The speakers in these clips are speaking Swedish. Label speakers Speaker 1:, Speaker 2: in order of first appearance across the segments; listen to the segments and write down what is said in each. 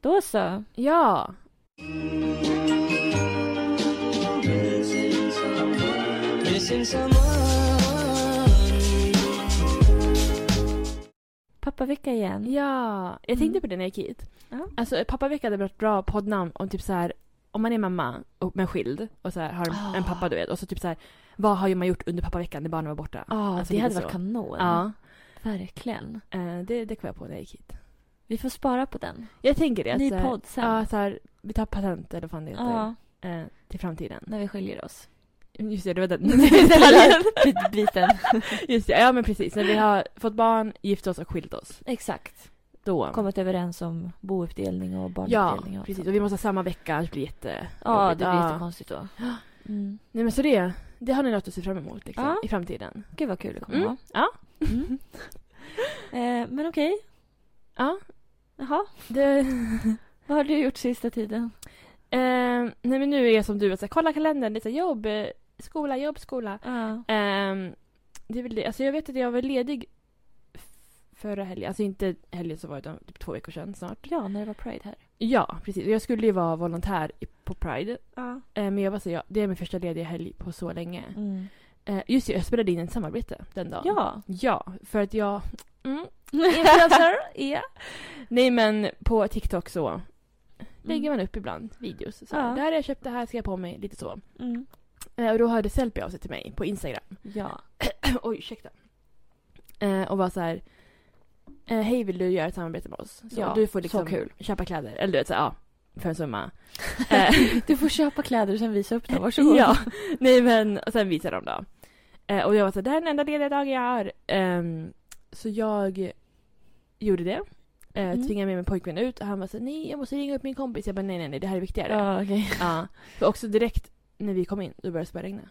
Speaker 1: Då så.
Speaker 2: Ja.
Speaker 1: Pappavecka igen.
Speaker 2: Ja. Jag tänkte på det när jag gick hit.
Speaker 1: Mm. Ja.
Speaker 2: Alltså pappavecka hade varit bra poddnamn om typ så här om man är mamma och, men skild och så här, har en,
Speaker 1: Ah.
Speaker 2: en pappa du vet och så typ så här vad har ju man gjort under pappaveckan när barnen var borta?
Speaker 1: Ja,
Speaker 2: Alltså,
Speaker 1: Ah, det
Speaker 2: lite
Speaker 1: hade varit
Speaker 2: så.
Speaker 1: kanon.
Speaker 2: Ja.
Speaker 1: Verkligen.
Speaker 2: Eh, det, det kom jag på när jag gick hit.
Speaker 1: Vi får spara på den.
Speaker 2: Jag tänker det. att
Speaker 1: Ny
Speaker 2: så här-
Speaker 1: podd sen. Ah.
Speaker 2: Ja, så här, vi tar patent eller vad fan det heter.
Speaker 1: Ja,
Speaker 2: Eh, till framtiden.
Speaker 1: när vi skiljer oss.
Speaker 2: Just det, det var den
Speaker 1: Detaljen.
Speaker 2: detaljen.
Speaker 1: Bit- Biten.
Speaker 2: Just det, ja men precis. När vi har fått barn, gift oss och skilt oss.
Speaker 1: Exakt.
Speaker 2: Då.
Speaker 1: Kommit överens om bouppdelning och
Speaker 2: ja,
Speaker 1: barnuppdelning. och allt
Speaker 2: precis.
Speaker 1: sånt.
Speaker 2: Och vi måste ha samma vecka, annars blir det jätte...
Speaker 1: Ja, det blir
Speaker 2: Ja.
Speaker 1: jättekonstigt då. Mm.
Speaker 2: Nej men så det, det har ni något att se fram emot liksom,
Speaker 1: Ja.
Speaker 2: i framtiden.
Speaker 1: Gud vad kul det kommer
Speaker 2: Mm.
Speaker 1: vara.
Speaker 2: Ja.
Speaker 1: Mm. eh, men okej.
Speaker 2: Ja,
Speaker 1: Jaha.
Speaker 2: det...
Speaker 1: Vad har du gjort sista tiden?
Speaker 2: Eh, nej men nu är jag som du, att så här, kolla kalendern, det är så här, jobb, eh, skola, jobb, skola.
Speaker 1: Ja.
Speaker 2: Ehm, det är väl det. Alltså jag vet att jag var ledig f- förra helgen. Alltså inte helgen som var utan typ två veckor sedan snart.
Speaker 1: ja, när det var Pride här.
Speaker 2: Ja, precis. Jag skulle ju vara volontär i- på Pride.
Speaker 1: Ja.
Speaker 2: Eh, men jag var så ja, det är min första lediga helg på så länge.
Speaker 1: Mm.
Speaker 2: Eh, just det, jag spelade in ett samarbete den dagen.
Speaker 1: Ja.
Speaker 2: Ja, för att jag... Mm.
Speaker 1: Influencer är...
Speaker 2: Nej men på TikTok så lägger
Speaker 1: Mm.
Speaker 2: man upp ibland videos. Så här,
Speaker 1: Ja.
Speaker 2: Det här har jag köpt, det här ska jag på mig, lite så.
Speaker 1: Mm.
Speaker 2: Eh, och då hörde Selby av sig till mig på Instagram.
Speaker 1: Ja.
Speaker 2: Oj, ursäkta. Eh, och var så här. Eh, Hej, vill du göra ett samarbete med oss? Så
Speaker 1: Ja,
Speaker 2: du får
Speaker 1: så
Speaker 2: liksom
Speaker 1: kul.
Speaker 2: köpa kläder. Eller du vet, så här, ja, för en summa.
Speaker 1: Du får köpa kläder och sen visa upp dem. Varsågod.
Speaker 2: ja, nej men och sen visar de då. Eh, och jag var så här, det här är den enda lediga dagen jag har. Ehm, så jag gjorde det. Eh,
Speaker 1: Mm.
Speaker 2: Tvingade med min pojkvän ut och han var så här, nej jag måste ringa upp min kompis. Jag bara nej nej nej det här är viktigare.
Speaker 1: Ja, okej.
Speaker 2: Ja. För också direkt när vi kom in, då började det börja regna.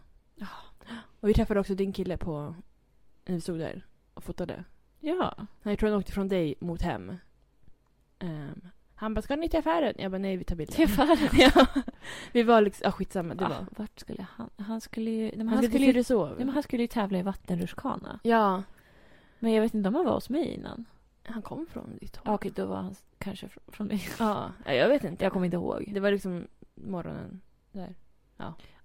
Speaker 2: Och vi träffade också din kille på, när vi stod där och fotade.
Speaker 1: Ja.
Speaker 2: Nej, jag tror han åkte från dig mot hem. Ehm, han bara, ska ni till affären? Jag bara, nej vi tar bilder.
Speaker 1: Till affären?
Speaker 2: ja. Vi var liksom, ah, skitsamma. Det var.
Speaker 1: Ah, vart skulle han... Han skulle ju... Nej, men han,
Speaker 2: han, skulle
Speaker 1: skulle
Speaker 2: till
Speaker 1: ju... Nej,
Speaker 2: Fyrishov.
Speaker 1: men han skulle ju tävla i vattenrutschkana.
Speaker 2: Ja.
Speaker 1: Men jag vet inte om han var hos mig innan.
Speaker 2: Han kom från ditt håll.
Speaker 1: Ja, Okej, då var han s- kanske fr- från mig.
Speaker 2: Ja. ja, jag vet inte.
Speaker 1: Jag kommer inte ihåg.
Speaker 2: Det var liksom morgonen.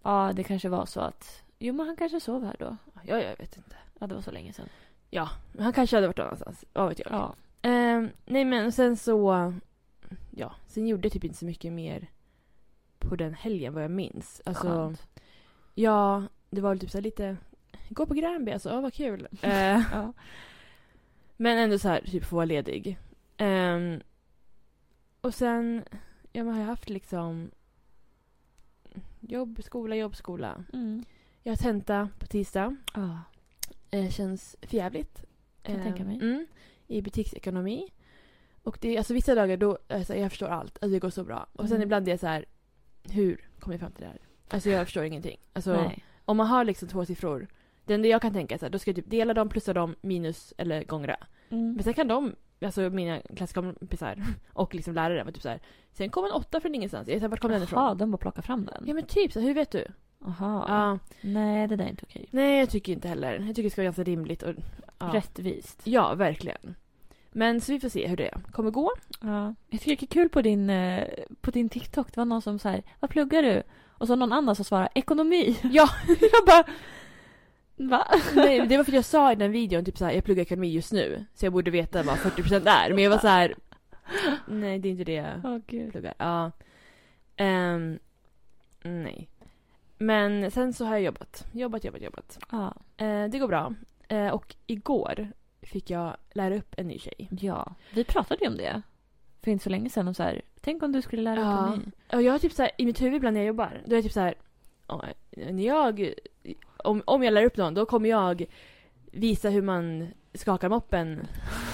Speaker 1: Ja, det kanske var så att... Jo, men han kanske sov här då.
Speaker 2: Ja, ja, jag vet inte.
Speaker 1: Ja, det var så länge sedan.
Speaker 2: Men han kanske hade varit någonstans. Vad vet jag.
Speaker 1: Ja.
Speaker 2: Ehm, nej men sen så... Ja, sen gjorde jag typ inte så mycket mer på den helgen vad jag minns. Alltså,
Speaker 1: Skönt.
Speaker 2: Ja, det var väl typ så här lite... Gå på Gränby alltså, ja, vad kul. Eh,
Speaker 1: Ja.
Speaker 2: men ändå så här, typ få vara ledig. Ehm, och sen, ja man har ju haft liksom... Jobb, skola, jobb, skola.
Speaker 1: Mm.
Speaker 2: Jag har tenta på tisdag.
Speaker 1: Ja.
Speaker 2: Eh, känns förjävligt.
Speaker 1: Kan jag
Speaker 2: Eh,
Speaker 1: tänka mig.
Speaker 2: Mm, I butiksekonomi. Och det, är- alltså vissa dagar då, alltså, jag förstår allt. Alltså det går så bra. Och sen
Speaker 1: Mm.
Speaker 2: ibland är jag så här, hur kom jag fram till det här? Alltså jag förstår ingenting. Alltså,
Speaker 1: Nej.
Speaker 2: om man har liksom två siffror. Det enda jag kan tänka är så här, då ska jag typ dela dem, plussa dem, minus eller gångra.
Speaker 1: Mm.
Speaker 2: Men sen kan de, alltså mina klasskompisar och liksom lärare vara typ så här. Sen kom en åtta från ingenstans. Jag sa, vart kom den
Speaker 1: Jaha,
Speaker 2: ifrån?
Speaker 1: de bara plockar fram den?
Speaker 2: Ja men typ så här, hur vet du?
Speaker 1: Jaha.
Speaker 2: Ja.
Speaker 1: Nej, det där är inte okej.
Speaker 2: Nej jag tycker inte heller. Jag tycker det ska vara ganska rimligt och... Ja.
Speaker 1: Rättvist.
Speaker 2: Ja, verkligen. Men så vi får se hur det kommer gå.
Speaker 1: Ja. Jag tycker det är kul på din, eh, på din TikTok. Det var någon som så här, vad pluggar du? Och så någon annan som svarar ekonomi.
Speaker 2: Ja.
Speaker 1: jag bara, va?
Speaker 2: Nej, men det var för att jag sa i den videon typ så här, jag pluggar ekonomi just nu. Så jag borde veta vad 40% är. Men jag var så här. nej det är inte det jag
Speaker 1: Åh gud.
Speaker 2: pluggar. Ja. Ehm, nej. Men sen så har jag jobbat. Jobbat, jobbat, jobbat.
Speaker 1: Ja.
Speaker 2: Eh, det går bra. Eh, och igår fick jag lära upp en ny tjej.
Speaker 1: ja. Vi pratade ju om det för inte så länge sedan. Om så här, tänk om du skulle lära dig
Speaker 2: Ja.
Speaker 1: ekonomi.
Speaker 2: Och jag har typ så här, i mitt huvud ibland när jag jobbar, då är jag typ så här, "Ja, när jag, om, om jag lär upp någon, då kommer jag visa hur man skakar moppen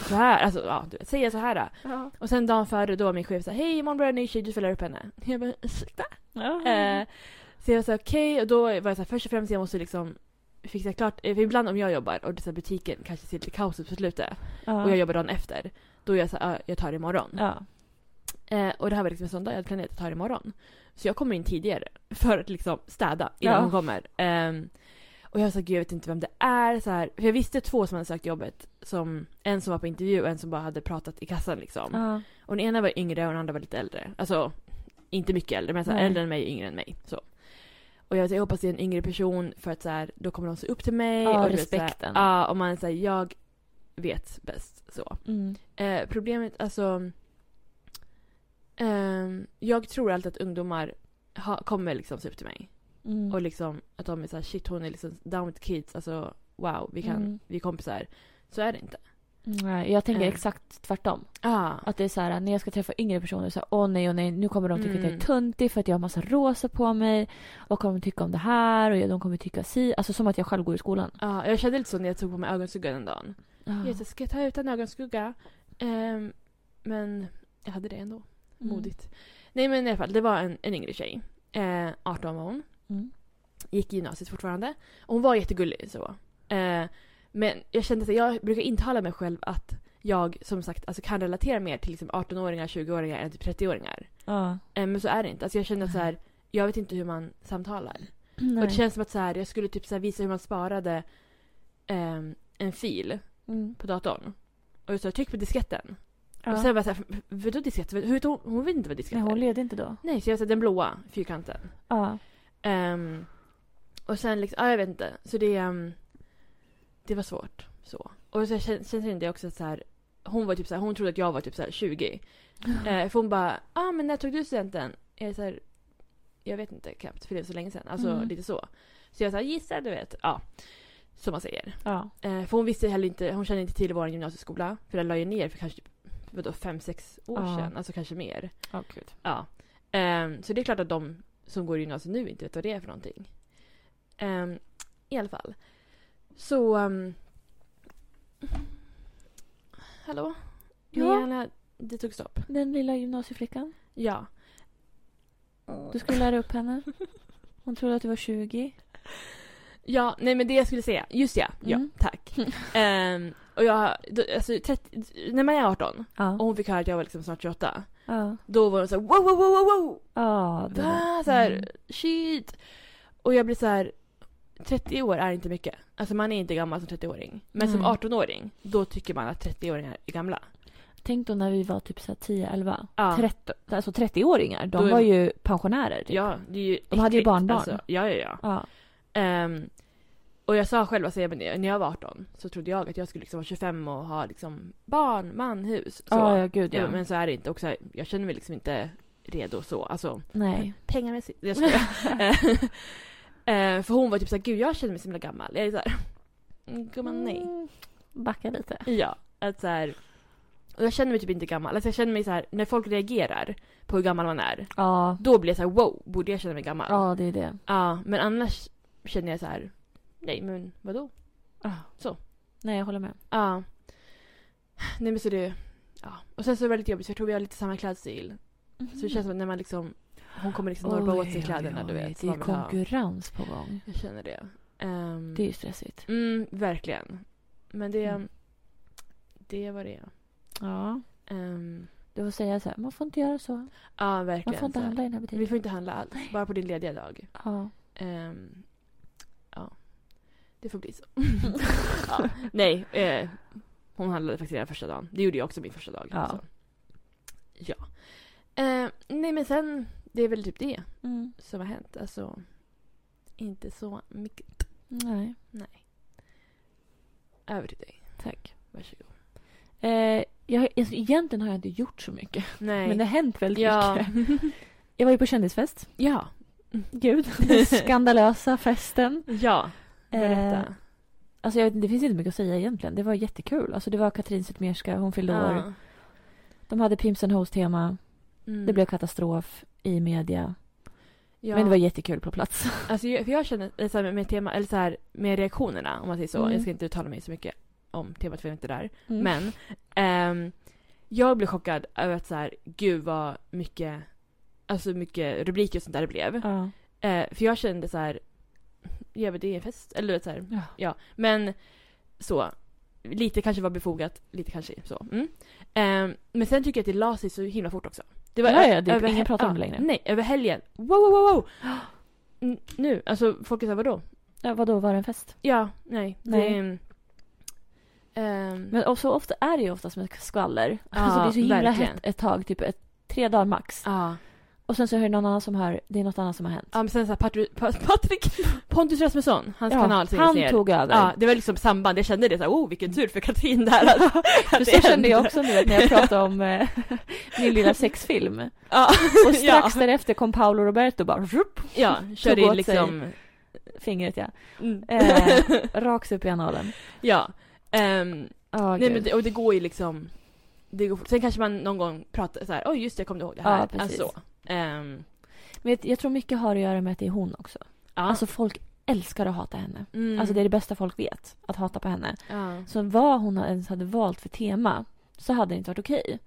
Speaker 2: så här, alltså ja, du vet, säga så här. då.
Speaker 1: Ja.
Speaker 2: Och sen dagen före då var min chef så här, hej imorgon börjar en ny tjej, du får lära upp henne. Jag bara, ursäkta? Eh, så jag var så här, okej, och då var jag så här, först och främst jag måste liksom fixa klart, eh, för ibland om jag jobbar och det är så här, butiken kanske ser lite kaos ut på slutet
Speaker 1: ja.
Speaker 2: och jag jobbar dagen efter, då är jag så här, "Ja, jag tar det imorgon.
Speaker 1: Ja.
Speaker 2: Eh, och det här var liksom en sån dag jag hade planerat att ta det imorgon. Så jag kommer in tidigare för att liksom städa innan
Speaker 1: Ja.
Speaker 2: hon kommer. Ehm, och jag sa gud jag vet inte vem det är. Så här, för jag visste två som hade sökt jobbet. Som, en som var på intervju och en som bara hade pratat i kassan liksom.
Speaker 1: Ja.
Speaker 2: Och den ena var yngre och den andra var lite äldre. Alltså, inte mycket äldre, men så här,
Speaker 1: Nej.
Speaker 2: äldre än mig, yngre än mig. Så. Och jag, jag hoppas det är en yngre person för att så här, då kommer de se upp till mig.
Speaker 1: Ja,
Speaker 2: och du vet, så här,
Speaker 1: respekten.
Speaker 2: Ja, och man säger jag vet bäst. Så.
Speaker 1: Mm.
Speaker 2: Eh, problemet, alltså... ehm, jag tror alltid att ungdomar ha, kommer liksom se upp till mig.
Speaker 1: Mm.
Speaker 2: Och liksom att de är såhär shit hon är liksom down with kids, alltså wow vi kan,
Speaker 1: Mm.
Speaker 2: vi är kompisar. Så är det inte.
Speaker 1: Nej, jag tänker
Speaker 2: Eh.
Speaker 1: exakt tvärtom.
Speaker 2: Ah.
Speaker 1: Att det är så här när jag ska träffa yngre personer så här, åh nej, åh nej, nu kommer de tycka att jag är
Speaker 2: Mm.
Speaker 1: töntig för att jag har massa rosa på mig. Vad kommer de tycka om det här? Och de kommer tycka si. Alltså som att jag själv går i skolan.
Speaker 2: Ah, jag kände lite så när jag tog på mig ögonskuggan den dagen.
Speaker 1: Ah.
Speaker 2: Jag sa, ska jag ta ut en ögonskugga? Ehm, men jag hade det ändå.
Speaker 1: Mm.
Speaker 2: Modigt. Nej men i alla fall, det var en, en yngre tjej. Eh, 18 var hon.
Speaker 1: Mm.
Speaker 2: Gick i gymnasiet fortfarande. Och hon var jättegullig så. Eh, men jag kände att jag brukar intala mig själv att jag som sagt alltså, kan relatera mer till liksom, 18-åringar, 20-åringar än typ 30-åringar.
Speaker 1: Ja.
Speaker 2: Eh, men så är det inte. Alltså jag kände att så här, jag vet inte hur man samtalar. Och det
Speaker 1: Nej.
Speaker 2: känns som att så här, jag skulle typ så här visa hur man sparade ehm, en fil
Speaker 1: Mm.
Speaker 2: på datorn. Och jag sa tryck på disketten.
Speaker 1: Ja.
Speaker 2: Och sen var jag så här, vadå diskett? Hur vet hon, hon vet inte vad diskett
Speaker 1: nej,
Speaker 2: är.
Speaker 1: hon levde inte då.
Speaker 2: Nej, så jag sa den blåa fyrkanten.
Speaker 1: Ja.
Speaker 2: Ehm, och sen liksom, ja jag vet inte. Så det, ehm, det var svårt. Så. Och så kän- känns det inte också att så här, hon var typ så här, hon trodde att jag var typ så här 20. Eh, för hon bara, ah men när tog du studenten? Jag är så här, jag vet inte knappt för det är så länge sedan. Alltså
Speaker 1: Mm.
Speaker 2: lite så. Så jag sa, gissa du vet. Ja. Som man säger.
Speaker 1: ja.
Speaker 2: Eh, för hon visste heller inte, hon kände inte till vår gymnasieskola. För den la ju ner för kanske typ, vadå, fem, sex år
Speaker 1: Ja.
Speaker 2: sedan. Alltså kanske mer.
Speaker 1: Oh, gud.
Speaker 2: Ja. Ehm, så det är klart att de som går i gymnasiet nu inte vet vad det är för någonting. Ehm, I alla fall. Så... Um, hallå?
Speaker 1: Ja.
Speaker 2: Min hjärna, det tog stopp.
Speaker 1: Den lilla gymnasieflickan.
Speaker 2: Ja.
Speaker 1: Du skulle lära upp henne. Hon trodde att du var 20.
Speaker 2: Ja, nej men det jag skulle säga. Just ja, ja
Speaker 1: Mm.
Speaker 2: tack. Ehm, och jag, då, alltså, 30, när man är 18
Speaker 1: Ja.
Speaker 2: och hon fick höra att jag var liksom snart 28.
Speaker 1: Ja.
Speaker 2: Då var hon så här, wow, wow, wow, wow, wow!
Speaker 1: Ja. det där.
Speaker 2: Va? Så här,
Speaker 1: Mm.
Speaker 2: shit. Och jag blir så här, 30 år är inte mycket. Alltså man är inte gammal som 30-åring. Men som
Speaker 1: Nej.
Speaker 2: 18-åring, då tycker man att 30-åringar är gamla.
Speaker 1: Tänk då när vi var typ så här 10, 11.
Speaker 2: Ja.
Speaker 1: 30, alltså 30-åringar. De
Speaker 2: Då är-
Speaker 1: var ju pensionärer. Typ.
Speaker 2: Ja, det är ju
Speaker 1: De hade ju
Speaker 2: äckligt. Alltså,
Speaker 1: barnbarn.
Speaker 2: ja, ja, ja.
Speaker 1: Ja.
Speaker 2: Ehm, och jag sa själv, alltså, jag menar, när jag var 18 så trodde jag att jag skulle liksom vara 25 och ha liksom barn, man, hus. Så.
Speaker 1: Ja, ja, gud ja.
Speaker 2: Men så är det inte. Och så här, jag känner mig liksom inte redo så. Alltså,
Speaker 1: Nej.
Speaker 2: pengamässigt. Jag skojar. Eh, för hon var typ såhär, gud jag känner mig så himla gammal. Jag är såhär, "Mm, gumman nej.
Speaker 1: Mm. Backa lite.
Speaker 2: Ja, att såhär. Och jag känner mig typ inte gammal. Alltså jag känner mig så här, när folk reagerar på hur gammal man är.
Speaker 1: Ja.
Speaker 2: Då blir jag såhär, wow, borde jag känna mig gammal?
Speaker 1: Ja, det är det.
Speaker 2: Ja, men annars känner jag så här, nej men vadå?
Speaker 1: Nej, jag håller med.
Speaker 2: Ja. Nej men så det, ja. Och sen så är det väldigt jobbigt för jag tror vi har lite samma klädstil. Så det känns som att när man liksom, hon kommer liksom norpa åt sig
Speaker 1: Mm. Oj,
Speaker 2: kläderna
Speaker 1: oj,
Speaker 2: du
Speaker 1: oj.
Speaker 2: vet.
Speaker 1: Det
Speaker 2: vad
Speaker 1: är
Speaker 2: man vill ha. Mm.
Speaker 1: konkurrens på gång.
Speaker 2: Jag känner det. Ehm,
Speaker 1: Det är ju stressigt.
Speaker 2: Mm, verkligen. Men det...
Speaker 1: Mm.
Speaker 2: Det var det.
Speaker 1: Ja.
Speaker 2: Ehm,
Speaker 1: Du får säga så här, man får inte göra så.
Speaker 2: ja,
Speaker 1: Man
Speaker 2: verkligen.
Speaker 1: får inte
Speaker 2: så här.
Speaker 1: handla i den här
Speaker 2: Vi
Speaker 1: butiken.
Speaker 2: får inte handla alls. Bara på din lediga dag.
Speaker 1: Ja.
Speaker 2: Ehm, ja. Det får bli så. ja. Nej. Eh, hon handlade faktiskt redan första dagen. Det gjorde jag också min första dag.
Speaker 1: Ja.
Speaker 2: Så. ja. Ehm, nej men sen, det är väl typ det
Speaker 1: Mm.
Speaker 2: som har hänt. Alltså, inte så mycket.
Speaker 1: Nej,
Speaker 2: Över till dig.
Speaker 1: tack.
Speaker 2: Varsågod.
Speaker 1: Eh, jag, alltså, egentligen har jag inte gjort så mycket.
Speaker 2: Nej.
Speaker 1: Men det har hänt väldigt
Speaker 2: ja.
Speaker 1: mycket. Jag var ju på kändisfest.
Speaker 2: ja.
Speaker 1: Gud. Den skandalösa festen.
Speaker 2: Ja. Berätta.
Speaker 1: Eh, Alltså, jag vet, inte, det finns inte mycket att säga egentligen. Det var jättekul. Alltså, det var Katrin Zytomierska, hon fyllde år.
Speaker 2: Ja.
Speaker 1: De hade Pimps and Hoes-tema.
Speaker 2: Mm.
Speaker 1: Det blev katastrof i media.
Speaker 2: ja.
Speaker 1: Men det var jättekul på plats.
Speaker 2: alltså, jag, för jag känner eh, så här, med- med tema, eller så här, med reaktionerna om man säger så.
Speaker 1: Mm.
Speaker 2: Jag ska inte uttala mig så mycket om temat för jag är inte där.
Speaker 1: Mm.
Speaker 2: Men ehm, jag blev chockad över att så här, gud vad mycket, alltså mycket rubriker och sånt där det blev.
Speaker 1: Ja.
Speaker 2: Eh, för jag kände så här, ja men det är en fest, eller du vet så här,
Speaker 1: Ja.
Speaker 2: ja. Men så, lite kanske var befogat, lite kanske så. Mm. Ehm, men sen tycker jag att det la sig så himla fort också. Det
Speaker 1: Ja, ja, det-
Speaker 2: över-
Speaker 1: ingen pratar om det
Speaker 2: ja,
Speaker 1: längre.
Speaker 2: Nej, över helgen. Wow, wow, wow, wow. Mm, Nu, alltså folk är såhär, vadå?
Speaker 1: Ja, vadå, var det en fest?
Speaker 2: Ja, nej.
Speaker 1: Nej.
Speaker 2: Det, Ehm,
Speaker 1: Men och så ofta är det ju oftast med skvaller.
Speaker 2: Ja,
Speaker 1: alltså det är så himla
Speaker 2: verkligen.
Speaker 1: hett ett tag, typ ett, tre dagar max.
Speaker 2: ja.
Speaker 1: Och sen så är det någon annan som hör, det är något annat som har hänt.
Speaker 2: ja, men sen så här Patri- Pa- Patrik Pontus Rasmusson, hans
Speaker 1: Ja,
Speaker 2: kanal stängdes
Speaker 1: han
Speaker 2: ner.
Speaker 1: tog över.
Speaker 2: Ja, det var liksom samband. Jag kände det så här, oh vilken tur för Katrin där. Alltså, Att,
Speaker 1: För
Speaker 2: att
Speaker 1: så
Speaker 2: det
Speaker 1: kände jag
Speaker 2: hände.
Speaker 1: också nu när jag pratade om eh, min lilla sexfilm.
Speaker 2: Ja,
Speaker 1: Och strax
Speaker 2: ja,
Speaker 1: därefter kom Paolo Roberto bara rupp,
Speaker 2: ja körde
Speaker 1: tog
Speaker 2: in
Speaker 1: åt sig.
Speaker 2: liksom.
Speaker 1: fingret ja.
Speaker 2: Mm.
Speaker 1: Eh, rakt upp i analen.
Speaker 2: ja. Ehm,
Speaker 1: Ja,
Speaker 2: nej
Speaker 1: gud.
Speaker 2: men det, och det går ju liksom. Det går, sen kanske man någon gång pratar så här, oj just det, jag kom ihåg det här.
Speaker 1: Ja, precis.
Speaker 2: Alltså, ehm,
Speaker 1: Men jag, jag tror mycket har att göra med att det är hon också.
Speaker 2: ja.
Speaker 1: Alltså folk älskar att hata henne.
Speaker 2: Mm.
Speaker 1: Alltså det är det bästa folk vet, att hata på henne.
Speaker 2: Ja.
Speaker 1: Så vad hon ens hade valt för tema så hade det inte varit okej.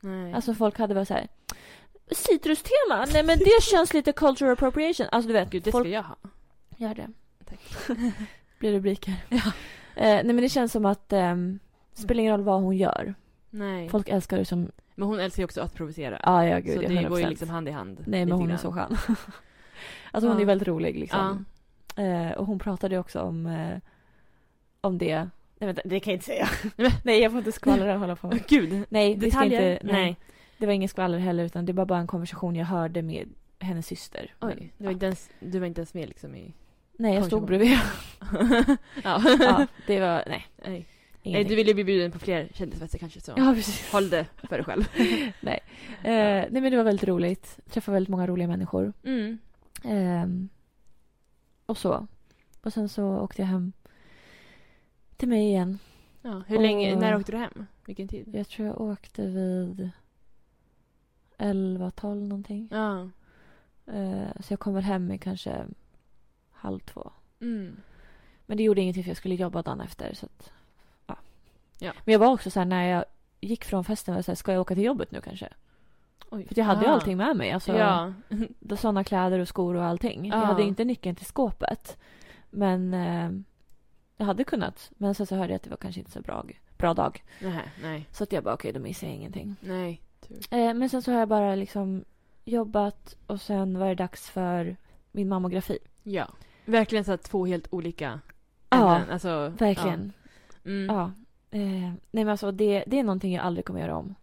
Speaker 2: Nej.
Speaker 1: Alltså folk hade varit så här. Citrustema? Nej men det känns lite cultural appropriation. Alltså du vet,
Speaker 2: Gud, det
Speaker 1: folk
Speaker 2: ska jag ha.
Speaker 1: gör det.
Speaker 2: Tack.
Speaker 1: Blir rubriker. Eh, nej men det känns som att ehm, det
Speaker 2: Mm.
Speaker 1: spelar ingen roll vad hon gör.
Speaker 2: Nej.
Speaker 1: Folk älskar det som,
Speaker 2: Men hon älskar ju också att provocera.
Speaker 1: ja ja gud
Speaker 2: så
Speaker 1: jag
Speaker 2: det går ju
Speaker 1: 100%.
Speaker 2: liksom hand i hand.
Speaker 1: Nej
Speaker 2: lite
Speaker 1: men hon är
Speaker 2: grann.
Speaker 1: så skön. alltså hon
Speaker 2: Ja.
Speaker 1: är väldigt rolig liksom. Eh, och hon pratade ju också om, eh, om det. Nej vänta, det kan jag inte säga. nej jag får inte skvallra och hålla på.
Speaker 2: Åh, Gud.
Speaker 1: Nej, vi ska
Speaker 2: Detaljer?
Speaker 1: inte, nej, nej. Det var ingen skvaller heller utan det var bara en konversation jag hörde med hennes syster. Men,
Speaker 2: Oj, du var,
Speaker 1: ja.
Speaker 2: inte ens, du var inte ens med liksom i...
Speaker 1: Nej jag
Speaker 2: konversation.
Speaker 1: stod bredvid.
Speaker 2: ja.
Speaker 1: ja, det var, nej.
Speaker 2: Nej. Nej,
Speaker 1: Ingenting.
Speaker 2: du ville bli bjuden på fler kändisfester kanske så.
Speaker 1: Ja precis.
Speaker 2: Håll det för dig själv.
Speaker 1: Eh, nej men det var väldigt roligt. Träffade väldigt många roliga människor.
Speaker 2: Mm.
Speaker 1: Ehm, och så. Och sen så åkte jag hem till mig igen.
Speaker 2: Ja, hur länge,
Speaker 1: Och-
Speaker 2: när åkte du hem? Vilken tid?
Speaker 1: Jag tror jag åkte vid 11, 12 någonting.
Speaker 2: Ja.
Speaker 1: Eh, så jag kom väl hem i kanske halv två.
Speaker 2: Mm.
Speaker 1: Men det gjorde ingenting för jag skulle jobba dagen efter. Så att, ja.
Speaker 2: Ja.
Speaker 1: Men jag var också så här när jag gick från festen var jag så här, ska jag åka till jobbet nu kanske?
Speaker 2: Oj.
Speaker 1: För jag hade ju
Speaker 2: Ah.
Speaker 1: allting med mig. Alltså,
Speaker 2: Ja. Ah.
Speaker 1: Sådana kläder och skor och allting.
Speaker 2: Ja.
Speaker 1: Jag hade inte nyckeln till skåpet. Men eh, jag hade kunnat. Men sen så hörde jag att det var kanske inte så bra, bra dag.
Speaker 2: Nej, nej,
Speaker 1: Så att jag bara okej, då missar jag ingenting.
Speaker 2: nej.
Speaker 1: Eh, men sen så har jag bara liksom jobbat och sen var det dags för min mammografi.
Speaker 2: Ja. Verkligen så här två helt olika
Speaker 1: Ja,
Speaker 2: ämnen, alltså,
Speaker 1: Verkligen.
Speaker 2: Ja. Mm.
Speaker 1: Ja. Eh, nej men alltså det, det är någonting jag aldrig kommer göra om.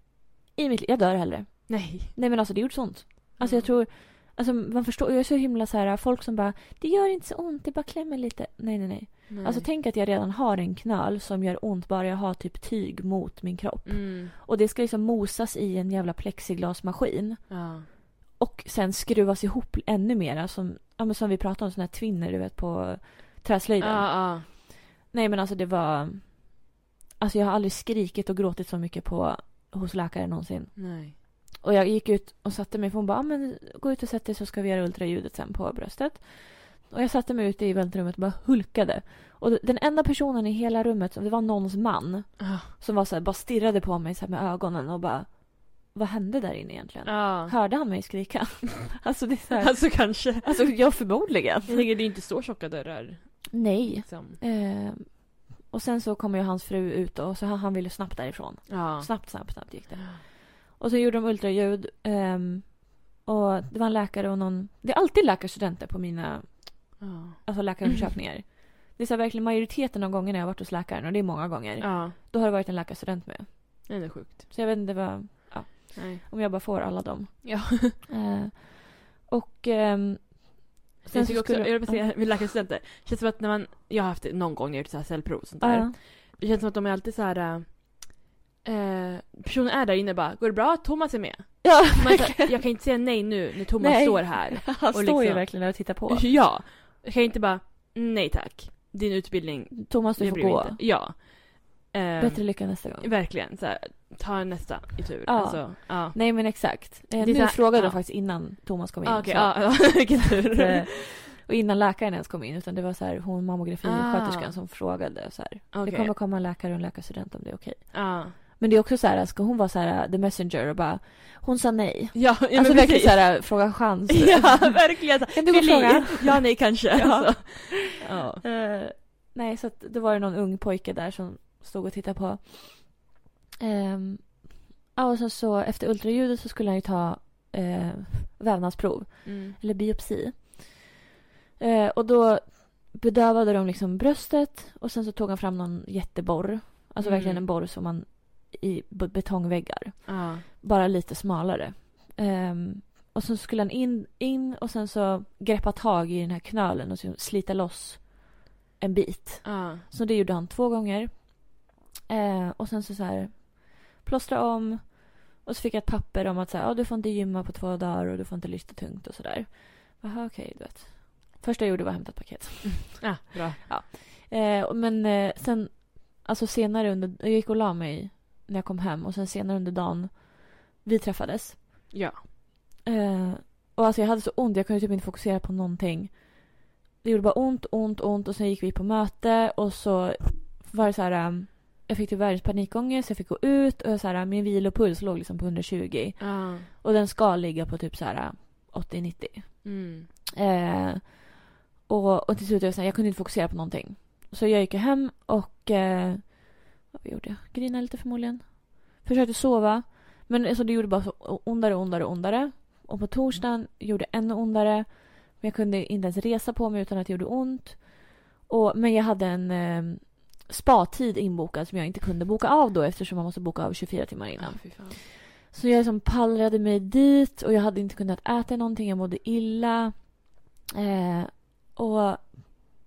Speaker 1: I mitt liv. Jag dör hellre.
Speaker 2: Nej.
Speaker 1: Nej men alltså det gjorde så ont. Alltså
Speaker 2: Mm.
Speaker 1: jag tror, alltså man förstår, jag är så himla så här folk som bara det gör inte så ont, det bara klämmer lite. Nej nej nej.
Speaker 2: nej.
Speaker 1: Alltså tänk att jag redan har en knöl som gör ont bara jag har typ tyg mot min kropp.
Speaker 2: Mm.
Speaker 1: Och det ska liksom mosas i en jävla plexiglasmaskin.
Speaker 2: Ja.
Speaker 1: Och sen skruvas ihop ännu mera som, ja, men som vi pratade om, såna här twinner du vet på träslöjden.
Speaker 2: Ja, ja.
Speaker 1: Nej men alltså det var... Alltså jag har aldrig skrikit och gråtit så mycket på, hos läkare någonsin.
Speaker 2: Nej.
Speaker 1: Och jag gick ut och satte mig för hon bara, "Ah, men gå ut och sätt dig så ska vi göra ultraljudet sen på bröstet. Och jag satte mig ute i väntrummet och bara hulkade. Och den enda personen i hela rummet, det var någons man,
Speaker 2: Ja.
Speaker 1: som var så här, bara stirrade på mig så här med ögonen och bara, vad hände där inne egentligen?
Speaker 2: Ja.
Speaker 1: Hörde han mig skrika? alltså det är så här,
Speaker 2: Alltså kanske.
Speaker 1: alltså jag förmodligen.
Speaker 2: Jag tänker det är inte så tjocka dörrar.
Speaker 1: Nej.
Speaker 2: Liksom.
Speaker 1: Eh, och sen så kom ju hans fru ut och så han, han ville snabbt därifrån.
Speaker 2: Ja.
Speaker 1: Snabbt, snabbt, snabbt gick det. Och så gjorde de ultraljud. ehm, och det var en läkare och någon... Det är alltid läkarstudenter på mina
Speaker 2: Ja.
Speaker 1: alltså läkarundersökningar.
Speaker 2: Mm.
Speaker 1: Det är så här, verkligen majoriteten av gångerna jag har varit hos läkaren och det är många gånger.
Speaker 2: Ja.
Speaker 1: Då har det varit en läkarstudent med.
Speaker 2: Nej, det är sjukt.
Speaker 1: Så jag vet inte vad,
Speaker 2: Nej.
Speaker 1: om jag bara får alla dem.
Speaker 2: Ja.
Speaker 1: Eh, och... ehm,
Speaker 2: Sen jag
Speaker 1: så
Speaker 2: tycker också,
Speaker 1: skulle-
Speaker 2: jag vill bara säga, vid läkarstudenter, det känns som att när man, jag har haft det någon gång när jag gjort så här cellprov och sånt
Speaker 1: Ja.
Speaker 2: där. Det känns som att de är alltid så här, eh, personen är där inne bara, går det bra? Thomas är med.
Speaker 1: Ja,
Speaker 2: Man, så, jag kan inte säga nej nu när Thomas
Speaker 1: Nej.
Speaker 2: står här.
Speaker 1: han står ju
Speaker 2: liksom-
Speaker 1: verkligen där och tittar på.
Speaker 2: Ja. Jag kan inte bara, nej tack. Din utbildning,
Speaker 1: Thomas, du
Speaker 2: jag
Speaker 1: får
Speaker 2: bryr mig
Speaker 1: gå.
Speaker 2: inte. Ja. Eh,
Speaker 1: Bättre lycka nästa gång.
Speaker 2: Verkligen. Så här, ta nästa i tur.
Speaker 1: Ja.
Speaker 2: Alltså, ja.
Speaker 1: Nej men exakt. Eh,
Speaker 2: Det är
Speaker 1: nu
Speaker 2: så här-
Speaker 1: frågade
Speaker 2: ja.
Speaker 1: de faktiskt innan Thomas kom in.
Speaker 2: Ah, Okej,
Speaker 1: så
Speaker 2: ja, ja, vilken tur.
Speaker 1: att, eh, och innan läkaren ens kom in. Utan det var så här, hon mammografisköterskan
Speaker 2: Ah.
Speaker 1: som frågade. Så här,
Speaker 2: Okej.
Speaker 1: Det kommer komma en läkare och en läkarstudent om det är okej.
Speaker 2: Ja,
Speaker 1: Men det är också så här, ska hon vara så här the messenger och bara, hon sa nej.
Speaker 2: ja, ja
Speaker 1: alltså
Speaker 2: men
Speaker 1: verkligen
Speaker 2: verkligen
Speaker 1: så här, fråga chans.
Speaker 2: Ja, verkligen.
Speaker 1: Kan du gå och
Speaker 2: Fyll i.
Speaker 1: fråga?
Speaker 2: Ja, nej, kanske.
Speaker 1: Ja.
Speaker 2: Alltså. Ja.
Speaker 1: Eh, nej, så att då var det någon ung pojke där som stod och tittade på. Ehm, ja, och sen så efter ultraljudet så skulle han ju ta eh, vävnadsprov.
Speaker 2: Mm.
Speaker 1: eller biopsi. Eh, och då bedövade de liksom bröstet och sen så tog han fram någon jätteborr. Alltså
Speaker 2: Mm.
Speaker 1: verkligen en borr som man i b- betongväggar.
Speaker 2: Ja.
Speaker 1: Bara lite smalare. Ehm, och så skulle han in, in och sen så greppa tag i den här knölen och så slita loss en bit.
Speaker 2: Ja.
Speaker 1: Så det gjorde han två gånger. Eh, och sen så, så här plåstra om. Och så fick jag ett papper om att så här, ja, du får inte gymma på två dagar och du får inte lyfta tungt och sådär. Jaha, okej, du vet. Första jag gjorde var att hämta ett paket.
Speaker 2: ja, bra.
Speaker 1: Eh, och- men eh, sen, alltså senare under, jag gick och la mig när jag kom hem och sen senare under dagen, vi träffades.
Speaker 2: Ja.
Speaker 1: Eh, och alltså jag hade så ont, jag kunde typ inte fokusera på någonting. Det gjorde bara ont, ont, ont och sen gick vi på möte och så var det så här. ehm, jag fick typ världens panikångest, jag fick gå ut och jag så här, eh, min vilopuls låg liksom på 120.
Speaker 2: Ja.
Speaker 1: Och den ska ligga på typ så här 80-90.
Speaker 2: Mm.
Speaker 1: Eh, och, och till slut var jag så här, jag kunde inte fokusera på någonting. Så jag gick ju hem och... Eh, vad gjorde jag? Grinade lite förmodligen. Försökte sova. Men alltså, det gjorde bara så ondare och ondare och ondare. Och på torsdagen gjorde det ännu ondare. Men jag kunde inte ens resa på mig utan att det gjorde ont. Och, men jag hade en eh, spa-tid inbokad som jag inte kunde boka av då eftersom man måste boka av 24 timmar innan.
Speaker 2: Ja, fy fan.
Speaker 1: Så jag liksom pallrade mig dit och jag hade inte kunnat äta någonting. Jag mådde illa. Eh, och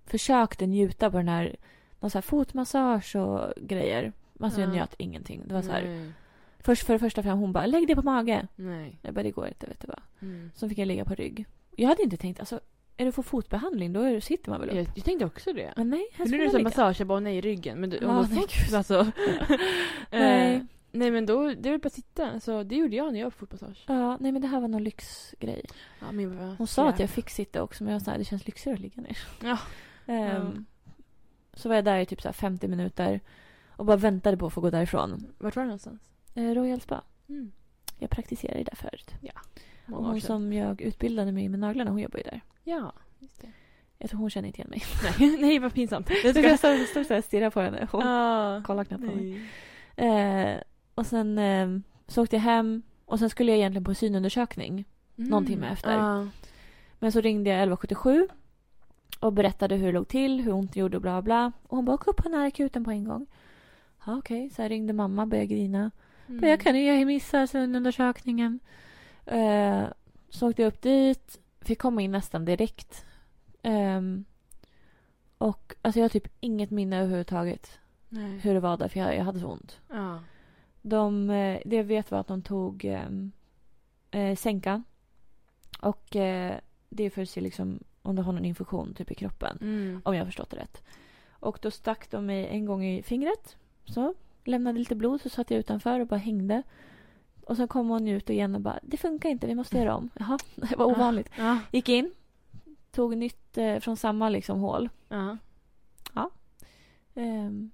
Speaker 1: försökte njuta på den här, någon så här fotmassage och grejer. Alltså jag
Speaker 2: Ja.
Speaker 1: njöt ingenting. Det var så här.
Speaker 2: Nej.
Speaker 1: Först, för det första fram, hon bara lägg det på mage.
Speaker 2: Nej.
Speaker 1: Jag bara det går inte vet du vad.
Speaker 2: Mm.
Speaker 1: Så fick jag ligga på rygg. Jag hade inte tänkt, alltså är du får fotbehandling då är, sitter man väl upp?
Speaker 2: Mm. Jag, jag tänkte också det.
Speaker 1: Men nej, här
Speaker 2: För nu
Speaker 1: skulle
Speaker 2: är det
Speaker 1: jag
Speaker 2: som
Speaker 1: ligga.
Speaker 2: massage, jag bara nej ryggen. Men du,
Speaker 1: Ja,
Speaker 2: om
Speaker 1: nej,
Speaker 2: man får, alltså.
Speaker 1: Nej.
Speaker 2: eh, nej men då, det är väl bara att sitta. Så det gjorde jag när jag fick massage.
Speaker 1: Ja, nej men det här var någon lyxgrej.
Speaker 2: Ja, men jag bara,
Speaker 1: Hon sa att jag fick sitta också men jag sa det känns lyxigare att ligga ner.
Speaker 2: Ja.
Speaker 1: Ehm,
Speaker 2: Mm.
Speaker 1: Så var jag där i typ så här 50 minuter och bara väntade på att få gå därifrån.
Speaker 2: Vart var det någonstans?
Speaker 1: Eh, Royal Spa.
Speaker 2: Mm.
Speaker 1: Jag praktiserade ju där förut. Och
Speaker 2: Många år
Speaker 1: hon
Speaker 2: sedan.
Speaker 1: som jag utbildade mig med naglarna, hon jobbar ju där.
Speaker 2: Ja, just det.
Speaker 1: Jag tror hon känner inte igen mig.
Speaker 2: Nej, nej vad pinsamt.
Speaker 1: Jag tror jag stod, stod så här och stirrade på henne. Hon
Speaker 2: Ah,
Speaker 1: kollade knappt på mig.
Speaker 2: nej.
Speaker 1: Eh, och sen ehm, så åkte jag hem och sen skulle jag egentligen på synundersökning.
Speaker 2: Mm.
Speaker 1: Någon timme efter.
Speaker 2: Ja.
Speaker 1: Men så ringde jag 1177 och berättade hur det låg till, hur ont det gjorde och bla bla. Och hon bara åk upp på den här akuten på en gång. Ja okej, så jag ringde mamma började grina.
Speaker 2: Mm.
Speaker 1: Men jag kan ju jag missa undersökningen. Eh, så åkte jag upp dit, fick komma in nästan direkt. Ehm, och alltså jag har typ inget minne överhuvudtaget
Speaker 2: Nej.
Speaker 1: hur det var där för jag, jag hade så ont.
Speaker 2: Ja.
Speaker 1: De, eh, det jag vet var att de tog ehm, eh, sänkan. Och eh, det är för att se liksom, om du har någon infektion typ i kroppen.
Speaker 2: Mm.
Speaker 1: Om jag har förstått det rätt. Och då stack de mig en gång i fingret. Så. Lämnade lite blod så satt jag utanför och bara hängde. Och sen kom hon ut igen och bara det funkar inte, vi måste göra om. Jaha, det var ovanligt.
Speaker 2: Ja.
Speaker 1: Gick in. Tog nytt eh, från samma liksom hål.
Speaker 2: Ja.
Speaker 1: Ehm,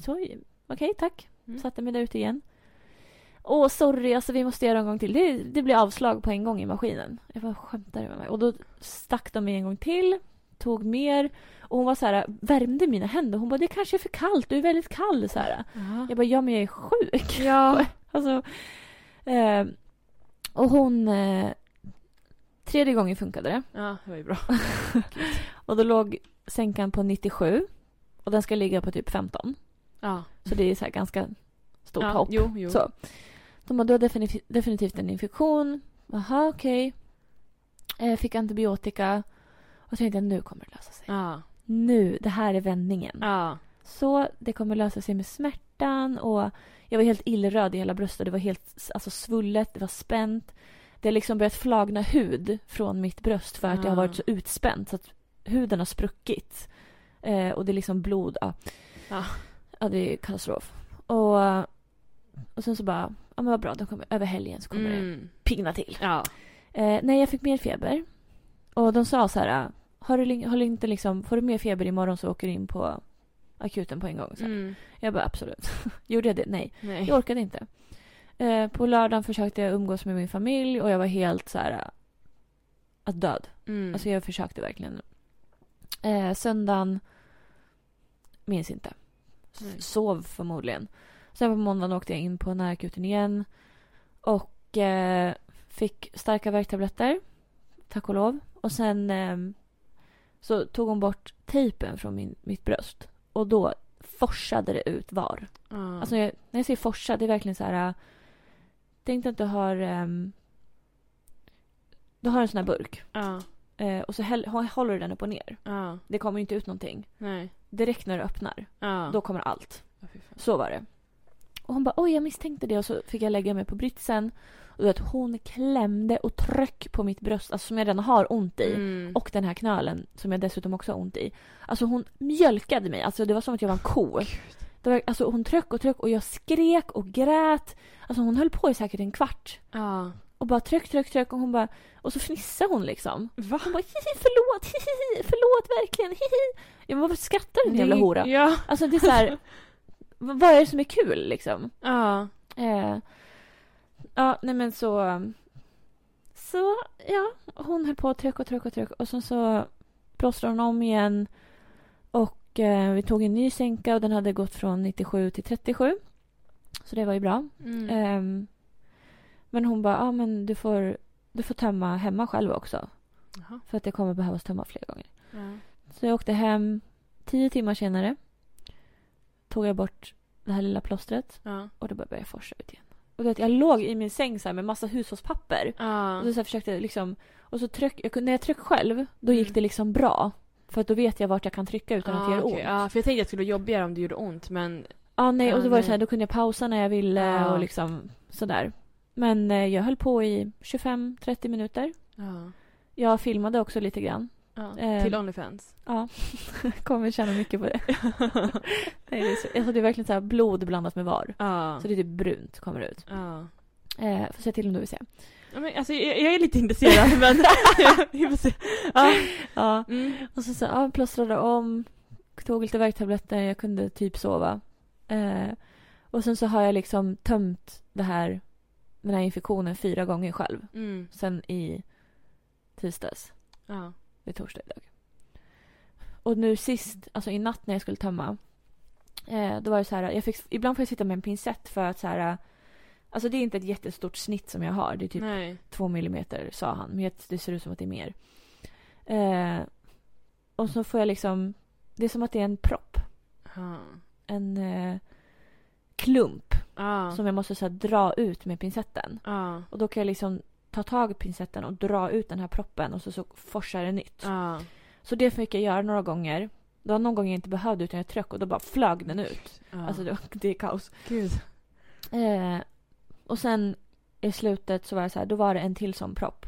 Speaker 1: så, okej, tack.
Speaker 2: Mm.
Speaker 1: Satte mig där ute igen. Åh, sorry, alltså vi måste göra en gång till. Det, det blir avslag på en gång i maskinen. Jag bara, skämtar du med mig? Och då stack de mig en gång till, tog mer. Och hon var så här, värmde mina händer. Hon bara, det kanske är för kallt, du är väldigt kall. Så här.
Speaker 2: Ja.
Speaker 1: Jag bara, ja men jag är sjuk.
Speaker 2: Ja.
Speaker 1: Alltså, ehm, och hon... Eh, tredje gången funkade det.
Speaker 2: Ja, det var ju bra.
Speaker 1: Och då låg sänkan på 97. Och den ska ligga på typ 15.
Speaker 2: Ja.
Speaker 1: Så det är så här ganska stort
Speaker 2: ja.
Speaker 1: hopp.
Speaker 2: Jo, jo.
Speaker 1: Så. De har då definitiv- definitivt en infektion. Jaha, okej. Eh, fick antibiotika. Och tänkte jag, nu kommer det lösa sig.
Speaker 2: Ja.
Speaker 1: Nu, det här är vändningen.
Speaker 2: Ja.
Speaker 1: Så det kommer lösa sig med smärtan och jag var helt illröd i hela bröstet. Det var helt alltså, svullet, det var spänt. Det har liksom börjat flagna hud från mitt bröst för att jag har varit så utspänd så att huden har spruckit. Eh, och det är liksom blod. Ja,
Speaker 2: Ja.
Speaker 1: Ja, det är katastrof. Och, och sen så bara, ja men vad bra, då kommer, över helgen så kommer det
Speaker 2: Mm.
Speaker 1: pigna till.
Speaker 2: Ja.
Speaker 1: Eh, nej, jag fick mer feber. Och de sa så här, har du, li- har du inte liksom, får du mer feber imorgon så åker du in på akuten på en gång. Så här.
Speaker 2: Mm.
Speaker 1: Jag bara absolut. Gjorde jag det? Nej,
Speaker 2: Nej.
Speaker 1: jag orkade inte. Eh, på lördagen försökte jag umgås med min familj och jag var helt så här, äh, att död.
Speaker 2: Mm.
Speaker 1: Alltså jag försökte verkligen. Eh, söndagen minns inte. S-
Speaker 2: Nej.
Speaker 1: Sov förmodligen. Sen på måndagen åkte jag in på närakuten igen. Och eh, fick starka värktabletter. Tack och lov. Och sen eh, så tog hon bort tejpen från min, mitt bröst. Och då forsade det ut var.
Speaker 2: Ja.
Speaker 1: Alltså jag, när jag säger forsa, det är verkligen så här... äh, Tänk dig att du har... ehm, du har en sån här burk
Speaker 2: ja.
Speaker 1: eh, och så häll, hå- håller du den upp och ner.
Speaker 2: Ja.
Speaker 1: Det kommer ju inte ut någonting.
Speaker 2: Nej.
Speaker 1: Direkt när du öppnar,
Speaker 2: Ja.
Speaker 1: då kommer allt.
Speaker 2: Ja, fy fan.
Speaker 1: Så var det. Och hon bara oj jag misstänkte det och så fick jag lägga mig på britsen. Och du vet, hon klämde och tryck på mitt bröst, alltså som jag redan har ont i.
Speaker 2: Mm.
Speaker 1: Och den här knölen som jag dessutom också har ont i. Alltså hon mjölkade mig. Alltså det var som att jag var en ko. Det var, alltså hon tryck och tryck och jag skrek och grät. Alltså hon höll på i säkert en kvart.
Speaker 2: Ja.
Speaker 1: Och bara tryck, tryck, tryck och hon bara... Och så fnissade hon liksom.
Speaker 2: Va?
Speaker 1: Hon bara hihi förlåt, hihi förlåt verkligen, hihi. Jag bara varför skrattar den jävla hora?
Speaker 2: Ja.
Speaker 1: Alltså det är så här... v- vad är det som är kul liksom?
Speaker 2: Ja.
Speaker 1: Eh, ja, nej men så... Så, ja. Hon höll på och tryck och tryck och tryck. Och sen så plåstrade hon om igen. Och eh, vi tog en ny sänka och den hade gått från 97 till 37. Så det var ju bra.
Speaker 2: Mm.
Speaker 1: Ehm, men hon bara, ja ah, men du får, du får tömma hemma själv också.
Speaker 2: Jaha.
Speaker 1: För att det kommer behövas tömma fler gånger.
Speaker 2: Ja.
Speaker 1: Så jag åkte hem tio timmar senare. Tog jag bort det här lilla plåstret.
Speaker 2: Ja.
Speaker 1: Och då började jag forsa ut igen. Och du vet, jag låg i min säng så här med massa hushållspapper.
Speaker 2: Ja.
Speaker 1: Och så, så här försökte jag liksom... Och så tryck, jag, kunde- när jag tryckte själv, då gick
Speaker 2: Mm. Ah,
Speaker 1: det liksom bra. För att då vet jag vart jag kan trycka utan att det gör
Speaker 2: okej.
Speaker 1: ont. Ja,
Speaker 2: Ja, för jag tänkte att det skulle vara jobbigare om det gjorde ont, men...
Speaker 1: nej, och då var
Speaker 2: Ja,
Speaker 1: det
Speaker 2: nej.
Speaker 1: så här, då kunde jag pausa när jag ville
Speaker 2: Ja.
Speaker 1: och liksom sådär. Men eh, jag höll på i 25-30 minuter.
Speaker 2: Ja.
Speaker 1: Jag filmade också lite grann.
Speaker 2: ja.
Speaker 1: Ehm.
Speaker 2: Till Onlyfans.
Speaker 1: Ja, kommer tjäna mycket på det. nej, det, är så, alltså, det är verkligen så här blod blandat med var.
Speaker 2: Ja.
Speaker 1: Så det är typ brunt kommer ut.
Speaker 2: Ja.
Speaker 1: Eh, får se till om du vill se.
Speaker 2: Ja, Men, alltså, jag, jag är lite intresserad men vi får se. Ja.
Speaker 1: Ja,
Speaker 2: Mm.
Speaker 1: Och så, så ja, plåstrade om, tog lite värktabletter, jag kunde typ sova. Eh, och sen så har jag liksom tömt det här, den här infektionen fyra gånger själv.
Speaker 2: Mm.
Speaker 1: Sen i tisdags,
Speaker 2: Ja.
Speaker 1: det är torsdag idag. Och nu sist, alltså i natt när jag skulle tömma, eh, då var det så här, jag fick, ibland får jag sitta med en pincett för att så här, alltså det är inte ett jättestort snitt som jag har, det är typ
Speaker 2: Nej.
Speaker 1: två millimeter sa han. Men jag- det ser ut som att det är mer. Eh, och så får jag liksom... Det är som att det är en propp.
Speaker 2: Ja.
Speaker 1: En eh, klump
Speaker 2: Ja.
Speaker 1: som jag måste så här, dra ut med pincetten.
Speaker 2: Ja.
Speaker 1: Och då kan jag liksom ta tag i pincetten och dra ut den här proppen och så, så forsar det nytt.
Speaker 2: Ja.
Speaker 1: Så det fick jag göra några gånger. Det var någon gång jag inte behövde utan jag tryck och då bara flög den ut.
Speaker 2: Ja.
Speaker 1: Alltså det, var, det är kaos.
Speaker 2: Gud.
Speaker 1: Eh, och sen i slutet så var det så här, då var det en till sån propp.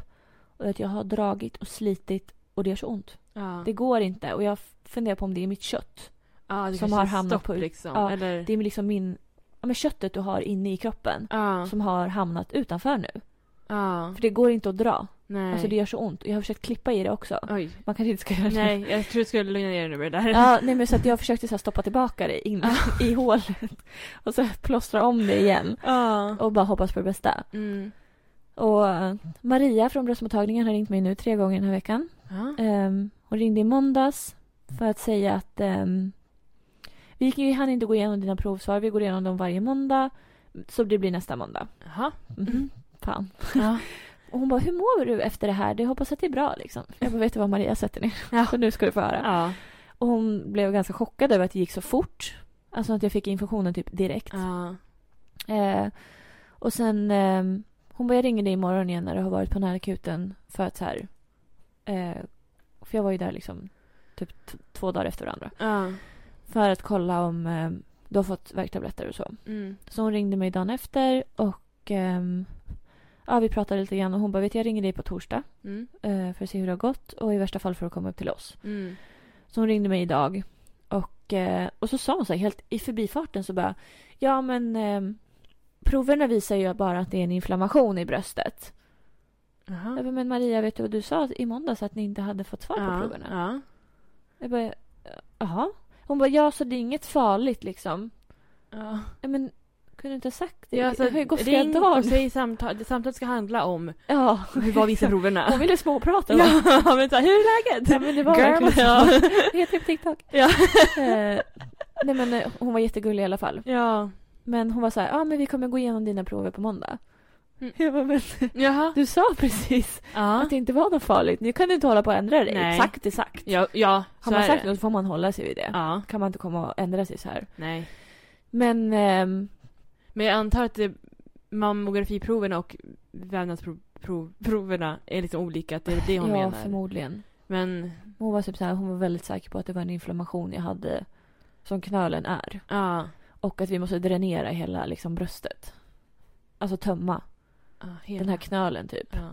Speaker 1: Och att jag har dragit och slitit och det gör så ont.
Speaker 2: Ja.
Speaker 1: Det går inte och jag funderar på om det är mitt kött.
Speaker 2: ja, det
Speaker 1: som
Speaker 2: kanske
Speaker 1: har
Speaker 2: är
Speaker 1: hamnat
Speaker 2: stopp,
Speaker 1: på-
Speaker 2: liksom.
Speaker 1: ja,
Speaker 2: Eller...
Speaker 1: Det är liksom min, ja, men köttet du har inne i kroppen
Speaker 2: Ja.
Speaker 1: som har hamnat utanför nu.
Speaker 2: Ja.
Speaker 1: För det går inte att dra.
Speaker 2: Nej.
Speaker 1: Alltså det gör så ont. Jag har försökt klippa i det också.
Speaker 2: Oj.
Speaker 1: Man kanske inte ska göra det.
Speaker 2: Nej, jag tror du skulle lugna ner dig nu med det där.
Speaker 1: Ja, nej men så att jag försökte så här stoppa tillbaka det in i hålet. Och så plåstra om det igen.
Speaker 2: Ja.
Speaker 1: Och bara hoppas på det bästa.
Speaker 2: Mm.
Speaker 1: Och eh, Maria från bröstmottagningen har ringt mig nu tre gånger den här veckan.
Speaker 2: Ja.
Speaker 1: Ehm, hon ringde i måndags för att säga att ehm, vi gick- vi hann inte gå igenom dina provsvar. Vi går igenom dem varje måndag. Så det blir nästa måndag.
Speaker 2: Jaha. Mm.
Speaker 1: Mhm, Fan.
Speaker 2: Ja.
Speaker 1: Och hon bara, hur mår du efter det här? Jag hoppas att det är bra liksom. Jag bara, vet du vad Maria sätter ner?
Speaker 2: Ja.
Speaker 1: Så nu ska du få höra.
Speaker 2: Ja.
Speaker 1: Och hon blev ganska chockad över att det gick så fort. Alltså att jag fick informationen typ direkt.
Speaker 2: Ja.
Speaker 1: Eh, och sen... ehm, hon bara, jag ringer dig imorgon igen när du har varit på närakuten för att så här... Eh, för jag var ju där liksom typ t- två dagar efter varandra.
Speaker 2: Ja.
Speaker 1: För att kolla om ehm, du har fått värktabletter och så.
Speaker 2: Mm.
Speaker 1: Så hon ringde mig dagen efter och... ehm, ja, vi pratade lite grann och hon bara, vet du, jag ringer dig på torsdag
Speaker 2: Mm.
Speaker 1: eh, för att se hur det har gått och i värsta fall får du komma upp till oss.
Speaker 2: Mm.
Speaker 1: Så hon ringde mig idag och, eh, och så sa hon så här helt i förbifarten så bara ja men eh, proverna visar ju bara att det är en inflammation i bröstet.
Speaker 2: Jaha.
Speaker 1: Jag bara, men Maria vet du vad du sa i måndags att ni inte hade fått svar på
Speaker 2: Ja.
Speaker 1: proverna?
Speaker 2: Ja.
Speaker 1: Jag bara jaha? Hon bara ja så det är inget farligt liksom.
Speaker 2: Ja.
Speaker 1: Ja, men kunde du inte ha sagt det?
Speaker 2: Ja, alltså,
Speaker 1: det har ju gått flera
Speaker 2: ring
Speaker 1: dagar.
Speaker 2: och säg samtal. Det samtalet ska handla om
Speaker 1: Ja.
Speaker 2: alltså, hur var vissa proverna.
Speaker 1: Hon ville småprata.
Speaker 2: Ja, men så här, hur är läget?
Speaker 1: Ja, men det var
Speaker 2: Girl.
Speaker 1: verkligen så.
Speaker 2: Ja.
Speaker 1: Jag heter på typ TikTok.
Speaker 2: Ja.
Speaker 1: Eh, nej men eh, hon var jättegullig i alla fall.
Speaker 2: Ja.
Speaker 1: Men hon var så här, ja men vi kommer gå igenom dina prover på måndag.
Speaker 2: Mm.
Speaker 1: Jag bara, men
Speaker 2: Jaha.
Speaker 1: du sa precis
Speaker 2: Ja.
Speaker 1: Eh. att det inte var något farligt. Nu kan du inte hålla på och ändra dig.
Speaker 2: Nej.
Speaker 1: Exakt, exakt.
Speaker 2: Ja, ja
Speaker 1: Har man
Speaker 2: är
Speaker 1: sagt
Speaker 2: det.
Speaker 1: något får man hålla sig vid det.
Speaker 2: Ja,
Speaker 1: Kan man inte komma och ändra sig så här.
Speaker 2: nej.
Speaker 1: Men ehm,
Speaker 2: Men jag antar att det, mammografiproverna och vävnadsproverna är liksom olika. Att det är det hon
Speaker 1: ja,
Speaker 2: menar.
Speaker 1: förmodligen.
Speaker 2: Men,
Speaker 1: Hon var, typ så här, hon var väldigt säker på att det var en inflammation jag hade som knölen är.
Speaker 2: ja.
Speaker 1: Och att vi måste dränera hela liksom, bröstet. Alltså tömma
Speaker 2: ja hela.
Speaker 1: den här knölen typ.
Speaker 2: ja.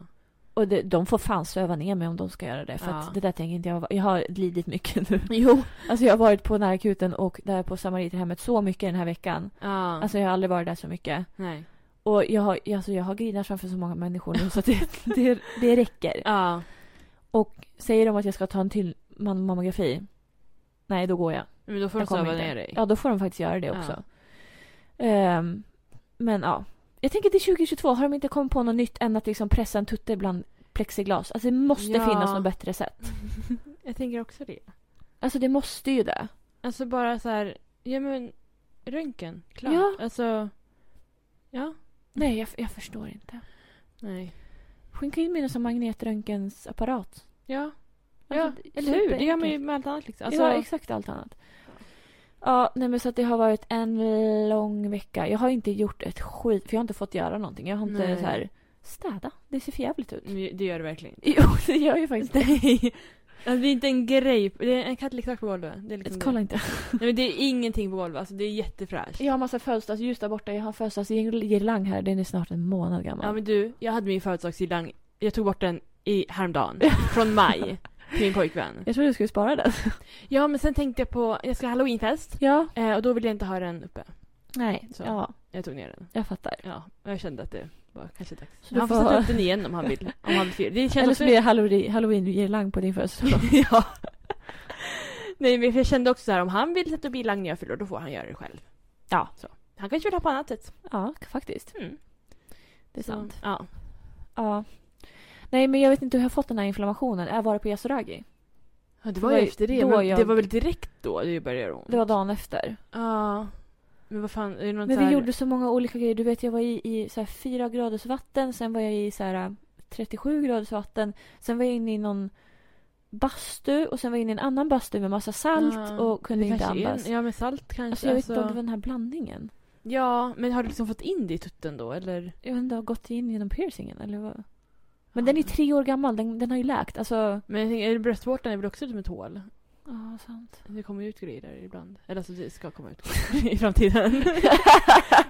Speaker 1: Och det, de får fan söva ner mig om de ska göra det. För
Speaker 2: Ja.
Speaker 1: att det där tänker inte jag. Jag har lidit mycket nu.
Speaker 2: Jo.
Speaker 1: Alltså jag har varit på närakuten och där på samariterhemmet så mycket den här veckan.
Speaker 2: Ja.
Speaker 1: Alltså jag har aldrig varit där så mycket.
Speaker 2: nej.
Speaker 1: Och jag har, alltså jag har grinat framför så många människor nu så att det, det, det räcker.
Speaker 2: Ja.
Speaker 1: Säger de att jag ska ta en till mam- mammografi? Nej, då går jag.
Speaker 2: Men då får de
Speaker 1: Jag kommer
Speaker 2: söva
Speaker 1: inte.
Speaker 2: ner dig.
Speaker 1: Ja, då får de faktiskt göra det också. Ehm, men ja. Jag tänker till 2022, har de inte kommit på något nytt än att liksom pressa en tutte bland plexiglas? Alltså det måste
Speaker 2: Ja.
Speaker 1: finnas något bättre sätt.
Speaker 2: Jag tänker också det.
Speaker 1: Alltså det måste ju det.
Speaker 2: Alltså bara så här, ja men röntgen, klart.
Speaker 1: Ja.
Speaker 2: Alltså, ja.
Speaker 1: Nej, jag, jag förstår inte.
Speaker 2: Nej.
Speaker 1: Skynka in mig någon sån magnetröntgensapparat.
Speaker 2: Ja.
Speaker 1: Alltså,
Speaker 2: ja,
Speaker 1: det-
Speaker 2: eller hur? Det gör man ju
Speaker 1: superenkelt.
Speaker 2: med allt annat liksom. Alltså,
Speaker 1: ja, exakt allt annat. Ja, nej men så att det har varit en lång vecka. Jag har inte gjort ett skit, för jag har inte fått göra någonting. Jag har inte
Speaker 2: Nej.
Speaker 1: så här städa. Det ser för jävligt ut.
Speaker 2: det gör det verkligen inte.
Speaker 1: Jo, det gör ju faktiskt det.
Speaker 2: Nej. Alltså, det är inte en grej, det är en kattleksak på golvet. Det är liksom
Speaker 1: Alltså, Kolla
Speaker 2: det.
Speaker 1: inte.
Speaker 2: Nej men det är ingenting på golvet, alltså det är jättefräscht.
Speaker 1: Jag har massa födelsedagsljus där borta. Jag har födelsedagsgirlang här. Den är snart en månad gammal.
Speaker 2: Ja men du, jag hade min födelsedagsgirlang, jag tog bort den i häromdagen. Från maj. Till min pojkvän.
Speaker 1: Jag trodde du skulle spara den.
Speaker 2: Ja men sen tänkte jag på, jag ska ha halloweenfest.
Speaker 1: Ja.
Speaker 2: Eh, och då ville jag inte ha den uppe.
Speaker 1: Nej,
Speaker 2: Så.
Speaker 1: ja.
Speaker 2: Jag tog ner den.
Speaker 1: Jag fattar.
Speaker 2: Ja, jag kände att det var kanske dags.
Speaker 1: Så du
Speaker 2: han får
Speaker 1: får-
Speaker 2: sätta upp den igen om han vill. Om han vill fira. Det känns
Speaker 1: Eller så
Speaker 2: också...
Speaker 1: blir det halloween- halloween-girlang på din födelsedag.
Speaker 2: ja. Nej men jag kände också så här, om han vill sätta upp bilang när jag fyller år, då får han göra det själv.
Speaker 1: Ja.
Speaker 2: Så. Han kanske vill ha på annat sätt.
Speaker 1: Ja, faktiskt.
Speaker 2: Mm.
Speaker 1: Det är
Speaker 2: Så,
Speaker 1: sant.
Speaker 2: Ja.
Speaker 1: Ja. Nej, men jag vet inte hur jag har fått den här inflammationen. Jag var på Yasuragi.
Speaker 2: ja. Det
Speaker 1: var
Speaker 2: var
Speaker 1: ju
Speaker 2: ju efter det.
Speaker 1: då
Speaker 2: men
Speaker 1: jag-
Speaker 2: Det var väl direkt då det började göra ont?
Speaker 1: Det var dagen efter.
Speaker 2: Ja. Men vad fan, är det något
Speaker 1: Men
Speaker 2: så
Speaker 1: vi
Speaker 2: Mm. här...
Speaker 1: gjorde så många olika grejer. Du vet, jag var i, i så här 4 graders vatten. Sen var jag i så här 37 graders vatten. Sen var jag inne i någon bastu och sen var jag inne i en annan bastu med massa salt
Speaker 2: Ja,
Speaker 1: och kunde inte
Speaker 2: Ah, kanske
Speaker 1: andas.
Speaker 2: in- Ja men salt kanske.
Speaker 1: Alltså jag vet inte om det var den här blandningen.
Speaker 2: Ja, men har du liksom fått in det i tutten då eller?
Speaker 1: Jag vet inte, har gått in genom piercingen eller vad? Men
Speaker 2: Ah.
Speaker 1: den är tre år gammal, den, den har ju läkt. Alltså,
Speaker 2: Men jag tänker, är det bröstvårtan är väl också som ett hål?
Speaker 1: ja sant.
Speaker 2: Det kommer ju ut grejer där ibland. Eller alltså det ska komma ut grejer i framtiden.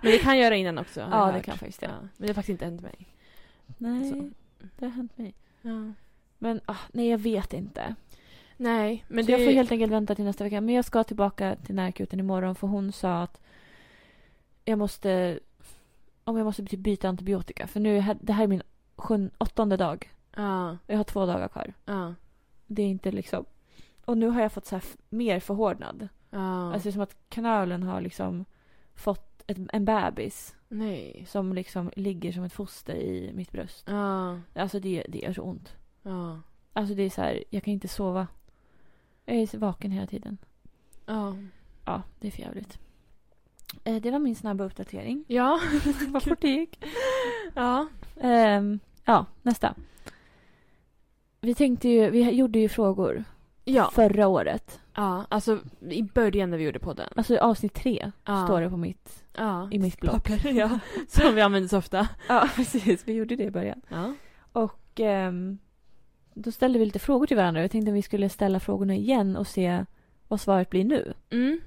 Speaker 2: Men det kan göra innan också. har jag
Speaker 1: Ja, det
Speaker 2: hört.
Speaker 1: kan faktiskt det.
Speaker 2: Ja. Men det har faktiskt inte hänt mig.
Speaker 1: Nej,
Speaker 2: Så.
Speaker 1: det har hänt mig.
Speaker 2: Ja.
Speaker 1: Men ah, nej, jag vet inte.
Speaker 2: Nej, men
Speaker 1: Men så
Speaker 2: det...
Speaker 1: jag får helt enkelt vänta till nästa vecka. Men jag ska tillbaka till närakuten imorgon för hon sa att jag måste, om jag måste typ byta antibiotika. För nu, är här- det här är min sjun, åttonde dag
Speaker 2: Ja,
Speaker 1: och jag har två dagar kvar.
Speaker 2: ja,
Speaker 1: Det är inte liksom... Och nu har jag fått så här f- mer förhårdnad.
Speaker 2: ja.
Speaker 1: Alltså det är som att knölen har liksom fått ett, en bebis
Speaker 2: Nej.
Speaker 1: som liksom ligger som ett foster i mitt bröst.
Speaker 2: Ja,
Speaker 1: Alltså det, det gör så ont.
Speaker 2: ja,
Speaker 1: Alltså det är så här, jag kan inte sova. Jag är så vaken hela tiden.
Speaker 2: ja.
Speaker 1: Ja, det är för jävligt. Eh, det var min snabba uppdatering.
Speaker 2: Ja,
Speaker 1: Vad fort det gick.
Speaker 2: ja.
Speaker 1: Ehm, ja, nästa. Vi tänkte ju, vi gjorde ju frågor
Speaker 2: Ja,
Speaker 1: förra året.
Speaker 2: ja. Alltså i början när vi gjorde podden.
Speaker 1: Alltså avsnitt tre
Speaker 2: Ja.
Speaker 1: står det på mitt,
Speaker 2: Ja.
Speaker 1: i mitt blogg.
Speaker 2: Papper, ja. Som vi använder så ofta.
Speaker 1: Ja, precis. Vi gjorde det i början.
Speaker 2: Ja.
Speaker 1: Och ehm, då ställde vi lite frågor till varandra. Jag tänkte att vi skulle ställa frågorna igen och se vad svaret blir nu.
Speaker 2: Mm.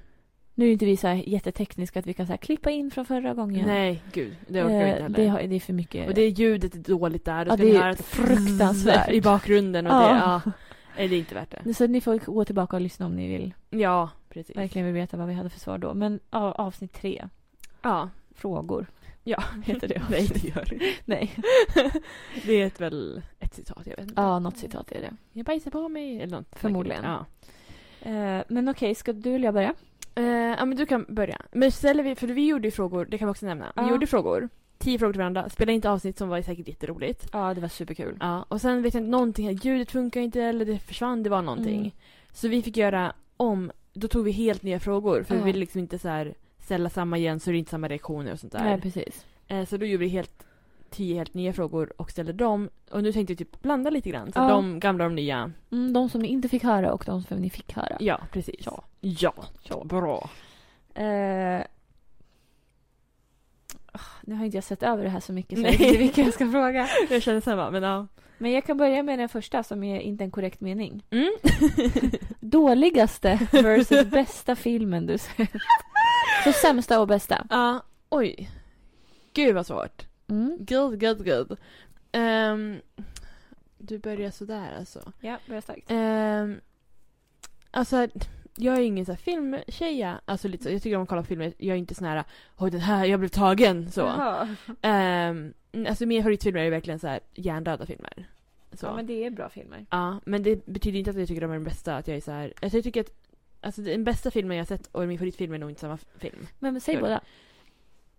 Speaker 1: Nu är inte vi så här jättetekniska att vi kan så här klippa in från förra gången.
Speaker 2: Nej, gud. Det orkar vi inte
Speaker 1: Eh,
Speaker 2: heller.
Speaker 1: det, har, det är för mycket.
Speaker 2: Och det ljudet är dåligt där. Då
Speaker 1: Ja,
Speaker 2: ska
Speaker 1: det
Speaker 2: ni
Speaker 1: är
Speaker 2: höra att-
Speaker 1: fruktansvärt.
Speaker 2: I bakgrunden och
Speaker 1: Ja.
Speaker 2: det. Ja. Nej, det är inte värt det.
Speaker 1: Så ni får gå tillbaka och lyssna om ni vill.
Speaker 2: Ja, precis.
Speaker 1: Verkligen vill veta vad vi hade för svar då. Men ja, avsnitt tre,
Speaker 2: Ja.
Speaker 1: frågor.
Speaker 2: Ja.
Speaker 1: Heter det
Speaker 2: Nej, det gör det
Speaker 1: Nej.
Speaker 2: Det är ett, väl ett citat, jag vet inte.
Speaker 1: Ja, något citat är det.
Speaker 2: Jag bajsar på mig eller något.
Speaker 1: Förmodligen.
Speaker 2: säkert. Ja.
Speaker 1: Eh, men okej, ska du eller jag börja?
Speaker 2: Eh, ja, men du kan börja. Men ställer vi, för vi gjorde ju frågor, det kan vi också nämna. Vi
Speaker 1: Ja.
Speaker 2: gjorde frågor, tio frågor till varandra, spelade inte avsnitt som var säkert jätteroligt.
Speaker 1: Ja, det var superkul.
Speaker 2: Ja, och sen vet jag inte, någonting, här, ljudet funkar inte eller det försvann, det var någonting.
Speaker 1: Mm.
Speaker 2: Så vi fick göra om, då tog vi helt nya frågor för
Speaker 1: Ja.
Speaker 2: vi ville liksom inte så här ställa samma igen så det är inte samma reaktioner och sånt där.
Speaker 1: Nej, precis.
Speaker 2: Eh, så då gjorde vi helt tio helt nya frågor och ställer dem. Och nu tänkte jag typ blanda lite grann. Så
Speaker 1: Ja.
Speaker 2: de gamla och de nya.
Speaker 1: Mm, de som ni inte fick höra och de som ni fick höra.
Speaker 2: Ja, precis.
Speaker 1: Ja.
Speaker 2: Ja. Bra.
Speaker 1: Eh, ah, nu har inte jag sett över det här så mycket så
Speaker 2: Nej.
Speaker 1: jag vet inte vilka jag ska fråga.
Speaker 2: Jag känner samma, men ja.
Speaker 1: Men jag kan börja med den första som är inte en korrekt mening.
Speaker 2: Mm.
Speaker 1: Dåligaste versus bästa filmen du sett. Så sämsta och bästa.
Speaker 2: Ja, oj. Gud vad svårt.
Speaker 1: Mm.
Speaker 2: Gud, gud, gud. Ehm, du börjar sådär alltså.
Speaker 1: Ja, börja starkt.
Speaker 2: Ehm, alltså, jag är ingen så här filmtjeja. Alltså, lite så, jag tycker om att kolla på filmer. Jag är inte sån här, oj den här, jag blev tagen. Så.
Speaker 1: Jaha.
Speaker 2: Ehm, alltså, mina favoritfilmer är verkligen så här hjärndöda filmer. Så.
Speaker 1: Ja, men det är bra filmer.
Speaker 2: Ja, men det betyder inte att jag tycker de är den bästa. Att jag är så här, alltså, jag tycker att alltså, den bästa filmen jag har sett och min favoritfilm är nog inte samma f- film.
Speaker 1: Men säg
Speaker 2: Gör
Speaker 1: båda.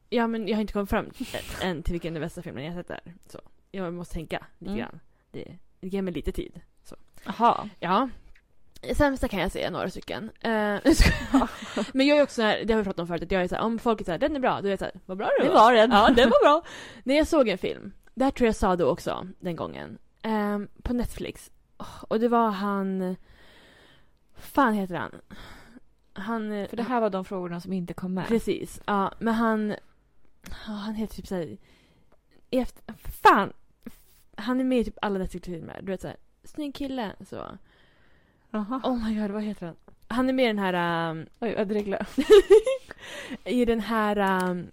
Speaker 2: Ja, men jag har inte kommit fram ä- än till vilken den bästa filmen jag har sett är. Så. Jag måste tänka lite
Speaker 1: Mm.
Speaker 2: grann. Det, det ger mig lite tid.
Speaker 1: Jaha.
Speaker 2: Ja. Sämsta kan jag säga några stycken. Eh, jag skojar. men jag är också så här, det har vi pratat om förut, att jag är så här, om folk är så här, den är bra, då är jag så här, vad bra du
Speaker 1: Det var den.
Speaker 2: Ja, den var bra. När jag såg en film, det här tror jag sa då också, den gången, eh, på Netflix. Åh, Och det var han, fan heter han? Han... eh,
Speaker 1: För det här var de frågorna som inte kom med.
Speaker 2: Precis, ja, men han, ja, han heter typ såhär, efter, fan! Han är med i typ alla Netflix-filmer, du vet såhär, snygg kille, så.
Speaker 1: Jaha.
Speaker 2: Oh my god, vad heter han? Han är med i den här... ehm,
Speaker 1: Oj, jag dreglade.
Speaker 2: I den här... ehm,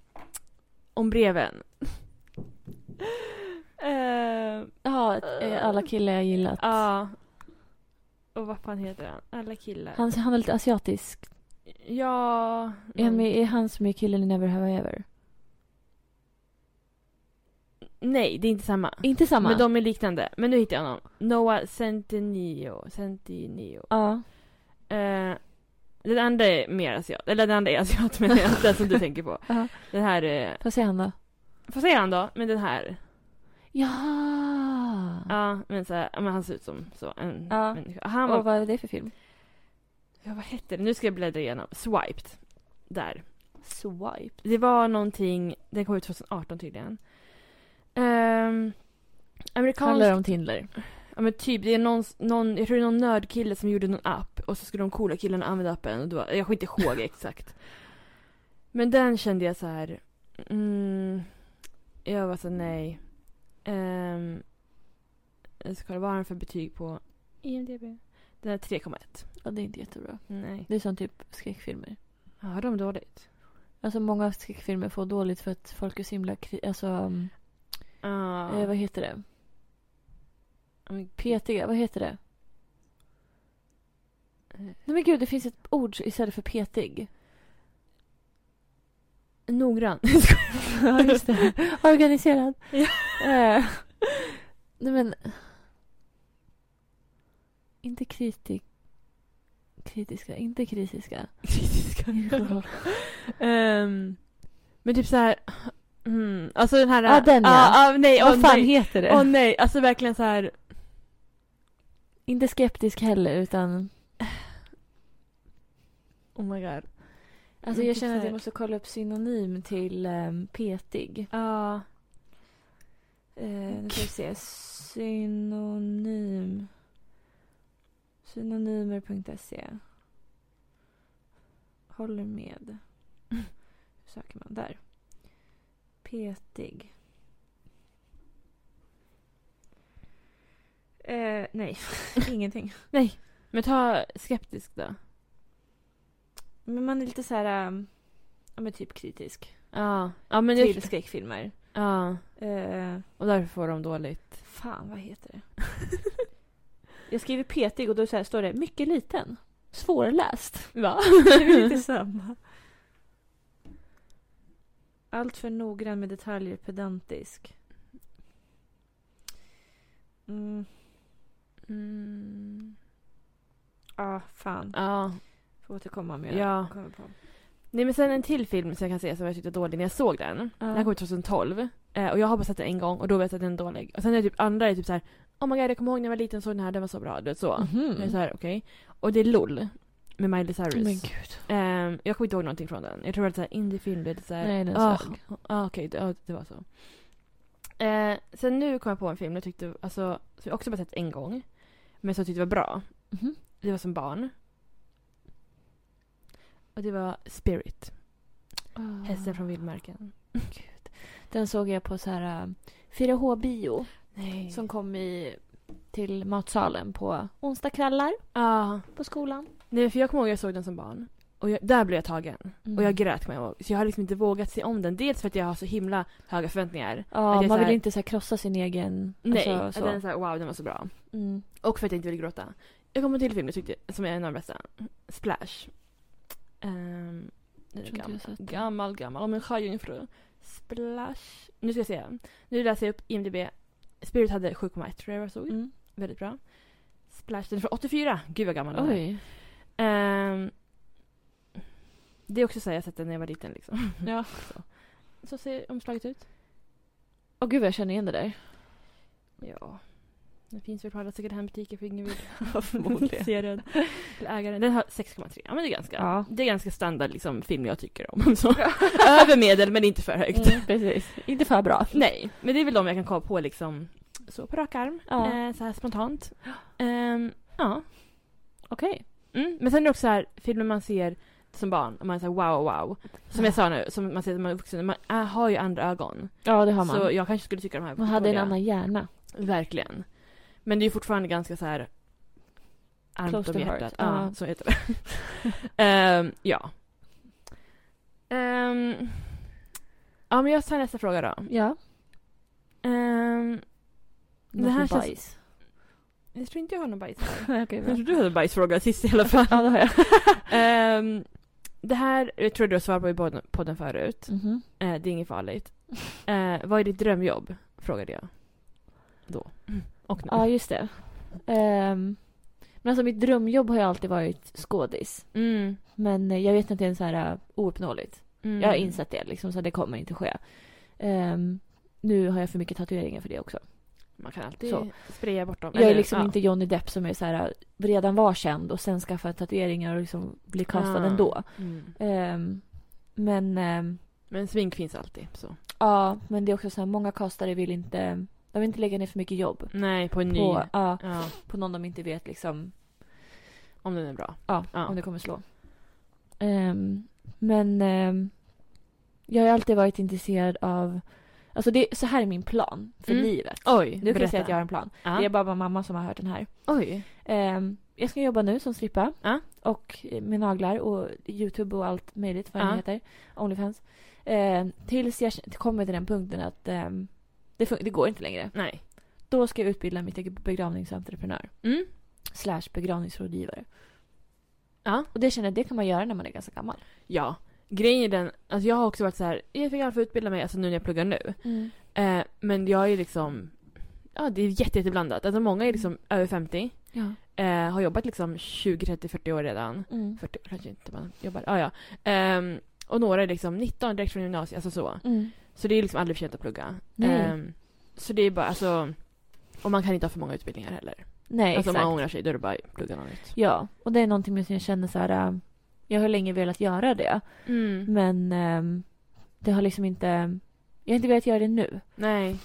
Speaker 2: om breven. Ehm,
Speaker 1: Ja, eh, alla killar jag gillat.
Speaker 2: Ja. Och vad fan heter han? Alla killar.
Speaker 1: Han, han var lite asiatisk.
Speaker 2: Ja...
Speaker 1: Är, han med, är han som är killen i Never Have I Ever?
Speaker 2: Nej, det är inte samma.
Speaker 1: Inte samma?
Speaker 2: Men de är liknande. Men nu hittar jag honom. Noah Centineo. Centineo.
Speaker 1: Ja.
Speaker 2: Eh, den andra är mer asiat. Eller den andra är asiat men jag. Den som du tänker på.
Speaker 1: Ja.
Speaker 2: Den här... eh,
Speaker 1: Vad säger han då?
Speaker 2: Vad säger han då? Men den här.
Speaker 1: Ja!
Speaker 2: Ja, men, så här, ja, men han ser ut som så, en
Speaker 1: Ja.
Speaker 2: människa. Han var,
Speaker 1: Och vad är det för film?
Speaker 2: ja, vad hette det? Nu ska jag bläddra igenom. Swiped. Där.
Speaker 1: Swipe.
Speaker 2: Det var någonting, den kom ut 2018 tydligen. Um,
Speaker 1: Handlar
Speaker 2: amerikansk,
Speaker 1: det om Tindler?
Speaker 2: ja men typ, det är någon, någon, jag tror det är någon nördkille som gjorde någon app och så skulle de coola killarna använda appen och då, jag kommer inte ihåg exakt. Men den kände jag så här, mm, jag var så här, nej. Um, jag ska kolla, vad har han för betyg på IMDB? Den är 3,1.
Speaker 1: Ja, det är inte jättebra.
Speaker 2: Nej.
Speaker 1: Det är som typ skräckfilmer.
Speaker 2: Ja, har de dåligt?
Speaker 1: Alltså många skräckfilmer får dåligt för att folk är så himla kri- alltså, um,
Speaker 2: Ja.
Speaker 1: eh, vad heter det?
Speaker 2: Men P-
Speaker 1: Petiga, vad heter det? Nej men gud, det finns ett ord istället för petig.
Speaker 2: Noggrann.
Speaker 1: Ja, just det. Organiserad.
Speaker 2: Ja.
Speaker 1: Eh, nej men... Inte kritik... Kritiska, inte kritiska.
Speaker 2: Ehm, men typ så här... Mm, alltså den här...
Speaker 1: Ja, den, ja.
Speaker 2: Ah, ah, nej, åh
Speaker 1: Vad fan
Speaker 2: nej.
Speaker 1: heter det?
Speaker 2: Åh nej, alltså verkligen så här...
Speaker 1: Inte skeptisk heller, utan...
Speaker 2: Oh my god.
Speaker 1: Alltså
Speaker 2: Men
Speaker 1: jag
Speaker 2: typ
Speaker 1: känner att
Speaker 2: så här-
Speaker 1: jag måste kolla upp synonym till ehm, petig.
Speaker 2: Ja.
Speaker 1: Eh, nu ska vi se. Synonym. Synonymer.se. E. Håller med. Hur söker man där? Petig. Eh, nej, ingenting.
Speaker 2: nej. Men ta skeptisk då.
Speaker 1: Men man är lite så här... ehm, ja, men typ kritisk.
Speaker 2: Ja. Ja, men...
Speaker 1: Till
Speaker 2: jag-
Speaker 1: skräckfilmer.
Speaker 2: Ja.
Speaker 1: Eh,
Speaker 2: Och därför får de dåligt.
Speaker 1: Fan, vad heter det? jag skriver petig och då så här står det mycket liten. Svårläst.
Speaker 2: Va?
Speaker 1: Det är lite samma. Allt för noggrann med detaljer, pedantisk. Mm,
Speaker 2: Mm.
Speaker 1: ah, fan.
Speaker 2: Ja.
Speaker 1: Får återkomma om jag
Speaker 2: Ja.
Speaker 1: kommer på.
Speaker 2: Nej men sen en till film som jag kan säga som jag tyckte var dålig när jag såg den. Den här kom ut 2012. Eh, och jag har bara sett den en gång och då vet jag att den är dålig. Och sen är det typ andra är typ så här. Oh my god jag kommer ihåg när jag var liten och såg den här, den var så bra. Du vet så.
Speaker 1: Mhm.
Speaker 2: Jag är så här, okej. Och det är LOL. Med Miley Cyrus.
Speaker 1: Men gud.
Speaker 2: Ehm, jag kommer inte ihåg Ah. någonting från den. Jag tror att det var lite så här indiefilm. Lite så här,
Speaker 1: Nej, den
Speaker 2: ah,
Speaker 1: sög.
Speaker 2: ah, okej, det, ja, det var så. Eh, sen nu kom jag på en film jag tyckte, alltså, som jag också bara sett en gång. Men som jag tyckte var bra.
Speaker 1: Mhm.
Speaker 2: Det var som barn. Och det var Spirit.
Speaker 1: Ah.
Speaker 2: Hästen från vildmarken.
Speaker 1: Den såg jag på så här eh, 4H-bio
Speaker 2: Nej.
Speaker 1: som kom i, till matsalen på onsdagskvällar
Speaker 2: Ja.
Speaker 1: på skolan.
Speaker 2: Nej, för jag kommer ihåg att jag såg den som barn. Och jag, där blev jag tagen.
Speaker 1: Mm.
Speaker 2: Och jag grät kommer jag ihåg. Så jag har liksom inte vågat se om den. Dels för att jag har så himla höga förväntningar.
Speaker 1: Ja,
Speaker 2: att jag
Speaker 1: man
Speaker 2: så
Speaker 1: vill
Speaker 2: här-
Speaker 1: inte så här krossa sin egen...
Speaker 2: Nej,
Speaker 1: Alltså,
Speaker 2: att den är
Speaker 1: så.
Speaker 2: såhär wow den var så bra.
Speaker 1: Mm.
Speaker 2: Och för att jag inte ville gråta. Jag kom på en till film jag tyckte, som är en av de bästa. Splash. Um,
Speaker 1: Jag tror inte jag har sett den.
Speaker 2: gammal, gammal. Om en sjöjungfru. Splash. Nu ska jag se. Nu läser jag upp IMDB. Spirit hade 7,1 tror jag jag såg.
Speaker 1: Mm.
Speaker 2: Väldigt bra. Splash, den är från 84. Gud vad gammal den är.
Speaker 1: Oj.
Speaker 2: Ehm, det är också så här jag sett den när jag var liten liksom.
Speaker 1: Ja.
Speaker 2: Så, så ser omslaget ut.
Speaker 1: Åh gud vad jag känner igen det där.
Speaker 2: Ja. Den finns väl på alla second hand-butiker för ingen vill
Speaker 1: Förmodligen.
Speaker 2: se den. Eller ägaren. Den har 6,3. Ja men det är ganska,
Speaker 1: Ja.
Speaker 2: det är ganska standard liksom, film jag tycker om. Så. Över medel men inte för högt.
Speaker 1: Mm, precis. Inte för bra.
Speaker 2: Nej, men det är väl de jag kan komma på liksom så på rak arm.
Speaker 1: Ja.
Speaker 2: Eh, så här spontant. Ehm, ja.
Speaker 1: Okej.
Speaker 2: Mm. Men sen är det också så här filmer man ser som barn och man är så här, wow wow. Som jag sa nu, som man ser när man är vuxen. Man äh, har ju andra ögon.
Speaker 1: Ja, det har man.
Speaker 2: Så jag kanske skulle tycka de här
Speaker 1: man hade en
Speaker 2: dåliga.
Speaker 1: annan hjärna.
Speaker 2: Verkligen. Men det är ju fortfarande ganska så här armt
Speaker 1: Close
Speaker 2: om
Speaker 1: to
Speaker 2: hjärtat.
Speaker 1: heart.
Speaker 2: Ja,
Speaker 1: Ja.
Speaker 2: så heter det. Ehm, ja. Ehm, ja, men jag tar nästa fråga då.
Speaker 1: Ja.
Speaker 2: Ehm,
Speaker 1: Det här
Speaker 2: känns-
Speaker 1: bajs.
Speaker 2: jag tror inte jag har någon bajs.
Speaker 1: Okej,
Speaker 2: Jag
Speaker 1: bra.
Speaker 2: tror du hade bajsfråga sist i alla fall.
Speaker 1: ja, det har jag.
Speaker 2: Ehm, det här jag tror jag du har svarat på i podden- podden förut.
Speaker 1: Mhm.
Speaker 2: Eh, det är inget farligt. Eh, vad är ditt drömjobb? Frågade jag. Då. Och nu.
Speaker 1: Ja, just det. Ehm, men alltså mitt drömjobb har ju alltid varit skådis.
Speaker 2: Mm,
Speaker 1: Men eh, jag vet att det är en så här eh, ouppnåeligt.
Speaker 2: mm.
Speaker 1: Jag har insett det liksom, så det kommer inte ske. Ehm, nu har jag för mycket tatueringar för det också.
Speaker 2: Man kan alltid
Speaker 1: Så.
Speaker 2: spraya bort dem.
Speaker 1: Jag är
Speaker 2: Eller,
Speaker 1: liksom
Speaker 2: ja.
Speaker 1: inte Johnny Depp som är så här, eh, redan var känd och sen skaffade tatueringar och liksom blir kastad
Speaker 2: Ah.
Speaker 1: ändå.
Speaker 2: Mm.
Speaker 1: Ehm, men ehm,
Speaker 2: Men smink finns alltid. Så.
Speaker 1: ja, men det är också så här, många kastare vill inte, de vill inte lägga ner för mycket jobb.
Speaker 2: Nej, på en ny.
Speaker 1: På, ja,
Speaker 2: Ja,
Speaker 1: på någon de inte vet liksom
Speaker 2: om den är bra.
Speaker 1: Ja,
Speaker 2: Ja.
Speaker 1: om det kommer slå. Ehm, men ehm, jag har ju alltid varit intresserad av... Alltså det, så här är min plan för
Speaker 2: Mm.
Speaker 1: livet.
Speaker 2: Oj,
Speaker 1: Nu kan jag säga att jag har en plan.
Speaker 2: Ja.
Speaker 1: Det är bara mamma som har hört den här.
Speaker 2: Oj.
Speaker 1: Ehm, jag ska jobba nu som strippa.
Speaker 2: Ja.
Speaker 1: Och eh, med naglar och Youtube och allt möjligt vad det
Speaker 2: Ja.
Speaker 1: heter. Onlyfans. Ehm, tills jag k- kommer till den punkten att ehm, det, fun- det går inte längre.
Speaker 2: Nej.
Speaker 1: Då ska jag utbilda mig till begravningsentreprenör.
Speaker 2: Mm.
Speaker 1: Slash begravningsrådgivare.
Speaker 2: Ja.
Speaker 1: Och det känner jag, det kan man göra när man är ganska gammal.
Speaker 2: ja. Grejen är den, alltså jag har också varit så här, jag är för gammal för att utbilda mig, alltså nu när jag pluggar nu.
Speaker 1: Mm.
Speaker 2: Eh, men jag är liksom, ja det är jätte, jätteblandat. Alltså många är liksom över 50,
Speaker 1: Ja.
Speaker 2: eh, har jobbat liksom 20, 30, 40 år redan.
Speaker 1: Mm.
Speaker 2: 40 år kanske inte man jobbar, ah, ja. Ehm, och några är liksom 19 direkt från gymnasiet, alltså så.
Speaker 1: Mm.
Speaker 2: Så det är liksom aldrig för sent att plugga.
Speaker 1: Nej.
Speaker 2: Ehm, så det är bara, alltså, och man kan inte ha för många utbildningar heller.
Speaker 1: Nej,
Speaker 2: alltså om
Speaker 1: exakt.
Speaker 2: man ångrar sig då är det bara att plugga något nytt.
Speaker 1: Ja, och det är någonting med som jag känner så här... ähm, jag har länge velat göra det,
Speaker 2: Mm.
Speaker 1: men ähm, det har liksom inte... Jag har inte velat göra det nu.
Speaker 2: Nej.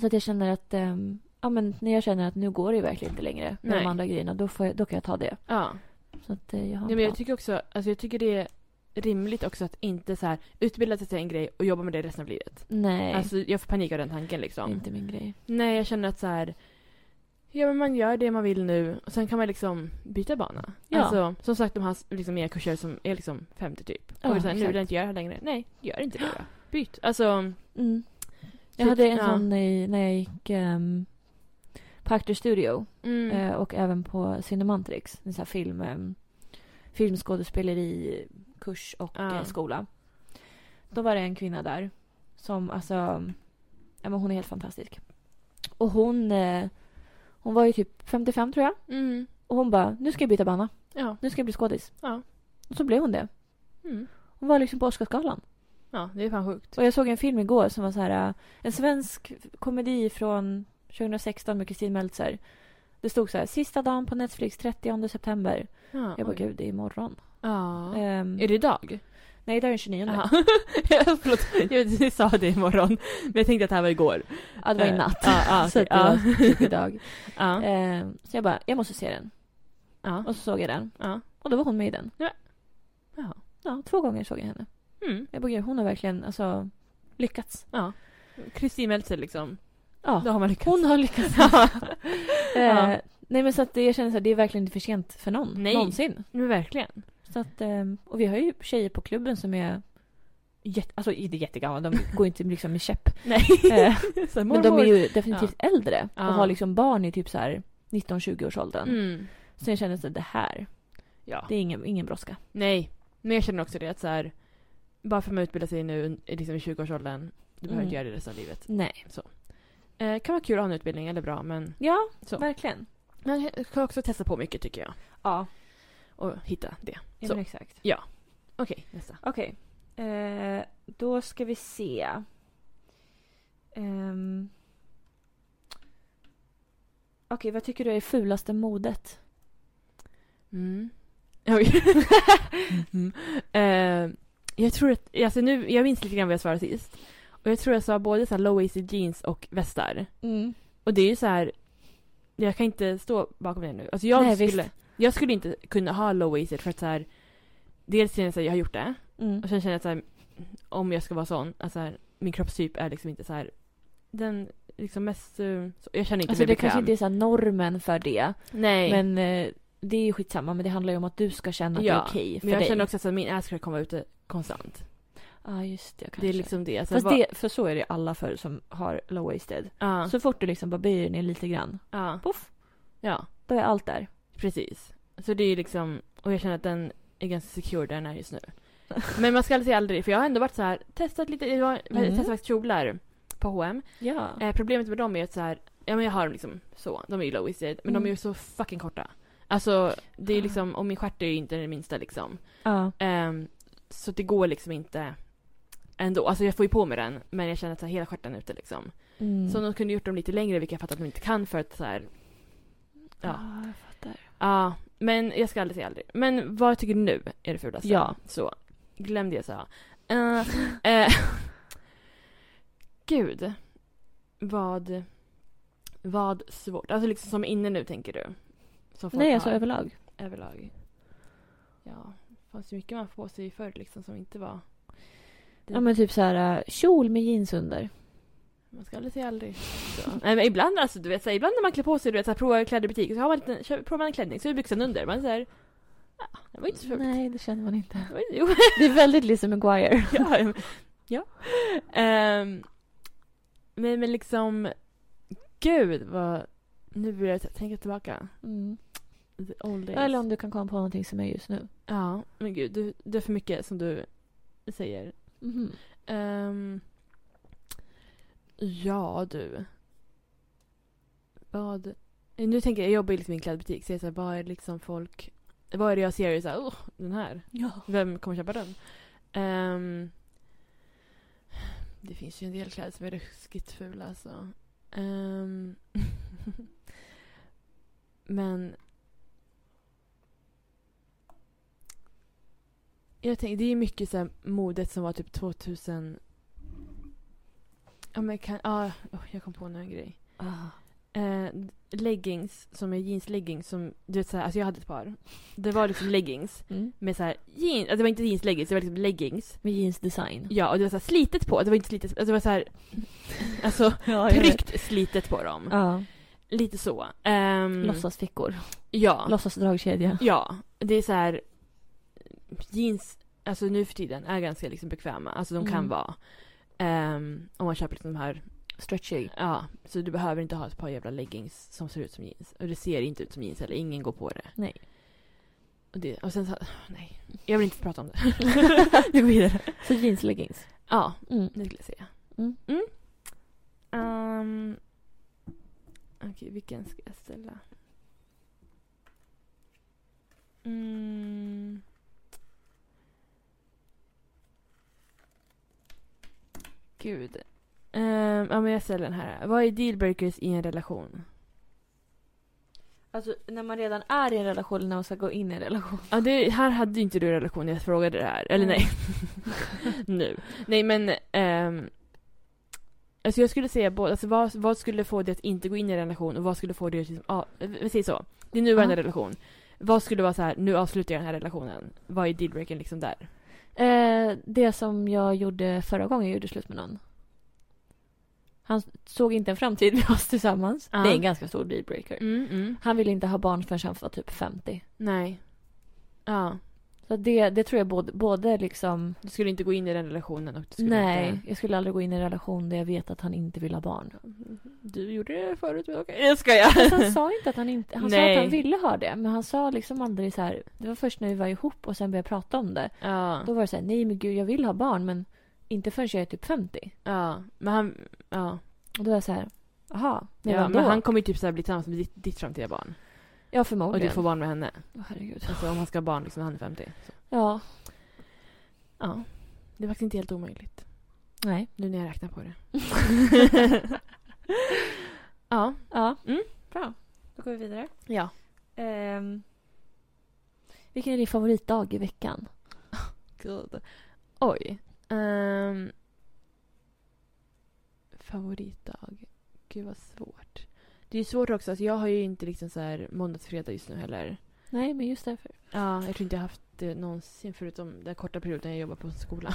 Speaker 1: Så att jag känner att... ähm, ja, men när jag känner att nu går det ju verkligen inte längre med
Speaker 2: Nej.
Speaker 1: de andra grejerna, då, får jag, då kan jag ta det.
Speaker 2: Ja.
Speaker 1: Så att eh, jag har
Speaker 2: Nej,
Speaker 1: en
Speaker 2: men jag
Speaker 1: plan.
Speaker 2: tycker också, alltså jag tycker det är rimligt också att inte så här utbilda sig till en grej och jobba med det resten av livet.
Speaker 1: Nej,
Speaker 2: Alltså jag får panik av den tanken
Speaker 1: det är
Speaker 2: liksom.
Speaker 1: inte min grej.
Speaker 2: Nej, jag känner att så här Ja, men man gör det man vill nu och sen kan man liksom byta bana.
Speaker 1: Ja.
Speaker 2: Alltså, som sagt, de har liksom mina kurser som är liksom 50 typ.
Speaker 1: Ja,
Speaker 2: och det är så här, nu vill
Speaker 1: exakt.
Speaker 2: jag inte göra det här längre. Nej, gör inte det då. Byt. Alltså,
Speaker 1: Mm. Jag
Speaker 2: Typ-
Speaker 1: hade en
Speaker 2: ja.
Speaker 1: sån i, när jag gick um, på Actors Studio.
Speaker 2: mm.
Speaker 1: Eh, och även på Cinemantrix, en sån här film, eh, filmskådespeleri, kurs och
Speaker 2: Ja.
Speaker 1: eh, skola. Då var det en kvinna där som alltså, ja, men hon är helt fantastisk. Och hon, eh, hon var ju typ 55 tror jag.
Speaker 2: Mm.
Speaker 1: Och hon bara, nu ska jag byta bana,
Speaker 2: Ja.
Speaker 1: nu ska jag bli skådis.
Speaker 2: Ja.
Speaker 1: Och så blev hon det.
Speaker 2: Mm.
Speaker 1: Hon var liksom på Oscarsgalan.
Speaker 2: ja, det är fan sjukt.
Speaker 1: Och jag såg en film igår som var så här, eh, en svensk komedi från 2016 med Kristin Meltzer. Det stod så här, sista dagen på Netflix 30 september.
Speaker 2: Ja,
Speaker 1: Jag bara,
Speaker 2: oj.
Speaker 1: gud, det är imorgon.
Speaker 2: ja.
Speaker 1: Ehm,
Speaker 2: Är det idag?
Speaker 1: Nej, det är den 29.
Speaker 2: Jaha. Ja, Förlåt, jag sa det imorgon. Men jag tänkte att det här var igår.
Speaker 1: Ja, det var i
Speaker 2: Eh,
Speaker 1: natt.
Speaker 2: ja, ja,
Speaker 1: så att det
Speaker 2: okej,
Speaker 1: var typ idag.
Speaker 2: Ja.
Speaker 1: Eh, så jag bara, jag måste se den.
Speaker 2: Ja.
Speaker 1: Och så såg jag den.
Speaker 2: Ja.
Speaker 1: Och då var hon med i den.
Speaker 2: Ja.
Speaker 1: Ja, två gånger såg jag henne.
Speaker 2: Mm.
Speaker 1: Jag bara, gud, hon har verkligen alltså, lyckats.
Speaker 2: Ja. Kristin Meltzer liksom. Då
Speaker 1: Ja,
Speaker 2: har man lyckats.
Speaker 1: hon har lyckats.
Speaker 2: Ja.
Speaker 1: eh,
Speaker 2: Ja.
Speaker 1: Nej, men så att det- jag känner så här, det är verkligen inte för sent för någon.
Speaker 2: Nej.
Speaker 1: Någonsin.
Speaker 2: Men verkligen.
Speaker 1: Så att, ehm, och vi har ju tjejer på klubben som är jätte, alltså inte jättegamla, de går inte liksom med käpp.
Speaker 2: Nej.
Speaker 1: Eh,
Speaker 2: Så här,
Speaker 1: men de är
Speaker 2: mormor.
Speaker 1: ju definitivt äldre och
Speaker 2: Ja.
Speaker 1: har liksom barn i typ så här 19-20 års åldern.
Speaker 2: Mm.
Speaker 1: Så jag känner att det här,
Speaker 2: Ja.
Speaker 1: det är ingen, ingen brådska.
Speaker 2: Nej. Men jag känner också det att så här, bara för att man utbildar sig nu liksom i 20-årsåldern, du behöver
Speaker 1: Mm.
Speaker 2: inte göra det resten av livet.
Speaker 1: Nej.
Speaker 2: Eh, kan vara kul att ha en utbildning, eller bra, men
Speaker 1: Ja,
Speaker 2: Så.
Speaker 1: verkligen.
Speaker 2: man kan också testa på mycket tycker jag.
Speaker 1: Ja,
Speaker 2: Och hitta det.
Speaker 1: ja
Speaker 2: Så.
Speaker 1: men exakt.
Speaker 2: Okej, nästa.
Speaker 1: Okej. Eh, då ska vi se. Ehm. Okej, vad tycker du är det fulaste modet?
Speaker 2: Mm. Oj. Mhm. Eh, jag tror att, alltså nu, jag minns lite grann vad jag svarade sist. Och jag tror jag sa både så här low-waisted jeans och västar.
Speaker 1: Mm.
Speaker 2: Och det är ju så här, jag kan inte stå bakom det nu. Alltså jag,
Speaker 1: Nej, visst.
Speaker 2: skulle, jag skulle inte kunna ha low-waisted för att så här, dels känner jag att jag har gjort det.
Speaker 1: Mm.
Speaker 2: Och sen känner jag att så här, om jag ska vara sån, att så här, min kroppstyp är liksom inte så här, den liksom mest, eh, så, jag känner inte
Speaker 1: Alltså det
Speaker 2: mig bekväm.
Speaker 1: kanske inte är så här normen för det.
Speaker 2: Nej.
Speaker 1: Men eh, det är ju skitsamma. Men det handlar ju om att du ska känna att det
Speaker 2: Ja,
Speaker 1: är okej för
Speaker 2: Men jag
Speaker 1: dig.
Speaker 2: känner också att så här, min ass kommer ute eh, konstant.
Speaker 1: Ja, just det. Kanske.
Speaker 2: Det är liksom det. Alltså,
Speaker 1: Fast
Speaker 2: vad-
Speaker 1: det, för så är det alla för som har low-waisted.
Speaker 2: Ja.
Speaker 1: Så fort du liksom bara böjer ner lite grann,
Speaker 2: ja.
Speaker 1: poff,
Speaker 2: Ja,
Speaker 1: då är allt där.
Speaker 2: precis. Så det är ju liksom, och jag känner att den är ganska secure där den är just nu. Men man ska aldrig säga aldrig, för jag har ändå varit så här, testat lite, jag har
Speaker 1: Mm.
Speaker 2: testat faktiskt kjolar på H&M.
Speaker 1: Ja.
Speaker 2: Eh, problemet med dem är att så här, ja men jag har dem liksom så, de är ju low waisted, men de är
Speaker 1: Mm.
Speaker 2: ju så fucking korta. Alltså, det är liksom, och min stjärt är ju inte den minsta liksom.
Speaker 1: ja.
Speaker 2: Ehm, så det går liksom inte ändå. Alltså jag får ju på mig den, men jag känner att så här, hela stjärten är ute liksom.
Speaker 1: Mm.
Speaker 2: Så de kunde gjort dem lite längre, vilket jag fattar att de inte kan för att så här, ja.
Speaker 1: ja, jag fattar.
Speaker 2: Ja, men jag ska aldrig säga aldrig. Men vad tycker du nu är det fulaste?
Speaker 1: Ja.
Speaker 2: Så, glöm det jag sa. Eh, eh, gud. Vad... Vad svårt. Alltså liksom som är inne nu tänker du? Som folk
Speaker 1: Nej,
Speaker 2: har
Speaker 1: alltså överlag.
Speaker 2: överlag. Ja, det fanns ju mycket man får på sig förr liksom som inte var...
Speaker 1: Ja, men typ så här eh, kjol med jeans under.
Speaker 2: Man ska aldrig säga aldrig. Så. Nej, men ibland alltså, du vet, så här, ibland när man klär på sig, du vet, så här, provar kläder i butik, så har man en liten, köper, provar man en klänning, så är byxan under. Man säger ja, det var ju inte så fult.
Speaker 1: Nej, det känner man inte.
Speaker 2: Det var ju- Jo,
Speaker 1: Det är väldigt Lizzie Maguire.
Speaker 2: ja. ja. ja. Ehm, men, men liksom, gud vad... Nu börjar jag t- tänka tillbaka.
Speaker 1: Mm.
Speaker 2: The old days.
Speaker 1: Eller om du kan komma på någonting som är just nu.
Speaker 2: Ja, men gud, du, det är för mycket som du säger.
Speaker 1: Mhm.
Speaker 2: Ehm, ja, du. Vad... Nu tänker jag, jag jobbar ju liksom i en klädbutik, så jag säger vad är det liksom folk... Vad är det jag ser och så här, oh, den här.
Speaker 1: Ja.
Speaker 2: Vem kommer köpa den? Ehm, det finns ju en del kläder som är ruskigt fula alltså. Ehm, men... Jag tänker, det är ju mycket så här modet som var typ 2000... Ja, men kan, ah, oh, jag kom på nu en grej.
Speaker 1: Ah.
Speaker 2: Eh, leggings, som är jeansleggings som... Du vet så här, alltså jag hade ett par. Det var liksom leggings
Speaker 1: Mm.
Speaker 2: med så här jeans, alltså det var inte jeansleggings, det var liksom leggings.
Speaker 1: Med jeansdesign.
Speaker 2: Ja, och det var så här slitet på, det var inte slitet, alltså det var så här, alltså
Speaker 1: Ja,
Speaker 2: tryckt slitet på dem.
Speaker 1: Ja.
Speaker 2: Lite så.
Speaker 1: Mm.
Speaker 2: Ehm,
Speaker 1: Låtsasfickor.
Speaker 2: Ja.
Speaker 1: Låtsas dragkedja.
Speaker 2: Ja, det är så här jeans, alltså nu för tiden är ganska liksom bekväma, alltså de kan
Speaker 1: Mm.
Speaker 2: vara. Ehm, om man köper liksom de här,
Speaker 1: Stretchy.
Speaker 2: ja, så du behöver inte ha ett par jävla leggings som ser ut som jeans. Och det ser inte ut som jeans eller ingen går på det.
Speaker 1: Nej.
Speaker 2: Och, det, och sen så, nej, jag vill inte prata om det. Vi går vidare.
Speaker 1: Så jeansleggings.
Speaker 2: Ja,
Speaker 1: Mm.
Speaker 2: Det skulle jag säga.
Speaker 1: Mm.
Speaker 2: Ehm, Okej, vilken ska jag ställa? Mm. Gud. Ehm, ja, men jag ställer den här. Vad är dealbreakers i en relation?
Speaker 1: Alltså när man redan är i en relation eller när man ska gå in i en relation.
Speaker 2: Ja, det, här hade ju inte du en relation när jag frågade det här. Eller
Speaker 1: Mm.
Speaker 2: nej. nu. Nej men. ehm, alltså jag skulle säga både, alltså vad, vad skulle få dig att inte gå in i en relation och vad skulle få dig att, liksom, ja, vi säger så. Din nuvarande
Speaker 1: Ja.
Speaker 2: relation. Vad skulle vara så här, nu avslutar jag den här relationen. Vad är dealbreakern liksom där?
Speaker 1: Eh, det som jag gjorde förra gången jag gjorde slut med någon. Han såg inte en framtid med oss tillsammans.
Speaker 2: Ja.
Speaker 1: Det är en ganska stor dealbreaker.
Speaker 2: Mm, mm.
Speaker 1: Han ville inte ha barn förrän han var typ 50.
Speaker 2: Nej. Ja,
Speaker 1: Så det, det tror jag både, både liksom...
Speaker 2: du skulle inte gå in i den relationen och du skulle
Speaker 1: nej,
Speaker 2: inte...
Speaker 1: jag skulle aldrig gå in i en relation där jag vet att han inte vill ha barn.
Speaker 2: Du gjorde det förut, men okej. Jag skojar.
Speaker 1: Fast han sa inte att han inte... Han sa
Speaker 2: Nej.
Speaker 1: att han ville ha det, men han sa liksom aldrig så här... Det var först när vi var ihop och sen började prata om det.
Speaker 2: Ja.
Speaker 1: Då var det så här, nej men gud jag vill ha barn men inte förrän jag är typ 50.
Speaker 2: Ja, men han... Ja.
Speaker 1: Och då var jag så här, jaha, men
Speaker 2: ja
Speaker 1: ja,
Speaker 2: men
Speaker 1: då?
Speaker 2: han kommer ju typ så här bli tillsammans med ditt, ditt framtida barn.
Speaker 1: Ja
Speaker 2: Och
Speaker 1: förmodligen.
Speaker 2: du får barn med henne.
Speaker 1: Åh, herregud.
Speaker 2: Alltså om han ska ha barn liksom när han är 50. Så.
Speaker 1: Ja,
Speaker 2: Ja. Det är faktiskt inte helt omöjligt.
Speaker 1: nej.
Speaker 2: Nu när jag räknar på det. ja.
Speaker 1: Ja.
Speaker 2: Mm.
Speaker 1: Bra. Då går vi vidare.
Speaker 2: Ja.
Speaker 1: Ehm, vilken är din favoritdag i veckan?
Speaker 2: Gud. Oj. Ehm. favoritdag. Gud vad svårt. Det är ju svårt också. Alltså jag har ju inte liksom så här måndags-fredag just nu heller.
Speaker 1: Nej, men just därför.
Speaker 2: Ja, jag tror inte jag haft det någonsin förutom den korta perioden jag jobbade på en skola.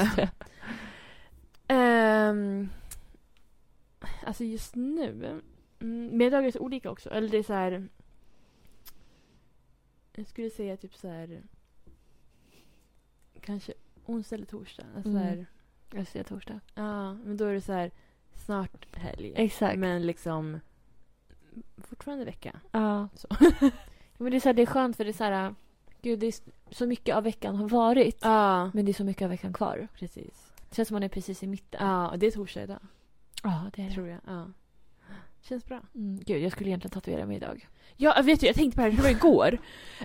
Speaker 1: Just det.
Speaker 2: Ehm, alltså just nu. Mm, mina dagar är så olika också. Eller det är så här. Jag skulle säga typ så här. Kanske onsdag eller torsdag. Alltså
Speaker 1: Mm.
Speaker 2: så här,
Speaker 1: Just det, torsdag.
Speaker 2: ja, men då är det så här snart helg.
Speaker 1: Exakt.
Speaker 2: Men liksom fortfarande vecka.
Speaker 1: Ja.
Speaker 2: Så.
Speaker 1: Men det är, så här, det är skönt för det är så här, gud det är s- så mycket av veckan har varit.
Speaker 2: Ja,
Speaker 1: Men det är så mycket av veckan kvar.
Speaker 2: precis.
Speaker 1: Det känns som man är precis i mitten.
Speaker 2: Ja, och det är torsdag idag.
Speaker 1: Ja, det är det.
Speaker 2: Tror jag. Ja. Känns bra.
Speaker 1: Mm, gud, jag skulle egentligen tatuera mig idag.
Speaker 2: Ja, jag vet du, jag tänkte på det här, det var igår.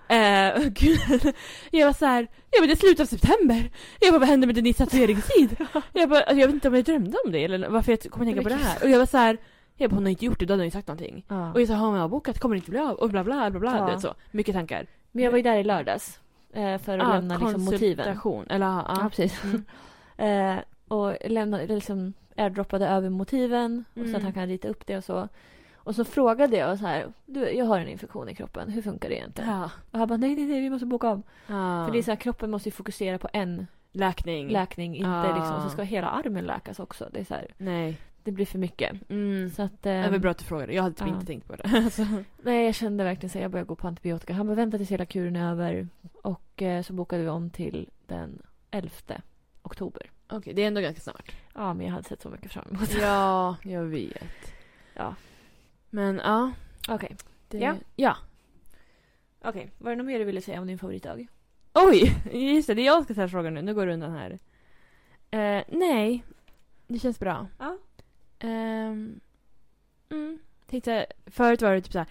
Speaker 2: Eh, gud. Jag var så här, ja men det är slutet av september. Jag bara, vad händer med din tatueringstid? Jag bara, alltså, jag vet inte om jag drömde om det eller varför jag kommer tänka på det här. Och jag var så här, jag bara, hon har inte gjort det, då hade hon ju sagt någonting.
Speaker 1: Ja.
Speaker 2: Och jag sa, har hon avbokat? Kommer det inte bli av? Och bla bla bla bla.
Speaker 1: Ja.
Speaker 2: Du vet så. Mycket tankar.
Speaker 1: Men jag var ju där i lördags. eh, För att lämna liksom, motiven.
Speaker 2: konsultation. Eller ja,
Speaker 1: Ja,
Speaker 2: ja.
Speaker 1: precis.
Speaker 2: Mm.
Speaker 1: Eh, och lämnade, eller liksom airdroppade över motiven och så
Speaker 2: Mm.
Speaker 1: att han kan rita upp det och så. Och så frågade jag så här, du, jag har en infektion i kroppen, hur funkar det egentligen?
Speaker 2: ja.
Speaker 1: Och han bara, nej, nej, nej, vi måste boka om.
Speaker 2: ja.
Speaker 1: För det är så här, kroppen måste ju fokusera på en
Speaker 2: Läkning.
Speaker 1: läkning, inte
Speaker 2: Ah.
Speaker 1: liksom, så ska hela armen läkas också. Det är så här,
Speaker 2: Nej.
Speaker 1: det blir för mycket.
Speaker 2: Mm.
Speaker 1: Så att,
Speaker 2: Det
Speaker 1: eh,
Speaker 2: var bra att du frågade, jag hade typ
Speaker 1: ja.
Speaker 2: inte tänkt på det. Alltså.
Speaker 1: nej, jag kände verkligen så här, jag började gå på antibiotika. Han bara, vänta tills hela kuren är över. Och eh, så bokade vi om till den 11 oktober.
Speaker 2: Okej, det är ändå ganska snart.
Speaker 1: Ja, men jag hade sett så mycket fram emot.
Speaker 2: Ja, jag vet.
Speaker 1: Ja.
Speaker 2: Men ja.
Speaker 1: Okej.
Speaker 2: Det...
Speaker 1: Ja.
Speaker 2: ja.
Speaker 1: Okej, var det något mer du ville säga om din favoritdag?
Speaker 2: Oj! Just det, det är jag som ska ställa frågan nu. Nu går du undan här. Eh, nej, det känns bra.
Speaker 1: Ja.
Speaker 2: Ehm, mm. Tänkte, förut var det typ så här.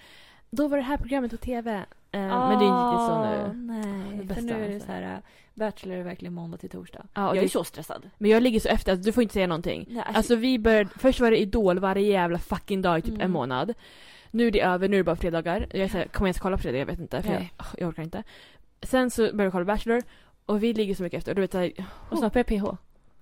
Speaker 2: Då var det här programmet på tv. Eh, Men det är inte så nu.
Speaker 1: Nej,
Speaker 2: Det
Speaker 1: för
Speaker 2: bästa,
Speaker 1: nu är det
Speaker 2: alltså.
Speaker 1: så här, äh, Bachelor är verkligen måndag till torsdag.
Speaker 2: Ja, och
Speaker 1: jag är
Speaker 2: det,
Speaker 1: så stressad.
Speaker 2: men jag ligger så efter. Alltså, du får inte säga någonting.
Speaker 1: Nej, alltså,
Speaker 2: Alltså vi började, först var det Idol varje jävla fucking dag i typ
Speaker 1: Mm.
Speaker 2: en månad. Nu är det över, nu är det bara fredagar. Jag är så här, kommer jag ens kolla på fredag? Jag vet inte. För jag,
Speaker 1: Nej.
Speaker 2: åh, jag orkar inte. Sen så började jag kolla Bachelor och vi ligger så mycket efter. Och du vet såhär,
Speaker 1: och snart börjar PH.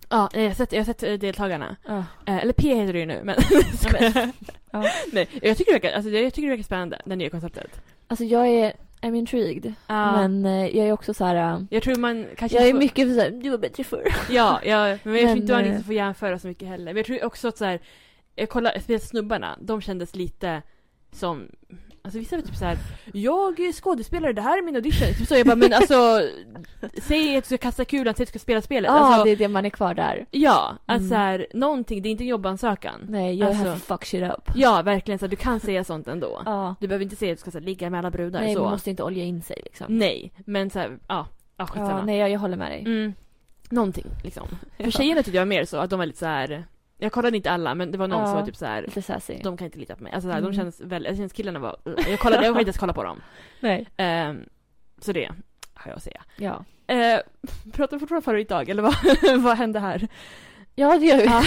Speaker 2: ja, nej, jag har sett, jag har sett eh, deltagarna.
Speaker 1: Ja.
Speaker 2: Eh, eller P heter det ju nu men.
Speaker 1: Ja.
Speaker 2: nej, jag tycker det verkar, alltså, jag tycker det verkar spännande, det nya konceptet.
Speaker 1: Alltså jag är I'm intrigued.
Speaker 2: Ja.
Speaker 1: Men eh, jag är också så här. äh,
Speaker 2: jag tror man kanske
Speaker 1: Jag är
Speaker 2: inte får-
Speaker 1: mycket för så här, du var bättre förr.
Speaker 2: Ja, ja men jag tror
Speaker 1: Men,
Speaker 2: inte man
Speaker 1: eh,
Speaker 2: inte får jämföra så mycket heller. Men jag tror också att så här, jag kollar, speciellt snubbarna, de kändes lite som, alltså vissa var typ så här, jag är skådespelare, det här är min audition. Typ så, jag bara, men alltså, säg att du ska kasta kulan, säg att du ska spela spelet.
Speaker 1: Ja,
Speaker 2: alltså,
Speaker 1: det är det man är kvar där.
Speaker 2: Ja, alltså
Speaker 1: Mm.
Speaker 2: så här, någonting, det är inte en jobbansökan.
Speaker 1: Nej, jag är här
Speaker 2: Alltså.
Speaker 1: för att fuck shit up.
Speaker 2: Ja, verkligen, så här, du kan säga sånt ändå.
Speaker 1: Ja.
Speaker 2: Du behöver inte säga att du ska så här, ligga med alla brudar.
Speaker 1: Nej,
Speaker 2: så.
Speaker 1: man måste inte olja in sig liksom.
Speaker 2: nej men så här, ja, ja skitsamma.
Speaker 1: Ja, nej, jag, jag håller med dig.
Speaker 2: Mm. Någonting liksom. För
Speaker 1: Ja.
Speaker 2: tjejerna tyckte jag var mer så att de var lite så här. Jag kollade inte alla men det var någon
Speaker 1: Ja.
Speaker 2: som var typ så här.
Speaker 1: Lite sassy.
Speaker 2: De kan inte lita på mig. Alltså, så här,
Speaker 1: Mm.
Speaker 2: de känns väldigt, jag känns killarna var, jag kollade, jag vågade inte ens kolla på dem.
Speaker 1: Nej.
Speaker 2: Ehm, så det har jag att säga.
Speaker 1: Ja.
Speaker 2: Uh, pratar vi fortfarande favoritdag eller vad, vad hände här?
Speaker 1: Ja, det gör vi.
Speaker 2: Ja.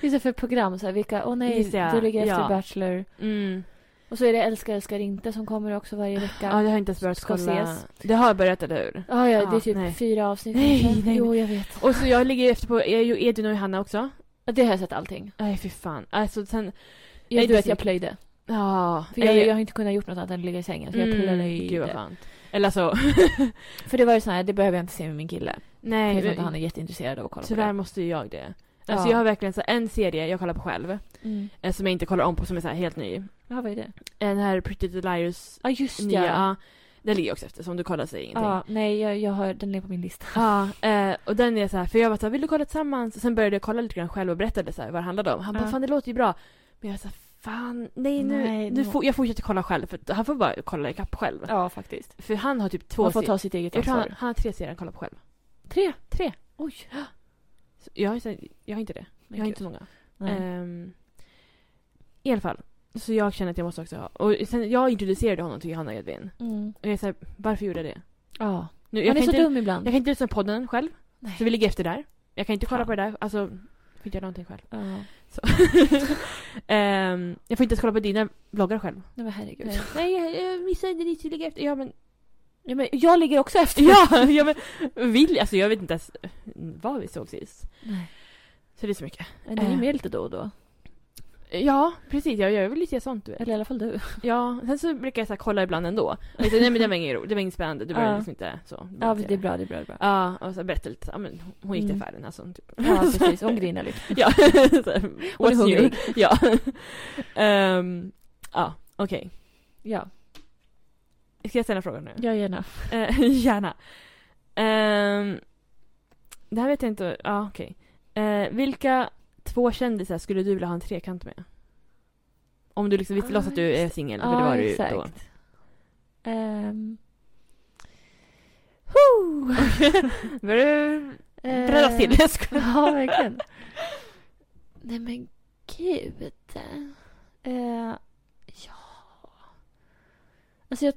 Speaker 1: Just det, för program så här, vilka, åh nej,
Speaker 2: Just det, ja.
Speaker 1: du ligger efter
Speaker 2: Ja.
Speaker 1: Bachelor.
Speaker 2: Mm.
Speaker 1: Och så är det Älskar älskar inte som kommer också varje vecka.
Speaker 2: Ja, det har jag inte ens börjat
Speaker 1: Ska
Speaker 2: kolla.
Speaker 1: ses.
Speaker 2: Det har jag börjat, eller hur?
Speaker 1: Ja, ja,
Speaker 2: Ja,
Speaker 1: Ah, det är typ
Speaker 2: nej.
Speaker 1: fyra avsnitt.
Speaker 2: Nej,
Speaker 1: kanske.
Speaker 2: nej,
Speaker 1: Jo, jag vet.
Speaker 2: Och så jag ligger efter på är ju Edvin och Johanna också.
Speaker 1: Ja, Det har jag sett allting.
Speaker 2: Nej, fy fan. Alltså
Speaker 1: Jag,
Speaker 2: sen... Nej,
Speaker 1: du vet,
Speaker 2: precis.
Speaker 1: jag plöjde.
Speaker 2: Ja.
Speaker 1: För jag,
Speaker 2: nej,
Speaker 1: jag har inte kunnat gjort något annat än att ligga i sängen. Så jag plöjde.
Speaker 2: Gud vad skönt. Eller alltså, så...
Speaker 1: För det var ju så här, det behöver jag inte se med min kille.
Speaker 2: Nej,
Speaker 1: jag tror
Speaker 2: men-
Speaker 1: inte han är jätteintresserad av att kolla
Speaker 2: tyvärr
Speaker 1: på
Speaker 2: måste ju jag det. Alltså
Speaker 1: Ja.
Speaker 2: jag har verkligen så här, en serie jag kollar på själv.
Speaker 1: det. Mm.
Speaker 2: eh, Som jag inte kollar om på, som är så här helt ny. Eh,
Speaker 1: Ja, vad är det?
Speaker 2: Den här Pretty Little Liars
Speaker 1: Ja, just det.
Speaker 2: nya.
Speaker 1: Ja,
Speaker 2: Ja. Den ligger jag också efter, som du kollar säger ingenting.
Speaker 1: ja nej, jag, jag har, den är på min lista.
Speaker 2: Ja, eh, och den är så här, för jag var så här, vill du kolla tillsammans? Sen började jag kolla lite grann själv och berättade så här, vad det handlade om. Han bara,
Speaker 1: Ja.
Speaker 2: fan det låter ju bra. Men jag var så här, fan, nej nu,
Speaker 1: Nej,
Speaker 2: nu
Speaker 1: nå-
Speaker 2: får, jag fortsätter kolla själv. För han får bara kolla ikapp själv.
Speaker 1: Ja, faktiskt.
Speaker 2: För han har typ två
Speaker 1: Man får
Speaker 2: serier.
Speaker 1: ta sitt eget
Speaker 2: Jag tror han,
Speaker 1: ansvar.
Speaker 2: han har tre serier han kollar på själv.
Speaker 1: Tre?
Speaker 2: Tre.
Speaker 1: Oj.
Speaker 2: Så jag, har så- jag har inte det. Jag har
Speaker 1: Gud.
Speaker 2: inte så många.
Speaker 1: Nej.
Speaker 2: Ehm, I alla fall. Så jag känner att jag måste också ha. Och sen, jag introducerade honom till Johanna Edvin.
Speaker 1: Mm.
Speaker 2: Och jag är så här, varför gjorde jag det?
Speaker 1: Ja.
Speaker 2: Nu, jag
Speaker 1: Han är
Speaker 2: kan
Speaker 1: så
Speaker 2: inte,
Speaker 1: dum ibland.
Speaker 2: Jag kan inte lyssna på podden själv.
Speaker 1: Nej.
Speaker 2: Så vi ligger efter där. Jag kan inte kolla
Speaker 1: Fan.
Speaker 2: på det där. Alltså, jag får inte göra någonting själv.
Speaker 1: Ja. Nej
Speaker 2: Ehm, jag får inte ens kolla på dina bloggar själv.
Speaker 1: men herregud.
Speaker 2: Nej, jag, jag missade ditt ligga efter. Ja, men...
Speaker 1: Ja, men jag ligger också efter.
Speaker 2: Ja, ja men... Vill, alltså, jag vet inte ens vad vi såg sist.
Speaker 1: Nej.
Speaker 2: Så det är så mycket.
Speaker 1: Men du är ju
Speaker 2: Eh.
Speaker 1: med lite då och då. Eh,
Speaker 2: Ja, precis. Jag gör väl lite sånt. Du vet.
Speaker 1: Eller i alla fall du.
Speaker 2: Ja, sen så brukar jag så här, kolla ibland ändå. Och så, nej men det var inget roligt, det var inget spännande, det var
Speaker 1: Ja.
Speaker 2: liksom inte så.
Speaker 1: Ja, det är bra, det är bra. Det är bra.
Speaker 2: Ja, och så berätta lite, ja men hon gick till
Speaker 1: Mm.
Speaker 2: affären alltså. Typ.
Speaker 1: Ja, precis. Hon grinar lite.
Speaker 2: ja, så här,
Speaker 1: Hon är
Speaker 2: what's new?
Speaker 1: hungrig.
Speaker 2: Ja. Ehm, ja, okej.
Speaker 1: Ja,
Speaker 2: Ska jag ställa en fråga nu?
Speaker 1: jag gärna.
Speaker 2: Eh, gärna. Ehm, det här vet jag inte, ja okej. Eh, vilka två kändisar skulle du vilja ha en trekant med? Om du liksom visste,
Speaker 1: Ah,
Speaker 2: låtsas att du är singel, för det var du ju då.
Speaker 1: Ehm.
Speaker 2: Nu börjar du
Speaker 1: Eh,
Speaker 2: drälla till. Jag skojar.
Speaker 1: Ja, verkligen. Nej men gud. Eh, ja. Alltså jag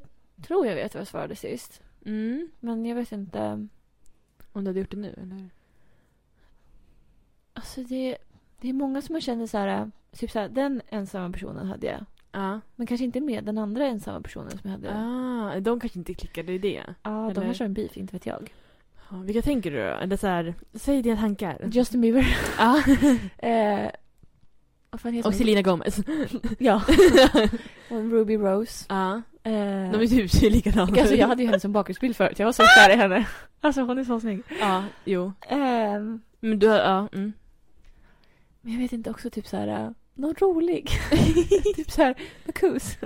Speaker 1: tror jag vet vad jag svarade sist.
Speaker 2: Mm.
Speaker 1: Men jag vet inte.
Speaker 2: Om du hade gjort det nu eller?
Speaker 1: Alltså det, det är många som jag känner så här. Typ så här, den ensamma personen hade jag.
Speaker 2: Ja.
Speaker 1: Men kanske inte med den andra ensamma personen som jag hade. Ja,
Speaker 2: Ah, de kanske inte klickade i det.
Speaker 1: de
Speaker 2: eller-
Speaker 1: kanske har en beef, inte vet jag.
Speaker 2: Ja, vilka tänker du då? Eller så här, säg dina tankar.
Speaker 1: Justin Bieber.
Speaker 2: Ja.
Speaker 1: eh, vad fan heter
Speaker 2: Ah.
Speaker 1: hon?
Speaker 2: Och Selena Gomez.
Speaker 1: Ja. Och Ruby Rose.
Speaker 2: Ja.
Speaker 1: Eh,
Speaker 2: De är typ likadana.
Speaker 1: Alltså jag hade ju henne som bakgrundsbild förut. Jag var så kär i henne. Alltså hon är så snygg.
Speaker 2: Ja, jo.
Speaker 1: Ehm,
Speaker 2: Men du har, ja. Mm.
Speaker 1: men jag vet inte också typ så här. eh, Någon rolig. typ så här. Marcus.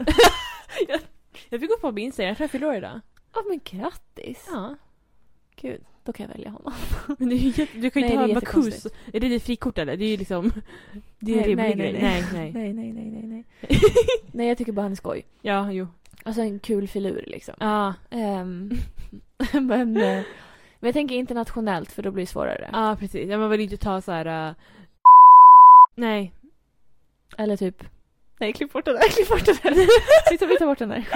Speaker 2: Jag fick upp på min Instagram, jag tror jag fyller år idag.
Speaker 1: Ja men grattis.
Speaker 2: Ja.
Speaker 1: Gud, då kan jag välja honom.
Speaker 2: Men det är ju jätte, du kan ju
Speaker 1: Nej, det
Speaker 2: inte
Speaker 1: är
Speaker 2: ha Marcus.
Speaker 1: jättekonstigt.
Speaker 2: Är det ditt frikort eller? Det är ju liksom... Det är en
Speaker 1: Nej, nej,
Speaker 2: rimlig grej.
Speaker 1: nej,
Speaker 2: Nej, nej.
Speaker 1: Nej, nej, nej, nej, nej. nej, jag tycker bara han är skoj.
Speaker 2: Ja, jo.
Speaker 1: Alltså en kul filur liksom.
Speaker 2: Ja,
Speaker 1: Ehm, men, eh, men jag tänker internationellt för då blir det svårare.
Speaker 2: ja precis. Ja, man vill ju inte ta så här... äh, Nej.
Speaker 1: Eller typ... Nej, klipp bort den där. Klipp bort den där. vi, tar, vi tar bort den där.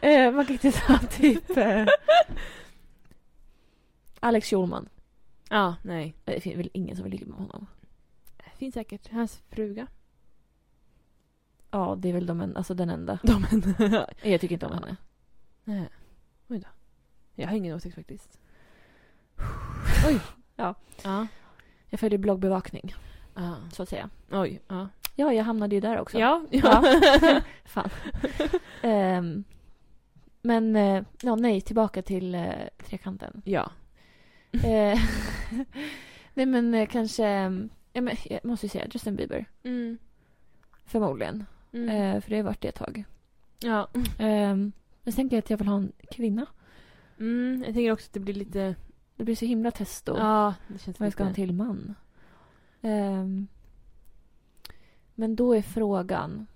Speaker 1: Eh, man kan inte ta typ... Eh, Alex Schulman.
Speaker 2: Ja, nej.
Speaker 1: Eh, Det finns väl ingen som vill ligga med honom?
Speaker 2: Finns säkert. Hans fruga.
Speaker 1: Ja, det är väl de en, alltså den enda.
Speaker 2: De
Speaker 1: Eh, Jag tycker inte om henne.
Speaker 2: Nej. Oj då. Jag har ingen åsikt faktiskt.
Speaker 1: Oj. Ja.
Speaker 2: Ja.
Speaker 1: Jag följer bloggbevakning,
Speaker 2: ja.
Speaker 1: så att säga.
Speaker 2: Oj. Ja.
Speaker 1: Ja, jag hamnade ju där också.
Speaker 2: Ja.
Speaker 1: Ja.
Speaker 2: ja.
Speaker 1: Fan. Ehm, men, eh, ja, nej, tillbaka till eh, trekanten.
Speaker 2: ja.
Speaker 1: Eh, Nej men eh, kanske, eh, ja, men jag måste ju säga Justin Bieber.
Speaker 2: Mm.
Speaker 1: Förmodligen.
Speaker 2: Mm.
Speaker 1: Eh, för det har varit det ett tag.
Speaker 2: ja.
Speaker 1: Eh, jag tänker jag att jag vill ha en kvinna.
Speaker 2: Mm. Jag tänker också att det blir lite...
Speaker 1: Det blir så himla testo.
Speaker 2: Ja, det känns
Speaker 1: Vad jag ska ha en till man. Eh, men då är frågan.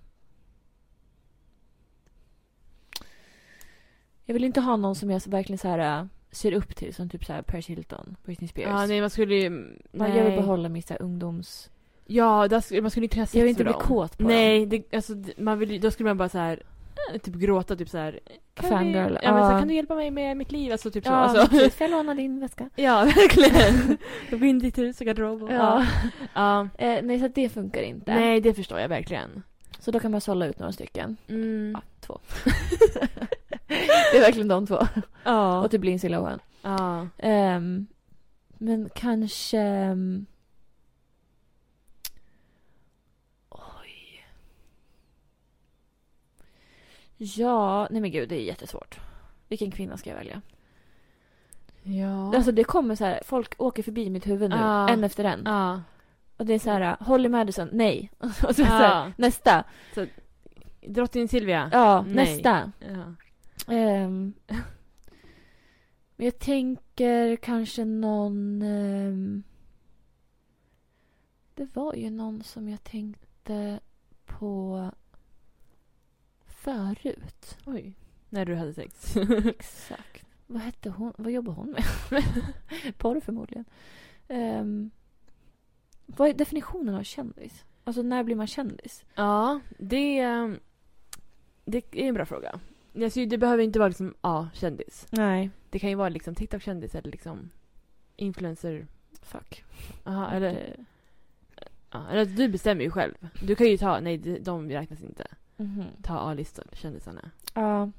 Speaker 1: Jag vill inte ha någon som jag så verkligen så här, eh, ser upp till. Som typ så här Paris Hilton, Britney Spears.
Speaker 2: Ja, nej man skulle ju...
Speaker 1: Man, jag vill behålla mitt så här, ungdoms...
Speaker 2: Ja, där skulle, man skulle inte kunna ha sex
Speaker 1: Jag vill inte
Speaker 2: med
Speaker 1: bli
Speaker 2: dem.
Speaker 1: kåt på dem.
Speaker 2: Nej, det, alltså, det- man vill, ju- då skulle man bara så här, eh, typ gråta typ så här. kan
Speaker 1: Fangirl,
Speaker 2: Vi, ja, men så här,
Speaker 1: ja.
Speaker 2: kan du hjälpa mig med mitt liv? Alltså typ
Speaker 1: Ja,
Speaker 2: så. Alltså.
Speaker 1: precis. Får jag låna din väska?
Speaker 2: ja, verkligen. Jag går in i ditt hus och garderob och...
Speaker 1: Ja.
Speaker 2: ja.
Speaker 1: Eh, nej, så att det funkar inte.
Speaker 2: Nej, det förstår jag verkligen.
Speaker 1: Så då kan man sålla ut några stycken.
Speaker 2: Mm.
Speaker 1: Ja, två. det är verkligen de två.
Speaker 2: Ja.
Speaker 1: Och typ Lindsay Lohan.
Speaker 2: ja.
Speaker 1: Ehm, men kanske... ehm, Oj. Ja, nej men gud det är jättesvårt. Vilken kvinna ska jag välja?
Speaker 2: Ja.
Speaker 1: Alltså det kommer så här, folk åker förbi mitt huvud nu.
Speaker 2: Ja.
Speaker 1: En efter en.
Speaker 2: ja.
Speaker 1: Och det är så här, Holly Madison, nej. Och så, så
Speaker 2: Ja.
Speaker 1: här, nästa.
Speaker 2: Drottning Silvia.
Speaker 1: Ja,
Speaker 2: Nej.
Speaker 1: nästa.
Speaker 2: Ja.
Speaker 1: Ehm, men jag tänker kanske någon... ehm, det var ju någon som jag tänkte på förut.
Speaker 2: Oj. När du hade sex.
Speaker 1: Exakt. Vad hette hon? Vad jobbar hon med? Porr förmodligen. Ehm, vad är definitionen av kändis? Alltså när blir man kändis?
Speaker 2: ja, det, ehm, det är en bra fråga. Alltså, det behöver inte vara liksom, ja, kändis.
Speaker 1: Nej.
Speaker 2: Det kan ju vara liksom TikTok-kändis eller liksom influencer.
Speaker 1: Fuck.
Speaker 2: Aha, eller, ja, eller alltså, du bestämmer ju själv. Du kan ju ta, nej de- de räknas inte.
Speaker 1: Mhm.
Speaker 2: Ta A-listor, kändisarna.
Speaker 1: Ja.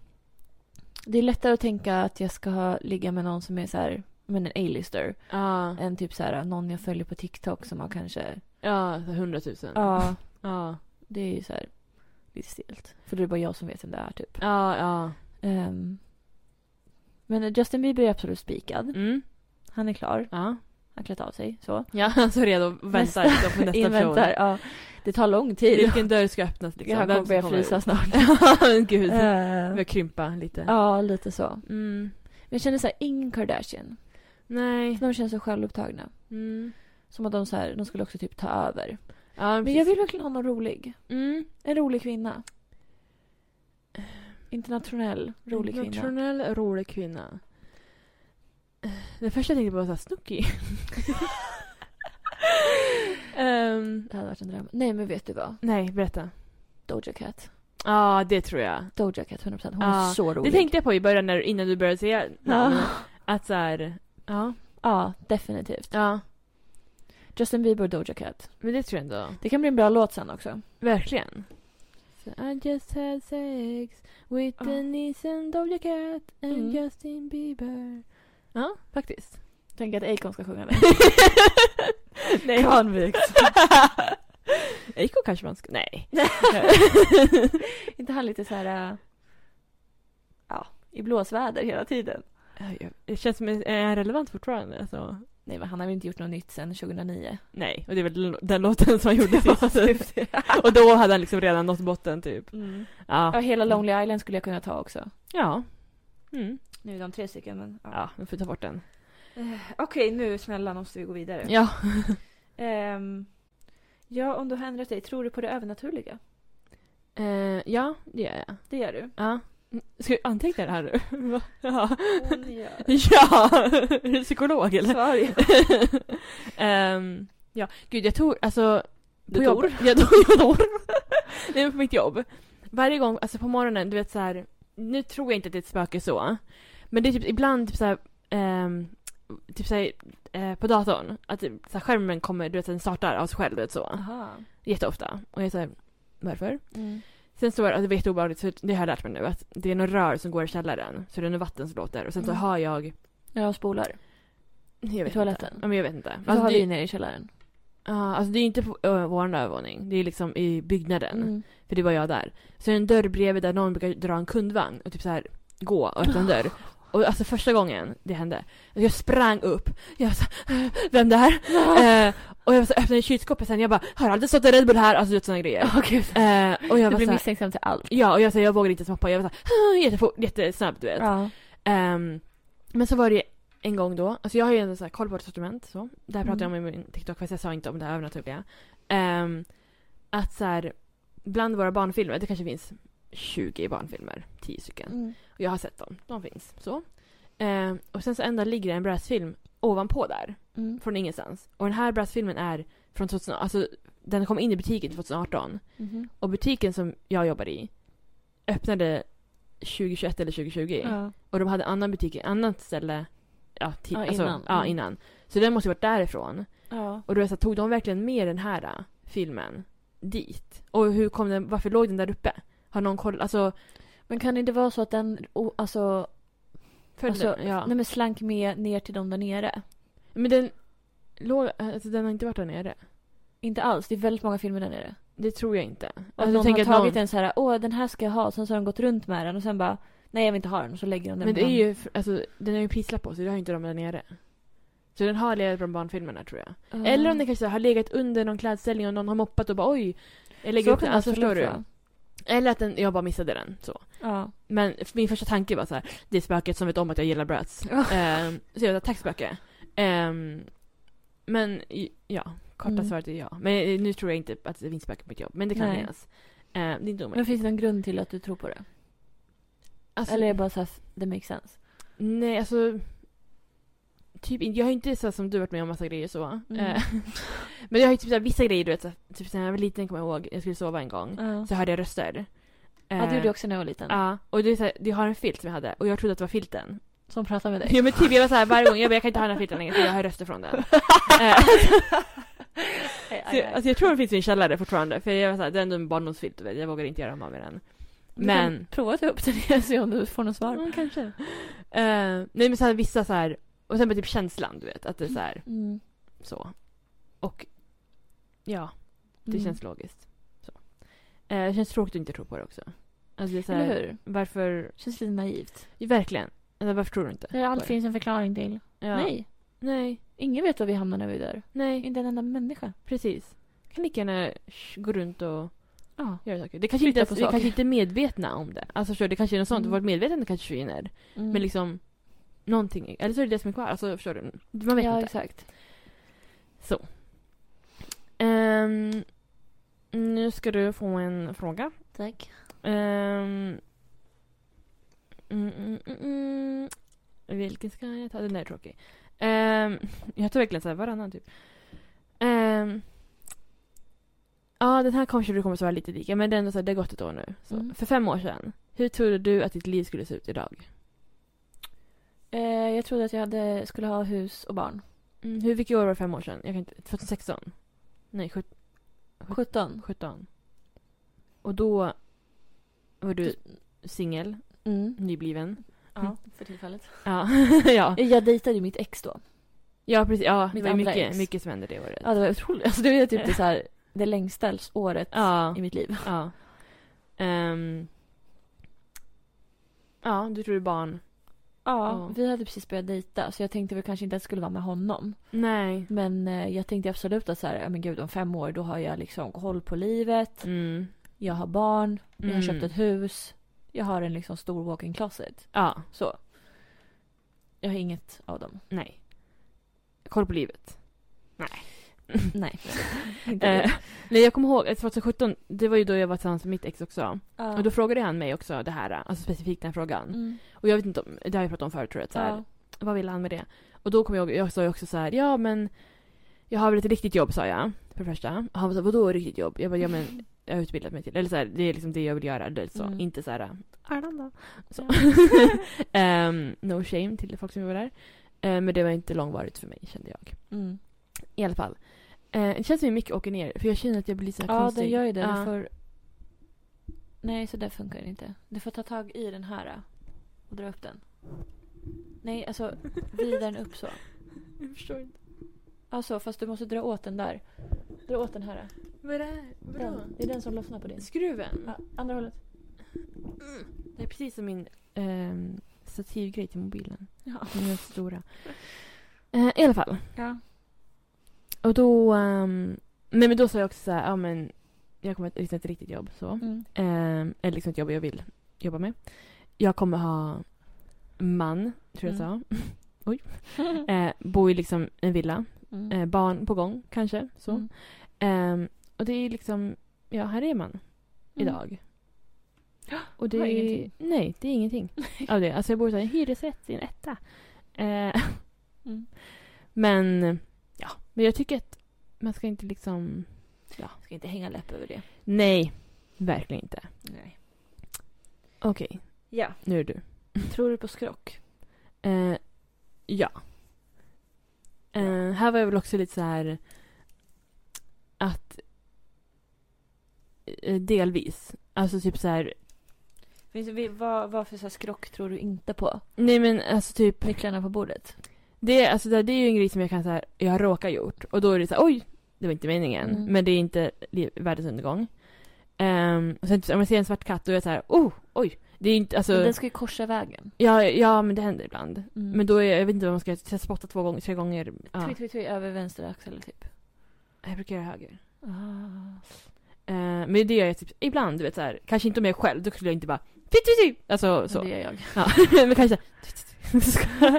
Speaker 1: Det är lättare att tänka att jag ska ha- ligga med någon som är så här, men en A-lister.
Speaker 2: Ja,
Speaker 1: Än typ så här, någon jag följer på TikTok som har kanske...
Speaker 2: ja så 100 000.
Speaker 1: Ja.
Speaker 2: ja,
Speaker 1: Det är ju så här lite stelt. För det är bara jag som vet vem det är typ.
Speaker 2: ja. ja.
Speaker 1: Ehm, men Justin Bieber är absolut spikad.
Speaker 2: Mm.
Speaker 1: Han är klar.
Speaker 2: Ja.
Speaker 1: Han har klätt av sig. Så.
Speaker 2: Ja, han står redo och väntar liksom, på nästa
Speaker 1: Inväntar.
Speaker 2: person.
Speaker 1: Ja. Det tar lång tid.
Speaker 2: Vilken dörr ska öppnas liksom?
Speaker 1: Han
Speaker 2: Vem
Speaker 1: kommer
Speaker 2: som
Speaker 1: börja frysa
Speaker 2: ut?
Speaker 1: snart.
Speaker 2: Ja, men gud. Jag
Speaker 1: Ehm,
Speaker 2: börjar krympa lite.
Speaker 1: ja, lite så. Men
Speaker 2: Mm.
Speaker 1: jag känner så här, ingen Kardashian.
Speaker 2: Nej.
Speaker 1: De känns så självupptagna.
Speaker 2: Mm.
Speaker 1: Som att de, så här, de skulle också typ ta över.
Speaker 2: Ja,
Speaker 1: Men jag vill verkligen ha någon rolig.
Speaker 2: Mm.
Speaker 1: En rolig kvinna. Ehm. Internationell rolig kvinna.
Speaker 2: Internationell rolig kvinna. Den första jag tänkte på var såhär Snooki. Ehm,
Speaker 1: Det hade varit en dröm. Nej men vet du vad?
Speaker 2: nej, berätta.
Speaker 1: Doja Cat.
Speaker 2: Ja, det tror jag.
Speaker 1: Doja Cat 100%. Hon
Speaker 2: Ja,
Speaker 1: är så
Speaker 2: Det
Speaker 1: rolig.
Speaker 2: tänkte jag på i början när, innan du började säga namnen.
Speaker 1: ja.
Speaker 2: Att såhär, ja.
Speaker 1: ja, definitivt.
Speaker 2: Ja.
Speaker 1: Justin Bieber och Doja Cat.
Speaker 2: Men det tror jag ändå.
Speaker 1: Det kan bli en bra låt sen också.
Speaker 2: Verkligen. So I just had sex with
Speaker 1: Ja.
Speaker 2: Denise and Doja Cat and
Speaker 1: Mm.
Speaker 2: Justin Bieber. Ja, faktiskt.
Speaker 1: Tänk att Akon ska sjunga den. Convict.
Speaker 2: Eiko kanske man ska... Nej.
Speaker 1: inte han lite så här... äh, Ja, i blåsväder hela tiden.
Speaker 2: Det känns som, är han relevant fortfarande? Alltså,
Speaker 1: Nej men han har väl inte gjort något nytt sen 2009.
Speaker 2: nej, och det är väl den låten som han gjorde sist. och då hade han liksom redan nått botten typ.
Speaker 1: Mm. Ja,
Speaker 2: Ja.
Speaker 1: hela Lonely Island skulle jag kunna ta också.
Speaker 2: Ja. Mm.
Speaker 1: Nu är de tre stycken men... Eh,
Speaker 2: Ja, vi får ta bort den.
Speaker 1: Okej, nu snälla måste vi gå vidare.
Speaker 2: Ja.
Speaker 1: Ehm, ja, om du har ändrat dig, tror du på det övernaturliga?
Speaker 2: Eh, ja, det gör jag.
Speaker 1: Det gör du.
Speaker 2: Ja. Ska vi anteckna det här nu? Va? ja.
Speaker 1: Hon gör.
Speaker 2: ja! Är du psykolog eller?
Speaker 1: Svar ja.
Speaker 2: Ehm, ja, gud jag tror, alltså...
Speaker 1: Du
Speaker 2: på
Speaker 1: tror?
Speaker 2: jobb- Jag tror, jag tror. Nej men på mitt jobb. Varje gång, alltså på morgonen, du vet så här. Nu tror jag inte att det är ett spöke så. Men det är typ ibland typ så här, ehm, Typ såhär eh, på datorn, att typ, så här, skärmen kommer, du vet den startar av sig själv, du vet så.
Speaker 1: Aha.
Speaker 2: Jätteofta. Och jag är såhär, varför?
Speaker 1: Mm.
Speaker 2: Sen så var det, alltså, det var jätteobehagligt, så det har jag lärt mig nu, att det är några rör som går i källaren. Så det är något vatten som låter. Och sen så
Speaker 1: Mm.
Speaker 2: har jag...
Speaker 1: När de spolar.
Speaker 2: Jag vet
Speaker 1: toaletten?
Speaker 2: Inte. Ja, men jag vet inte.
Speaker 1: Alltså,
Speaker 2: Alltså,
Speaker 1: har
Speaker 2: det-
Speaker 1: vi nere i källaren.
Speaker 2: Ja, alltså det är inte på ö, vår övervåning. Det är liksom i byggnaden.
Speaker 1: Mm.
Speaker 2: För det var jag där. Så är det en dörr bredvid där någon brukar dra en kundvagn och typ så här gå och öppna en dörr.
Speaker 1: Ah.
Speaker 2: Och alltså första gången det hände, jag sprang upp. Jag var så här, vem där?
Speaker 1: Ah.
Speaker 2: eh, och jag så här, öppnade kylskåpet sen, jag bara, har aldrig stått en Red Bull här? Alltså du vet sådana grejer.
Speaker 1: Åh, gud.
Speaker 2: Eh, och jag
Speaker 1: Ah. du
Speaker 2: var
Speaker 1: blir
Speaker 2: så här,
Speaker 1: misstänksam till allt.
Speaker 2: ja och jag, så här, jag vågade inte smappa. Jag var så här, "Äh, jättefort, jättesnabb du vet.
Speaker 1: Ja.
Speaker 2: Ehm, men så var det en gång då, alltså jag har ju ändå så här koll på ett sortiment så. Det här pratade jag om i min TikTok fast jag sa inte om det här övernaturliga. Ehm, att så här, bland våra barnfilmer, det kanske finns 20 barnfilmer, 10 stycken.
Speaker 1: Mm.
Speaker 2: Och jag har sett dem, de finns så. Ehm, och sen så ändå ligger det en bräsfilm ovanpå där,
Speaker 1: Mm.
Speaker 2: från ingenstans. Och den här bräsfilmen är från 2018, alltså den kom in i butiken 2018.
Speaker 1: Mhm.
Speaker 2: Och butiken som jag jobbar i öppnade 2021 eller 2020.
Speaker 1: Ja.
Speaker 2: Och de hade annan butik i annat ställe. Ja, ti-
Speaker 1: Ja,
Speaker 2: alltså,
Speaker 1: innan.
Speaker 2: Ja,
Speaker 1: Mm.
Speaker 2: innan. Så den måste ju varit därifrån.
Speaker 1: Ja.
Speaker 2: Och då är det så här, tog de verkligen med den här ä, äh, filmen dit? Och hur kom den, varför låg den där uppe? Har någon koll? Alltså,
Speaker 1: Men kan det inte vara så att den o- alltså,
Speaker 2: följde
Speaker 1: Alltså,
Speaker 2: den? Ja.
Speaker 1: nej, men slank med ner till dem där nere?
Speaker 2: Men den låg, alltså den har inte varit där nere.
Speaker 1: Inte alls. Det är väldigt många filmer där nere.
Speaker 2: Det tror jag inte.
Speaker 1: Och att
Speaker 2: jag
Speaker 1: någon
Speaker 2: tänker
Speaker 1: har
Speaker 2: att
Speaker 1: tagit
Speaker 2: någon-
Speaker 1: en så här, åh den här ska jag ha. Sen så har de gått runt med den och sen bara, nej jag vill inte ha den. Och så lägger de den
Speaker 2: Men det
Speaker 1: på
Speaker 2: är
Speaker 1: hand.
Speaker 2: ju, alltså, den har ju en prislapp på sig, det har ju inte de där nere. Så den har legat från barnfilmerna tror jag.
Speaker 1: Ja.
Speaker 2: Eller om den kanske har legat under någon klädställning och någon har moppat och bara oj. Jag lägger
Speaker 1: Så
Speaker 2: upp
Speaker 1: kan
Speaker 2: den,
Speaker 1: det
Speaker 2: alltså förstår
Speaker 1: absolut
Speaker 2: du? Mm.
Speaker 1: vara.
Speaker 2: Eller att den, jag bara missade den så.
Speaker 1: Ja.
Speaker 2: Men min första tanke var så här, det är spöket som vet om att jag gillar brats.
Speaker 1: Ja.
Speaker 2: Ehm, så jag sa tack spöke. Ehm, men i- ja, korta
Speaker 1: Mm.
Speaker 2: svaret är ja. Men eh, nu tror jag inte att det finns spöken på mitt jobb, men det kan
Speaker 1: Nej.
Speaker 2: finnas. Ehm, det är inte
Speaker 1: Men
Speaker 2: omöjligt.
Speaker 1: finns det någon grund till att du tror på det?
Speaker 2: Alltså,
Speaker 1: Eller är det bara så här, det makes sense?
Speaker 2: Nej, alltså. Typ, inte- jag har inte så här, som du varit med om massa grejer så.
Speaker 1: Mm.
Speaker 2: Eh, men jag har ju typ så här, vissa grejer du vet, så här, typ så här, när jag var liten kommer jag ihåg, jag skulle sova en gång.
Speaker 1: Ja.
Speaker 2: Så hörde jag röster. Ehm,
Speaker 1: Ja, det gjorde jag också när jag var liten.
Speaker 2: Eh. Ja, och det är så här, jag har en filt som jag hade och jag trodde att det var filten.
Speaker 1: Som pratade med dig.
Speaker 2: Ja men typ jag var så här varje gång, jag bara, jag kan inte ha den här filten längre för jag har röster från den. Eh,
Speaker 1: Aj,
Speaker 2: så,
Speaker 1: aj,
Speaker 2: jag-
Speaker 1: aj.
Speaker 2: alltså jag tror den finns i min källare fortfarande för jag var så här, det är ändå en barndomsfilt du vet, jag vågar inte göra mamma med den.
Speaker 1: Du kan
Speaker 2: men-
Speaker 1: Prova att ta upp den igen och se om du får något svar.
Speaker 2: Mm, kanske. Eh, nej men så här vissa så här, och sen bara typ känslan du vet, att det är så här
Speaker 1: Mm.
Speaker 2: Så. Och ja, det
Speaker 1: Mm.
Speaker 2: känns logiskt. Så. Eh, det känns tråkigt att inte tro på det också. Alltså det är så här,
Speaker 1: Eller hur?
Speaker 2: Varför?
Speaker 1: känns lite naivt.
Speaker 2: Ja, Verkligen. Alltså, varför tror du inte?
Speaker 1: Där
Speaker 2: på
Speaker 1: allt
Speaker 2: det?
Speaker 1: finns en förklaring till.
Speaker 2: Ja.
Speaker 1: Nej.
Speaker 2: Nej.
Speaker 1: Ingen vet var vi hamnar när vi är där.
Speaker 2: Nej.
Speaker 1: Inte en enda människa.
Speaker 2: Precis. kan lika gärna sh, gå runt och
Speaker 1: Ja.
Speaker 2: göra saker. Det kanske
Speaker 1: Flytta
Speaker 2: inte ens,
Speaker 1: på
Speaker 2: vi
Speaker 1: saker.
Speaker 2: kanske inte är medvetna om det. Alltså förstår du, det kanske är något sånt.
Speaker 1: Mm.
Speaker 2: Vårt medvetande kanske försvinner.
Speaker 1: Mm.
Speaker 2: Men liksom någonting. Eller så är det det som är kvar. Alltså förstår du? Man vet
Speaker 1: ja,
Speaker 2: inte.
Speaker 1: exakt.
Speaker 2: Ehm, nu ska du få en fråga.
Speaker 1: Tack.
Speaker 2: Ehm. mm, mm, mm, mm. Vilken ska jag ta? Den där är tråkig. Ehm, jag tar verkligen så här varannan typ. Ehm. ja, den här kanske du kommer svara lite lika, men det, är ändå så här, det har gått ett år nu. Så.
Speaker 1: Mm.
Speaker 2: För fem år sedan, hur trodde du att ditt liv skulle se ut idag?
Speaker 1: Eh, jag trodde att jag hade, skulle ha hus och barn.
Speaker 2: Mm, hur, vilket år var det fem år sedan? Jag kan inte, 2016? Nej, sjut-
Speaker 1: 17.
Speaker 2: 17. Och då var
Speaker 1: Typ.
Speaker 2: du singel,
Speaker 1: Mm.
Speaker 2: nybliven.
Speaker 1: Ja, för tillfället.
Speaker 2: Ja. ja.
Speaker 1: Jag dejtade ju mitt ex då.
Speaker 2: Ja, precis. Ja,
Speaker 1: Mitt
Speaker 2: det var
Speaker 1: andra
Speaker 2: mycket,
Speaker 1: ex.
Speaker 2: mycket som hände det året.
Speaker 1: Ja, det var otroligt. Alltså, det var typ det, så här, det längsta året
Speaker 2: Ja.
Speaker 1: i mitt liv.
Speaker 2: Ja. Ehm. ja, du tror det är barn.
Speaker 1: Ja,
Speaker 2: Ja.
Speaker 1: vi hade precis börjat dejta så jag tänkte väl kanske inte att det skulle vara med honom.
Speaker 2: Nej.
Speaker 1: Men eh, jag tänkte absolut att så här, ja, men gud om fem år då har jag liksom koll på livet.
Speaker 2: Mm.
Speaker 1: Jag har barn, jag har
Speaker 2: Mm.
Speaker 1: köpt ett hus. Jag har en liksom stor walk-in closet.
Speaker 2: Ja,
Speaker 1: Så. Jag har inget av dem.
Speaker 2: nej. Koll på livet.
Speaker 1: Nej. inte det.
Speaker 2: Eh, nej, jag kommer ihåg eh, 2017, det var ju då jag var tillsammans med mitt ex också.
Speaker 1: Ja.
Speaker 2: Och då frågade han mig också det här, alltså specifikt den här frågan.
Speaker 1: Mm.
Speaker 2: Och jag vet inte om, det har jag pratat om förut tror jag, att så här,
Speaker 1: Ja.
Speaker 2: vad ville han med det? Och då kom jag ihåg, jag sa ju också så här, ja men jag har väl ett riktigt jobb sa jag, för det första. Och han var så här, vadå riktigt jobb? Jag bara, ja men jag har utbildat mig till, eller så här, det är liksom det jag vill göra, eller så.
Speaker 1: Mm.
Speaker 2: Inte så här, Arlanda. Så.
Speaker 1: Ja.
Speaker 2: Ehm, no shame till folk som var där. Ehm, men det var inte långvarigt för mig kände jag.
Speaker 1: Mm.
Speaker 2: I alla fall. Ehm, det känns som att mycket åker ner, för jag känner att jag blir så här
Speaker 1: ja,
Speaker 2: konstig.
Speaker 1: den gör ju det.
Speaker 2: Ja.
Speaker 1: Du får... Nej, så där funkar det inte. Du får ta tag i den här eh, och dra upp den. Nej, alltså vrida den upp så.
Speaker 2: Jag förstår inte.
Speaker 1: Alltså, fast du måste dra åt den där. Dra åt den här. äh.
Speaker 2: Vad är det här? Vadå?
Speaker 1: Den. Det är den som lossnar på din.
Speaker 2: Skruven?
Speaker 1: Ja, andra hållet.
Speaker 2: Det är precis som min ehm, stativgrej till mobilen.
Speaker 1: Ja.
Speaker 2: De är rätt stora. Eh, I alla fall.
Speaker 1: Ja.
Speaker 2: Och då... ehm, nej men då sa jag också så här, ja men jag kommer att liksom ett riktigt jobb så.
Speaker 1: Mm.
Speaker 2: Ehm, eller liksom ett jobb jag vill jobba med. Jag kommer ha man, tror jag
Speaker 1: Mm.
Speaker 2: sa. Oj. Eh, bo i liksom en villa.
Speaker 1: Mm.
Speaker 2: Eh, barn på gång kanske. Så.
Speaker 1: Mm.
Speaker 2: Ehm, och det är liksom, ja här är man idag. Och det
Speaker 1: Det var
Speaker 2: är,
Speaker 1: ingenting.
Speaker 2: nej, det är ingenting av det. Alltså jag bor i så här en hyresrätt i en etta. Eh,
Speaker 1: Mm.
Speaker 2: Men ja, men jag tycker att man ska inte liksom...
Speaker 1: Jag ska inte hänga läpp över det.
Speaker 2: Nej, verkligen inte.
Speaker 1: Nej.
Speaker 2: Okej,
Speaker 1: Ja.
Speaker 2: nu är det du.
Speaker 1: Tror du på skrock?
Speaker 2: Eh, ja. Eh, här var jag väl också lite så här att eh, delvis. Alltså typ så här.
Speaker 1: Finns det- vi- Vad, vad för så här skrock tror du inte på?
Speaker 2: Nej men alltså typ.
Speaker 1: Nycklarna på bordet?
Speaker 2: Det, alltså det, det är ju en grej som jag kan säga, jag har råkat gjort. Och då är det så här, oj, det var inte meningen.
Speaker 1: Mm.
Speaker 2: Men det är inte liv, världens undergång. Ehm, och sen typ, om jag ser en svart katt då är jag så här, oh, oj. Det är inte, alltså,
Speaker 1: Men den ska ju korsa vägen.
Speaker 2: ja, ja men det händer ibland.
Speaker 1: Mm.
Speaker 2: Men då är, jag vet inte vad man ska, ska jag spotta två gånger, tre gånger. Ja.
Speaker 1: Twi, twi, twi, över vänster axel typ.
Speaker 2: Jag brukar göra höger.
Speaker 1: Ah.
Speaker 2: Eh, men det gör jag typ ibland, du vet så här, kanske inte om jag är själv, då skulle jag inte bara tut, tut, tut. Alltså så.
Speaker 1: Det gör jag.
Speaker 2: Ja. men kanske så här,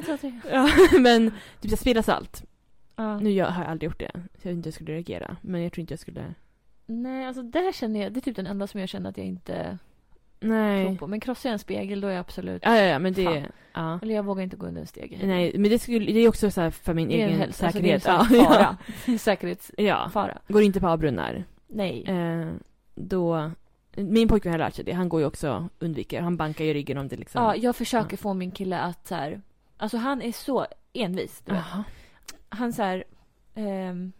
Speaker 1: Ett, två, tre.
Speaker 2: ja, men typ jag spilla salt.
Speaker 1: Ja.
Speaker 2: Nu gör, har jag aldrig gjort det, så jag vet inte hur jag skulle reagera. Men jag tror inte jag skulle...
Speaker 1: Nej, alltså där känner jag, det är typ den enda som jag känner att jag inte tror
Speaker 2: Nej.
Speaker 1: på. Men krossar jag en spegel då är jag absolut,
Speaker 2: Ja, ja, ja, men det...
Speaker 1: Fan.
Speaker 2: Ja.
Speaker 1: eller jag vågar inte gå under en stege.
Speaker 2: Nej, men det, skulle, det är också så här för min
Speaker 1: det är en
Speaker 2: egen
Speaker 1: hälsa, alltså,
Speaker 2: säkerhet.
Speaker 1: det är en sån
Speaker 2: ja,
Speaker 1: fara. En Säkerhetsfara.
Speaker 2: ja. ja. Går inte på avbrunnar.
Speaker 1: Nej.
Speaker 2: Eh, då... Min pojkvän har lärt sig det. Han går ju också undviker. Han bankar ju ryggen om det liksom...
Speaker 1: Ja, jag försöker få min kille att så här, alltså han är så envis. Du vet.
Speaker 2: Jaha.
Speaker 1: Han så här, ehm,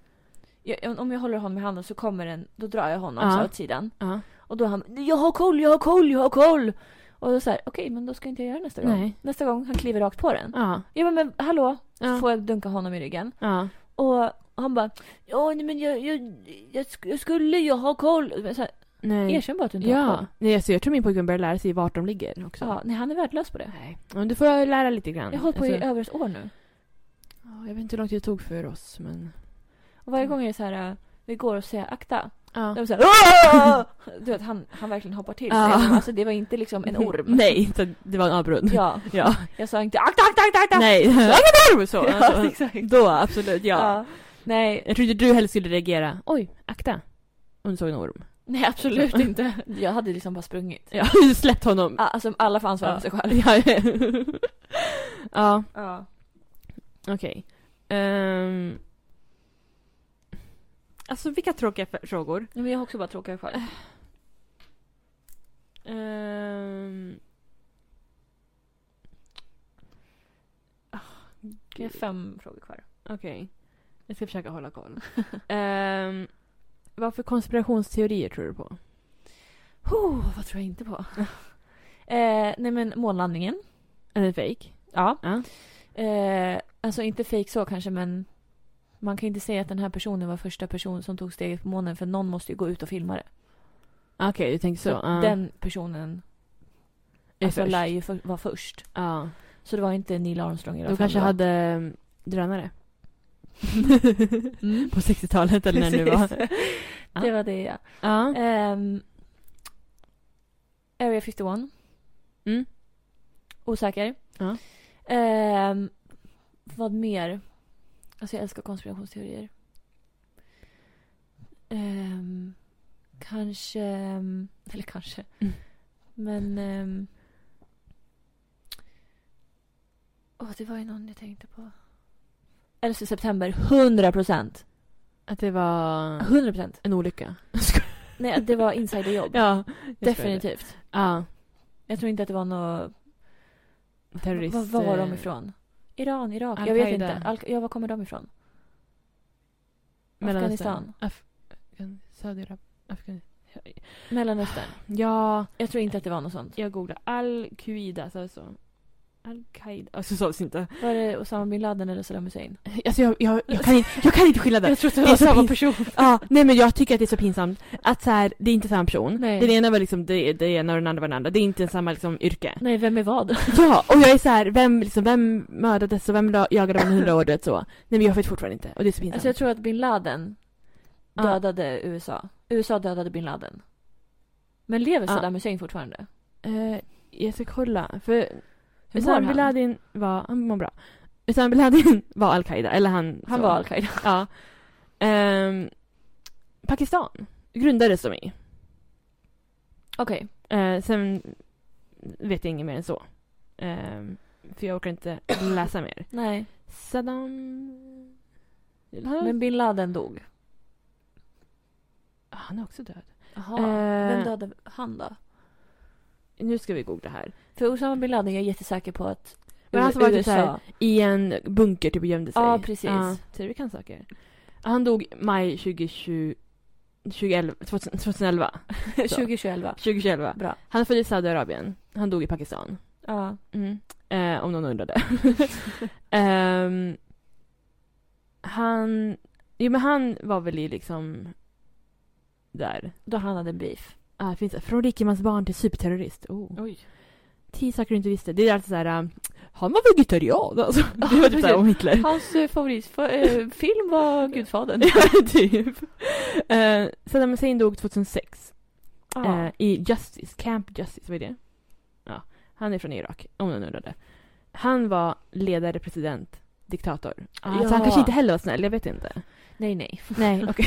Speaker 1: jag, om jag håller honom i handen så kommer den, då drar jag honom
Speaker 2: Ja.
Speaker 1: så åt sidan.
Speaker 2: Ja.
Speaker 1: Och då han, jag har koll, jag har koll, jag har koll. Och då så här, okej men då ska inte jag göra det nästa gång.
Speaker 2: Nej.
Speaker 1: Nästa gång han kliver rakt på den.
Speaker 2: Ja.
Speaker 1: Ja men, men hallå,
Speaker 2: Ja.
Speaker 1: får jag dunka honom i ryggen.
Speaker 2: Ja.
Speaker 1: Och han bara, ja nej, men jag, jag, jag, sk- jag skulle ju ha koll. Men Så här,
Speaker 2: Nej.
Speaker 1: erkänn bara att du inte har
Speaker 2: Ja.
Speaker 1: koll.
Speaker 2: Nej, alltså, jag tror min pojkvän börjar lära sig vart de ligger också.
Speaker 1: Ja, nej han är värdelös på det.
Speaker 2: Nej. Ja, men du får lära lite grann.
Speaker 1: Jag har hållit på i
Speaker 2: Alltså,
Speaker 1: över ett år nu.
Speaker 2: ja, jag vet inte hur lång tid det tog för oss, men...
Speaker 1: Och varje gång är det så här, äh, vi går och säger akta.
Speaker 2: Mm. Ja.
Speaker 1: Då är det så här, "Åh!" du vet, han, han verkligen hoppar till sig.
Speaker 2: Ja.
Speaker 1: Alltså det var inte liksom en orm.
Speaker 2: Nej, inte- det var en avbrunn.
Speaker 1: Ja,
Speaker 2: Ja.
Speaker 1: jag sa inte akta, akta, akta, akta.
Speaker 2: Nej, det var en orm! Så.
Speaker 1: Ja,
Speaker 2: Alltså,
Speaker 1: exakt.
Speaker 2: då, absolut. Ja.
Speaker 1: Ja. Nej,
Speaker 2: Jag trodde du helst skulle reagera. Oj, akta. Om du såg en orm.
Speaker 1: nej absolut inte. Jag hade liksom bara sprungit.
Speaker 2: Ja, släppt honom.
Speaker 1: Ja, Alltså alla får ansvara för sig själv.
Speaker 2: Ja, ja.
Speaker 1: Ja.
Speaker 2: okej. Ehm. Alltså vilka tråkiga f- frågor.
Speaker 1: Men jag har också bara tråkiga själv.
Speaker 2: Ehm.
Speaker 1: Jag har fem frågor kvar.
Speaker 2: Ah, Okej. Jag ska försöka hålla koll. um, vad för konspirationsteorier tror du på?
Speaker 1: Oh, vad tror jag inte på? eh, nej men månlandningen.
Speaker 2: Är den fejk?
Speaker 1: Ja.
Speaker 2: Ja.
Speaker 1: Eh, alltså inte fake så kanske men man kan inte säga att den här personen var första person som tog steget på månen för någon måste ju gå ut och filma det.
Speaker 2: Okej, du tänker
Speaker 1: Så
Speaker 2: så. ja.
Speaker 1: den personen
Speaker 2: Är
Speaker 1: alltså,
Speaker 2: först.
Speaker 1: lär ju för, var först.
Speaker 2: Ja.
Speaker 1: Så det var inte Neil Armstrong i alla
Speaker 2: De
Speaker 1: fall
Speaker 2: kanske
Speaker 1: då.
Speaker 2: hade um, drönare.
Speaker 1: Mm.
Speaker 2: på 60-talet eller när det nu var.
Speaker 1: Precis. det var det ja.
Speaker 2: Ja.
Speaker 1: Ehm, Area 51.
Speaker 2: Mm.
Speaker 1: Osäker.
Speaker 2: Ja.
Speaker 1: Ehm, vad mer? Alltså jag älskar konspirationsteorier. Ehm, kanske... Eller kanske.
Speaker 2: Mm.
Speaker 1: Men... ehm, Åh, det var ju någon jag tänkte på. 11 september, 100 procent.
Speaker 2: Att det var
Speaker 1: 100 procent.
Speaker 2: en olycka.
Speaker 1: Nej, det var insiderjobb.
Speaker 2: ja, jag skojar.
Speaker 1: Definitivt.
Speaker 2: Ja,
Speaker 1: Jag tror inte att det var något...
Speaker 2: terrorist.
Speaker 1: Var, var var de
Speaker 2: eh,
Speaker 1: ifrån? Iran, Irak? Jag vet
Speaker 2: Al-Qaida.
Speaker 1: inte. Al ja, var kommer de ifrån?
Speaker 2: eh, Mellanöstern.
Speaker 1: Afghanistan.
Speaker 2: Af- Afghan- Saudiarabien. Afghan-
Speaker 1: Mellanöstern.
Speaker 2: Ja,
Speaker 1: Jag tror inte att det var något sånt.
Speaker 2: jag googlade al-Qaida. Så, så. Al-Qaida. Alltså, så sades inte.
Speaker 1: Var det Osama bin Laden eller Saddam Hussein?
Speaker 2: Alltså, jag, jag, jag, kan, inte- jag kan inte skilja det.
Speaker 1: Jag trodde
Speaker 2: det var samma
Speaker 1: person.
Speaker 2: Ja, nej men jag tycker att det är så pinsamt att så här, det är inte samma person.
Speaker 1: Nej.
Speaker 2: Den ena var liksom det, det ena och den andra var den andra. Det är inte samma liksom yrke.
Speaker 1: Nej, vem är vad?
Speaker 2: Ja, och jag är så här, vem, liksom, vem mördades och vem la- jagade man hundra år du vet så? Nej men jag vet fortfarande inte och det är så pinsamt.
Speaker 1: Alltså jag tror att bin Laden
Speaker 2: Ja.
Speaker 1: dödade USA. USA dödade bin Laden. Men lever
Speaker 2: Ja.
Speaker 1: Saddam Hussein fortfarande?
Speaker 2: Eh, jag ska kolla, för
Speaker 1: Hur mår
Speaker 2: Usama bin
Speaker 1: han?
Speaker 2: Laden var, han mår bra. Usama bin Laden var al-Qaida, eller han
Speaker 1: Han
Speaker 2: så.
Speaker 1: var al-Qaida.
Speaker 2: Ja. Ehm, Pakistan grundades de i.
Speaker 1: Okej.
Speaker 2: Eh, sen vet jag inget mer än så. Ehm, för jag orkar inte läsa mer.
Speaker 1: Nej.
Speaker 2: Saddam... Han,
Speaker 1: Men bin Laden dog.
Speaker 2: han är också död.
Speaker 1: Jaha.
Speaker 2: Eh,
Speaker 1: Vem dödade han då?
Speaker 2: Nu ska vi googla här.
Speaker 1: För Osama bin Laden, jag är jättesäker på att
Speaker 2: Men han som var typ så här-
Speaker 1: USA...
Speaker 2: I en bunker typ och gömde sig.
Speaker 1: Ja, precis.
Speaker 2: Ja, så vi kan saker. Han dog maj 2020. 2011, 2000 2011.
Speaker 1: 2021.
Speaker 2: 2011.
Speaker 1: Bra.
Speaker 2: Han föddes i Saudiarabien. Han dog i Pakistan.
Speaker 1: Ja.
Speaker 2: Eh, om någon undrade. Ehm, han... Jo men han var väl i liksom... Där.
Speaker 1: Då han hade en beef.
Speaker 2: Ah, det finns, från rikemansbarn till superterrorist. Oh.
Speaker 1: Oj.
Speaker 2: Tio saker du inte visste. Det är alltid så här... eh, Han var vegetarian alltså. Det var typ så här om Hitler.
Speaker 1: Hans eh, favoritfilm var Gudfadern.
Speaker 2: Ja, typ. Eh, Saddam Hussein dog 2006
Speaker 1: Ja.
Speaker 2: eh, i Justice, Camp Justice, vad är det? Ja, han är från Irak, om någon undrade. Han var ledare, president, diktator. Alltså,
Speaker 1: Ja.
Speaker 2: han kanske inte heller var snäll, jag vet inte.
Speaker 1: Nej, nej.
Speaker 2: Nej, okej.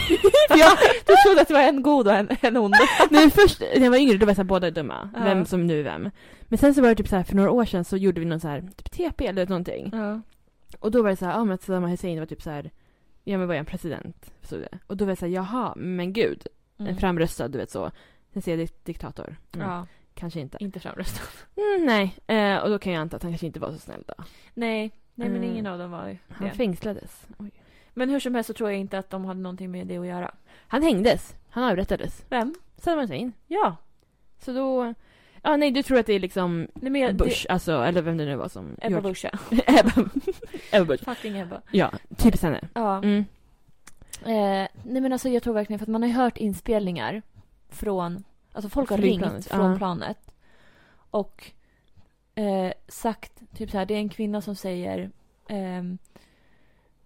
Speaker 1: För jag du trodde att det var en god och en, en ond.
Speaker 2: Nej, först när jag var yngre då var jag så här, båda är dumma,
Speaker 1: Ja.
Speaker 2: vem som nu är vem. Men sen så var det typ så här, för några år sedan så gjorde vi någon så här, typ TP eller någonting.
Speaker 1: Ja.
Speaker 2: Och då var det så här, ja men att Saddam Hussein var typ så här, ja men var jag en president? Så det. Och då var jag så här, jaha, men gud. En framröstad, du vet så. Sen säger jag dik- diktator. Mm,
Speaker 1: Mm. Ja,
Speaker 2: Kanske inte.
Speaker 1: inte framröstad.
Speaker 2: Mm, nej, eh, och då kan jag anta att han kanske inte var så snäll då.
Speaker 1: Nej, nej men
Speaker 2: Mm.
Speaker 1: ingen av dem var ju
Speaker 2: Han
Speaker 1: det.
Speaker 2: fängslades.
Speaker 1: Men hur som helst så tror jag inte att de hade någonting med det att göra.
Speaker 2: Han hängdes. Han avrättades.
Speaker 1: Vem?
Speaker 2: Saddam Hussein.
Speaker 1: Ja.
Speaker 2: Så då... Ja, nej, du tror att det är liksom
Speaker 1: Nej, men jag,
Speaker 2: Bush, alltså, eller vem det nu var som...
Speaker 1: Det, Ebba Bush, ja.
Speaker 2: Ebba, Ebba Bush.
Speaker 1: Fucking Ebba.
Speaker 2: Ja, typiskt henne.
Speaker 1: Ja.
Speaker 2: Mm.
Speaker 1: Eh, nej men alltså jag tror verkligen för att man har ju hört inspelningar från, alltså folk har
Speaker 2: Flygplanet,
Speaker 1: ringt från
Speaker 2: ja.
Speaker 1: planet och eh, sagt typ så här, det är en kvinna som säger ehm,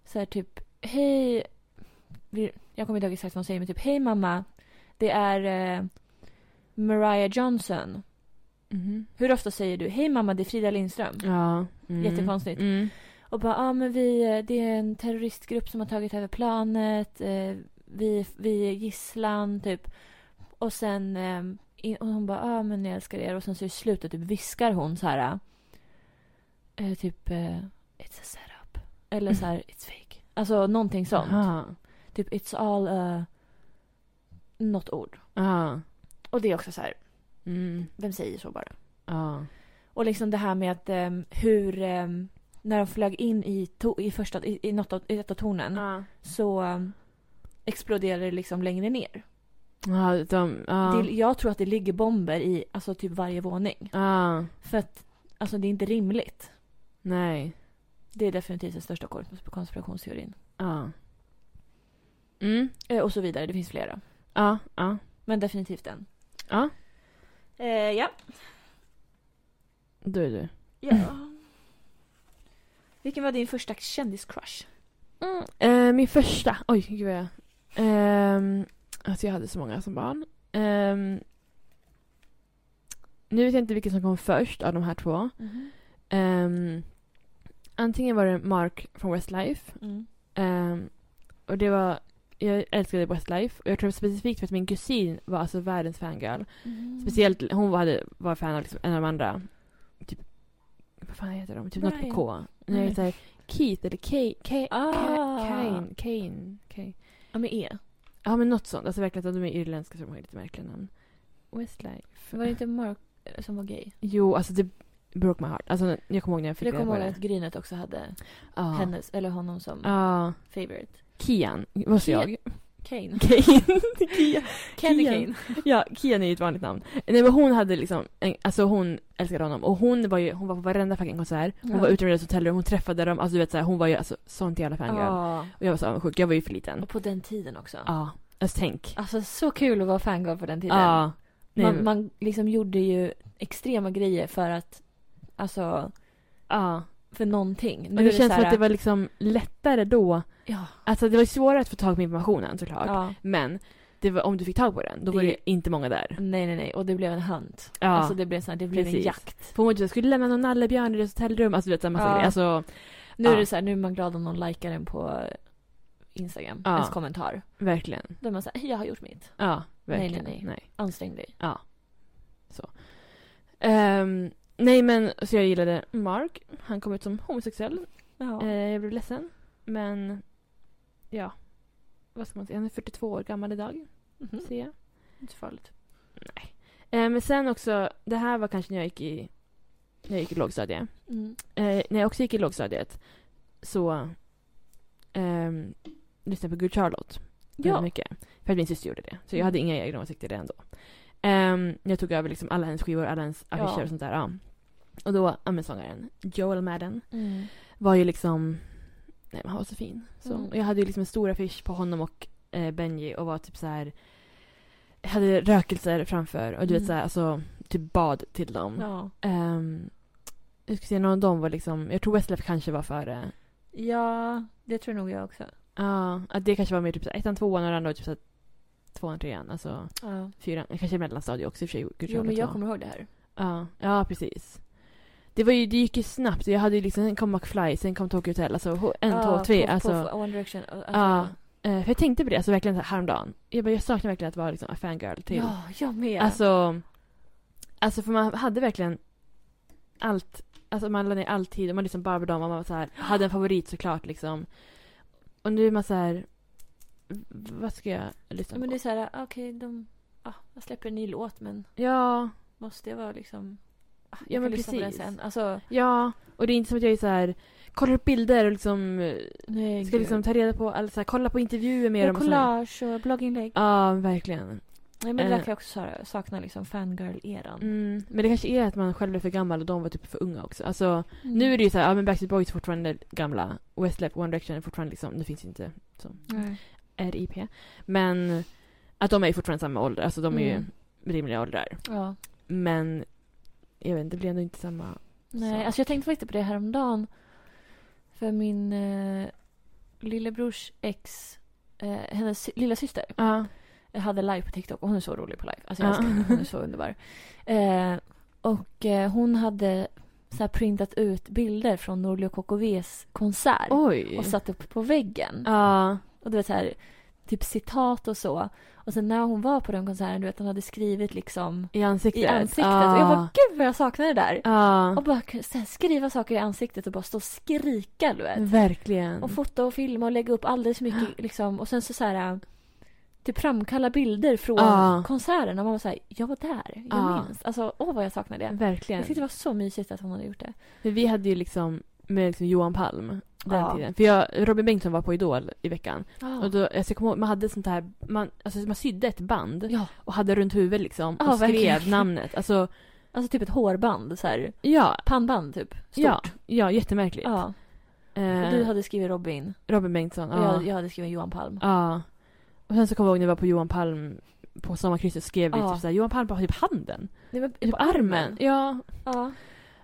Speaker 1: så här typ hej, vi- jag kommer inte ihåg exakt vad hon säger men typ hej mamma, det är eh, Mariah Johnson.
Speaker 2: Mhm.
Speaker 1: Hur ofta säger du hej mamma det är Frida Lindström?
Speaker 2: Ja. Mm.
Speaker 1: Jättekonstigt.
Speaker 2: Mm.
Speaker 1: Och bara, ja ah, men vi, eh, det är en terroristgrupp som har tagit över planet. Eh, vi, vi är gisslan, typ. Och sen, eh, in, och hon bara, ja ah, men jag älskar er. Och sen så i slutet typ viskar hon så här. Eh, typ, eh, it's a setup. Eller så här, it's fake. Alltså någonting sånt.
Speaker 2: Ja.
Speaker 1: Typ, it's all a... Något ord.
Speaker 2: Ja.
Speaker 1: Och det är också så här,
Speaker 2: Mm.
Speaker 1: vem säger så bara?
Speaker 2: Ja.
Speaker 1: Och liksom det här med att eh, hur... Eh, när de flög in i, to- i, första, i, i, något av, i ett av tornen.
Speaker 2: Ja.
Speaker 1: så um, exploderar det liksom längre ner.
Speaker 2: Ja, de... Ja.
Speaker 1: Det, jag tror att det ligger bomber i alltså, typ varje våning.
Speaker 2: Ja.
Speaker 1: För att alltså, det är inte rimligt.
Speaker 2: Nej.
Speaker 1: Det är definitivt den största kons- konspirationsteorin.
Speaker 2: Ja. Mm.
Speaker 1: Eh, och så vidare, det finns flera.
Speaker 2: Ja, ja.
Speaker 1: Men definitivt den.
Speaker 2: Ja,
Speaker 1: Eh, ja.
Speaker 2: då är du.
Speaker 1: ja. Vilken var din första kändiscrush?
Speaker 2: Eh, min första. Oj, gud vad jag... Ehm, alltså jag hade så många som barn. Ehm, nu vet jag inte vilken som kom först av de här två. Ehm, antingen var det Mark från Westlife.
Speaker 1: Mm.
Speaker 2: Ehm, och det var... Jag älskade Westlife. Och jag tror specifikt för att min kusin var alltså världens fangirl. Mm-hmm. Speciellt, hon var, hade, var fan av liksom, en av de andra. Typ, vad fan heter de? Typ något på
Speaker 1: Brian.
Speaker 2: K. Nej,
Speaker 1: Nej.
Speaker 2: så här, Keith eller Kay, Kay,
Speaker 1: Ah.
Speaker 2: Ka- Kane, Kane, Kane.
Speaker 1: Ja, med E.
Speaker 2: Ja men något sånt. Alltså verkligen att de är irländska så de har ju lite märkliga namn. Westlife.
Speaker 1: Var det inte Mark eh, som var gay?
Speaker 2: Jo, alltså det broke my heart. Alltså jag kommer ihåg när jag
Speaker 1: För
Speaker 2: fick
Speaker 1: jag kommer
Speaker 2: reda
Speaker 1: ihåg
Speaker 2: på
Speaker 1: att Grynet också hade
Speaker 2: Ja.
Speaker 1: hennes, eller honom som
Speaker 2: Ja.
Speaker 1: favorite.
Speaker 2: Kian, vad sa Alltså jag?
Speaker 1: Kane.
Speaker 2: Kane. Kian.
Speaker 1: Candy Kane.
Speaker 2: Kian. Ja, Kian är ju ett vanligt namn. Nej men hon hade liksom, en, alltså hon älskade honom och hon var ju, hon var på varenda fucking konsert. Hon
Speaker 1: Ja.
Speaker 2: var ute med deras hotellrum, hon träffade dem, alltså du vet såhär, hon var ju alltså sånt jävla fangirl.
Speaker 1: Ja.
Speaker 2: Och jag var så avundsjuk, jag var ju för liten.
Speaker 1: Och på den tiden också.
Speaker 2: Ja, alltså tänk.
Speaker 1: Alltså så kul att vara fangirl på den tiden.
Speaker 2: Ja. Nej,
Speaker 1: man, man liksom gjorde ju extrema grejer för att, alltså,
Speaker 2: ja.
Speaker 1: för någonting. Nu
Speaker 2: Och det
Speaker 1: är
Speaker 2: känns
Speaker 1: så
Speaker 2: som
Speaker 1: här-
Speaker 2: att det var liksom lättare då.
Speaker 1: Ja,
Speaker 2: Alltså det var ju svårare att få tag på informationen såklart.
Speaker 1: ja.
Speaker 2: Men det var, om du fick tag på den, då var
Speaker 1: Det-
Speaker 2: det inte många där.
Speaker 1: Nej, nej, nej. Och det blev en hunt.
Speaker 2: Ja.
Speaker 1: Alltså det blev, så här, det blev en
Speaker 2: Precis.
Speaker 1: jakt.
Speaker 2: För hon var typ så här, skulle lämna någon nallebjörn i deras hotellrum. Alltså du vet, så här massa
Speaker 1: Ja.
Speaker 2: grejer. Alltså,
Speaker 1: Nu är
Speaker 2: Ja.
Speaker 1: det så här, nu är man glad om någon likar en på Instagram.
Speaker 2: Ja.
Speaker 1: Ens kommentar.
Speaker 2: verkligen.
Speaker 1: Då är man så här, jag har gjort mitt.
Speaker 2: Ja,
Speaker 1: Nej,
Speaker 2: verkligen.
Speaker 1: nej,
Speaker 2: nej.
Speaker 1: Ansträng dig.
Speaker 2: Ehm, nej men, så jag gillade Mark. Han kom ut som homosexuell.
Speaker 1: Ja.
Speaker 2: Eh, jag blev ledsen. Men, ja. Vad ska man säga? Han är 42 år gammal idag,
Speaker 1: Mhm.
Speaker 2: ser jag.
Speaker 1: Inte så farligt.
Speaker 2: Eh, men sen också, det här var kanske när jag gick i, när jag gick i lågstadiet.
Speaker 1: Mm.
Speaker 2: Eh, när jag också gick i lågstadiet så ehm, lyssnade jag på Good Charlotte. väldigt
Speaker 1: Ja. Mm.
Speaker 2: Mycket. För För att min syster gjorde det. Så jag hade inga egna åsikter i det ändå. Ehm, jag tog över liksom alla hennes skivor, alla hennes
Speaker 1: Ja.
Speaker 2: affischer och sånt där. Ja. Och då, ja, men sångaren Joel Madden
Speaker 1: Mm.
Speaker 2: var ju liksom... Nej, men han var så fin. Så,
Speaker 1: Mm.
Speaker 2: och Jag hade ju liksom en stor affisch på honom och eh, Benji och var typ så här... Jag hade rökelser framför och du
Speaker 1: Mm.
Speaker 2: vet så här, alltså typ bad till dem.
Speaker 1: Ja.
Speaker 2: Ehm, jag ska se, någon av dem var liksom, jag tror Westlife kanske var före.
Speaker 1: ja, det tror nog jag också.
Speaker 2: Ja, att det kanske var mer typ så här ettan, tvåan och den andra var typ så här tvåan, trean, alltså
Speaker 1: Ja.
Speaker 2: fyran, kanske mellanstadiet också i och för sig. Gud,
Speaker 1: Jo, men jag
Speaker 2: tvåan.
Speaker 1: kommer ihåg det här.
Speaker 2: Ja, ja precis. Det, var ju, det gick ju snabbt. Jag hade ju liksom, sen kom McFly, sen kom Tokyo Hotel. Alltså ho- en, två, tre.
Speaker 1: Puff,
Speaker 2: Alltså,
Speaker 1: Puff, One Direction. Alltså,
Speaker 2: Ja, eh, för jag tänkte på det, alltså verkligen så här, häromdagen. Jag, bara, jag saknar verkligen att vara liksom, en fangirl till.
Speaker 1: ja, jag med.
Speaker 2: Alltså, alltså, för man hade verkligen allt. Alltså man la ner all tid och man liksom bara dem och man var så här, hade en favorit såklart liksom. Och nu är man så här, v- vad ska jag lyssna
Speaker 1: Ja,
Speaker 2: på?
Speaker 1: men det är så här, okej, de... Ah, jag släpper en ny låt, men
Speaker 2: Ja,
Speaker 1: måste jag vara liksom... Ah, jag
Speaker 2: Ja,
Speaker 1: kan
Speaker 2: men
Speaker 1: lyssna på den
Speaker 2: precis.
Speaker 1: sen. Alltså,
Speaker 2: ja. Och det är inte som att jag är så här, kollar upp bilder och liksom eh,
Speaker 1: nej,
Speaker 2: ska liksom ta reda på, eller så här, kolla på intervjuer med
Speaker 1: mer
Speaker 2: dem. och sådär.
Speaker 1: collage och blogginlägg.
Speaker 2: Ja, verkligen.
Speaker 1: Nej, men det där
Speaker 2: Eh.
Speaker 1: kan jag också sa- sakna, liksom fangirl-eran.
Speaker 2: Mm. Men det kanske är att man själv är för gammal och de var typ för unga också. Alltså,
Speaker 1: Mm.
Speaker 2: nu är det ju så här, ja men Backstreet Boys är fortfarande gamla. Westlife, One Direction är fortfarande liksom, nu finns ju inte
Speaker 1: Nej.
Speaker 2: RIP. Men att de är ju fortfarande samma ålder, alltså de är
Speaker 1: Mm.
Speaker 2: ju rimliga åldrar.
Speaker 1: Ja.
Speaker 2: Men jag vet inte, det blir ändå inte samma.
Speaker 1: Nej,
Speaker 2: Så.
Speaker 1: alltså jag tänkte faktiskt på det här om dagen. För min eh, lillebrors ex, eh, hennes sy- lilla syster
Speaker 2: Ja.
Speaker 1: Jag hade live på TikTok och hon är så rolig på live. Alltså
Speaker 2: Ja.
Speaker 1: jag älskar henne. Hon är så underbar. Eh, och eh, hon hade så här printat ut bilder från Norli och KKVs konsert.
Speaker 2: Oj.
Speaker 1: Och satt upp på väggen.
Speaker 2: Ja.
Speaker 1: Och du vet så här, typ citat och så. Och sen när hon var på den konserten, du vet hon hade skrivit liksom
Speaker 2: I ansiktet.
Speaker 1: i ansiktet.
Speaker 2: Ja.
Speaker 1: Och jag bara, gud vad jag saknar det där.
Speaker 2: Ja.
Speaker 1: Och bara kunna så här, skriva saker i ansiktet och bara stå och skrika, du vet.
Speaker 2: Verkligen.
Speaker 1: Och fota och filma och lägga upp alldeles mycket liksom. Och sen så, så här äh, typ framkalla bilder från
Speaker 2: Ja.
Speaker 1: konserten. Och man var så här, jag var där, jag
Speaker 2: Ja.
Speaker 1: minns. Alltså, åh vad jag saknar det. Jag
Speaker 2: Ah. Verkligen.
Speaker 1: tyckte det var så mysigt att hon hade gjort det.
Speaker 2: För vi hade ju liksom med liksom Johan Palm den
Speaker 1: Ja.
Speaker 2: tiden. För jag, Robin Bengtsson var på Idol i veckan.
Speaker 1: Ja,
Speaker 2: Och då, alltså jag kommer ihåg, man hade sånt här, man, alltså man sydde ett band
Speaker 1: ja.
Speaker 2: och hade runt huvudet liksom.
Speaker 1: Ja,
Speaker 2: och skrev
Speaker 1: verkligen.
Speaker 2: namnet. Alltså,
Speaker 1: alltså typ ett hårband, så här,
Speaker 2: ja.
Speaker 1: pannband typ. Stort.
Speaker 2: Ja, ja jättemärkligt.
Speaker 1: Ja. Och
Speaker 2: Eh, Ah.
Speaker 1: du hade skrivit Robin
Speaker 2: Robin Bengtsson.
Speaker 1: och
Speaker 2: Ja.
Speaker 1: jag, jag hade skrivit Johan Palm.
Speaker 2: ja. Och sen så kommer jag ihåg när jag var på Johan Palm på sommarkrysset skrev vi
Speaker 1: Ja.
Speaker 2: typ såhär, Johan Palm bara typ handen.
Speaker 1: Nej, men,
Speaker 2: Typ armen. Ja.
Speaker 1: Ja.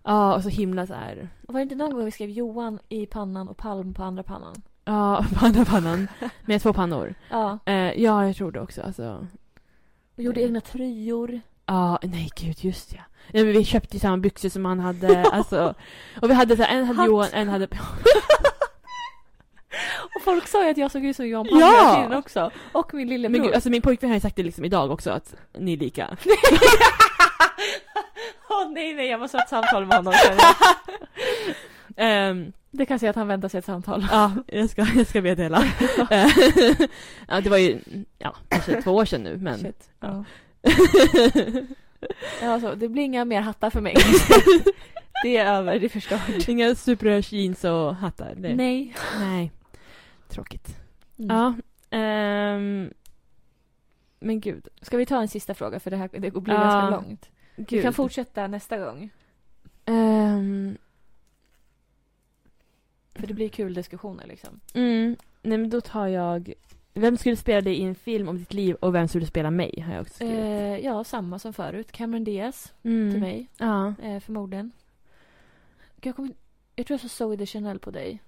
Speaker 2: Ja, och så himla såhär.
Speaker 1: Och var det inte någon gång vi skrev Johan i pannan och Palm på andra pannan?
Speaker 2: Ja, på andra pannan. Med två pannor.
Speaker 1: Ja.
Speaker 2: Eh, ja, jag tror det också alltså.
Speaker 1: Och gjorde
Speaker 2: Nej.
Speaker 1: egna tröjor.
Speaker 2: Ja, nej gud just ja. ja men vi köpte ju samma byxor som han hade. alltså. Och vi hade såhär, en hade
Speaker 1: Hatt.
Speaker 2: Johan, en hade...
Speaker 1: Och folk sa ju att jag såg ut som Johan Palme
Speaker 2: Ja!
Speaker 1: hela tiden också. Och min
Speaker 2: Men
Speaker 1: lillebror.
Speaker 2: gud, alltså min pojkvän har ju sagt det liksom idag också att ni är lika.
Speaker 1: Åh nej, nej, jag måste ha ett samtal med honom.
Speaker 2: Ehm,
Speaker 1: Det kan säga att han väntar sig ett samtal.
Speaker 2: Ja, jag ska, jag ska meddela. Eh, ja, det var ju ja, kanske två år sedan nu, men...
Speaker 1: Shit. Ja. Alltså, det blir inga mer hattar för mig. det är över, det är förstört.
Speaker 2: Inga superröda jeans och hattar. Det.
Speaker 1: Nej.
Speaker 2: Nej. Tråkigt.
Speaker 1: Mm.
Speaker 2: Ja. ehm, men gud.
Speaker 1: Ska vi ta en sista fråga för det här det blir
Speaker 2: Ja.
Speaker 1: ganska långt.
Speaker 2: gud.
Speaker 1: Vi kan fortsätta nästa gång.
Speaker 2: Ehm,
Speaker 1: För det blir kul diskussioner liksom.
Speaker 2: mm, nej, men då tar jag... Vem skulle spela dig i en film om ditt liv och vem skulle spela mig? Har jag också skrivit.
Speaker 1: Eh, ja, samma som förut. Cameron Diaz
Speaker 2: Mm.
Speaker 1: till mig,
Speaker 2: Ja.
Speaker 1: eh, förmodligen. Gud, Jag, kommer... in- jag tror jag sa Zoe Deschanel på dig.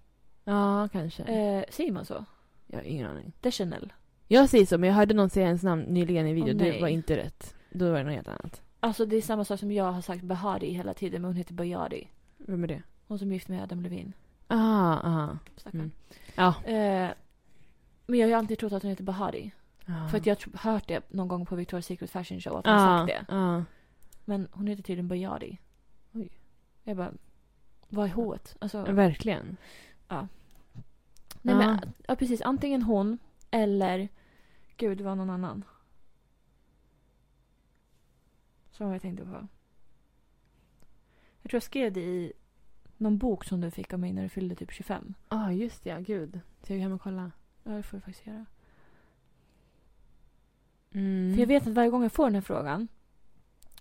Speaker 2: Ja, kanske.
Speaker 1: Eh, säger man så?
Speaker 2: jag har ingen aning.
Speaker 1: Deschanel.
Speaker 2: Jag säger så, men jag hörde någon säga ens namn nyligen i en video.
Speaker 1: Åh, nej.
Speaker 2: det var inte rätt. Då var det något helt annat.
Speaker 1: Alltså det är samma sak som jag har sagt Bahari hela tiden, men hon heter Bayari.
Speaker 2: Vem är det?
Speaker 1: Hon som är gift med Adam Levin.
Speaker 2: Ah, ah.
Speaker 1: Stackarn.
Speaker 2: Ja. Mm.
Speaker 1: Eh, men jag har ju alltid trott att hon heter Bahari.
Speaker 2: ah.
Speaker 1: För att jag har tro- hört det någon gång på Victoria's Secret Fashion Show att hon har
Speaker 2: ah,
Speaker 1: sagt det.
Speaker 2: Ah.
Speaker 1: Men hon heter tydligen Bayari.
Speaker 2: Oj.
Speaker 1: Jag bara, vad är H't? Alltså,
Speaker 2: Verkligen.
Speaker 1: nej
Speaker 2: ja.
Speaker 1: men, ja precis. Antingen hon eller, gud det var någon annan. Som jag tänkte på. Jag tror jag skrev det i någon bok som du fick av mig när du fyllde typ 25.
Speaker 2: Ja, ah, just det. Ja, gud. Ska jag gå hem och kolla?
Speaker 1: Ja, det får vi faktiskt göra.
Speaker 2: Mm.
Speaker 1: För jag vet att varje gång jag får den här frågan,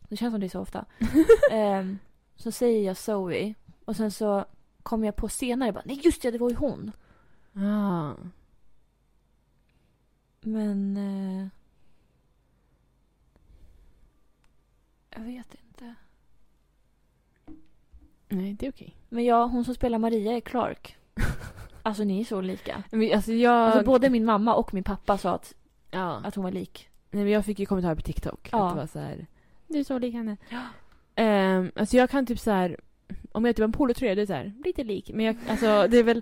Speaker 1: det känns som det är så ofta, ehm, så säger jag Zoe och sen så kommer jag på senare bara, nej just det, det var ju hon.
Speaker 2: Ah.
Speaker 1: Men... Eh, jag vet inte.
Speaker 2: Nej, det är okej.
Speaker 1: Men ja, hon som spelar Maria är Clark. alltså ni är så lika.
Speaker 2: Men Alltså jag...
Speaker 1: Alltså, både min mamma och min pappa sa att,
Speaker 2: ja.
Speaker 1: att hon var lik.
Speaker 2: Nej, men jag fick ju kommentarer på TikTok.
Speaker 1: Ja.
Speaker 2: Att det var så här, du är så lik henne.
Speaker 1: Ja.
Speaker 2: Ehm, alltså jag kan typ så här, om jag typ har en polotröja, det är så här, lite lik. Men jag, alltså det är väl...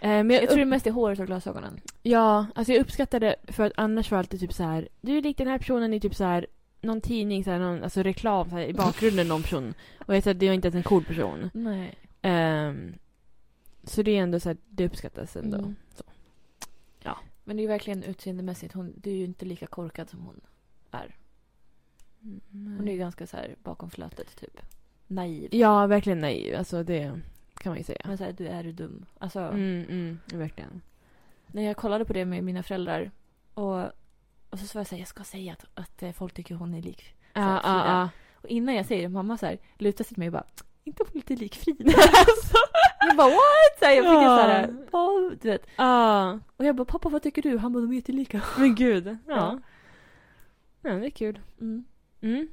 Speaker 2: eh, men jag,
Speaker 1: Jag tror det mest är håret och glasögonen.
Speaker 2: Ja, alltså jag uppskattar det för att annars var det alltid typ så här, du är lik den här personen i typ så här någon tidning, så här, någon, alltså reklam så här, i bakgrunden någon person. Och jag sa att det var inte ens en cool person.
Speaker 1: Nej.
Speaker 2: Ehm, så det är ändå så här, det uppskattas ändå.
Speaker 1: Mm.
Speaker 2: Så.
Speaker 1: Ja. Men det är ju verkligen utseendemässigt. Hon, du är ju inte lika korkad som hon är. Hon är ju ganska så här bakom flötet typ. Naiv.
Speaker 2: Ja, verkligen naiv. Alltså det kan man ju säga.
Speaker 1: Men så här, du är dum. Alltså,
Speaker 2: Mm, mm, verkligen.
Speaker 1: när jag kollade på det med mina föräldrar och, och så sa jag så här, jag ska säga att, att eh, folk tycker hon är lik. Så här,
Speaker 2: Ja, ja, ja.
Speaker 1: Och innan jag säger det, mamma så här, lutar sig till mig och bara inte hon lite lik Frida? Alltså, jag bara what? Så här, jag fick en så här, "Åh", du vet.
Speaker 2: Ja,
Speaker 1: Och jag bara pappa vad tycker du? Han bara de är jättelika.
Speaker 2: men gud.
Speaker 1: Ja.
Speaker 2: Ja. Ja, det är kul.
Speaker 1: Mm.
Speaker 2: Mm.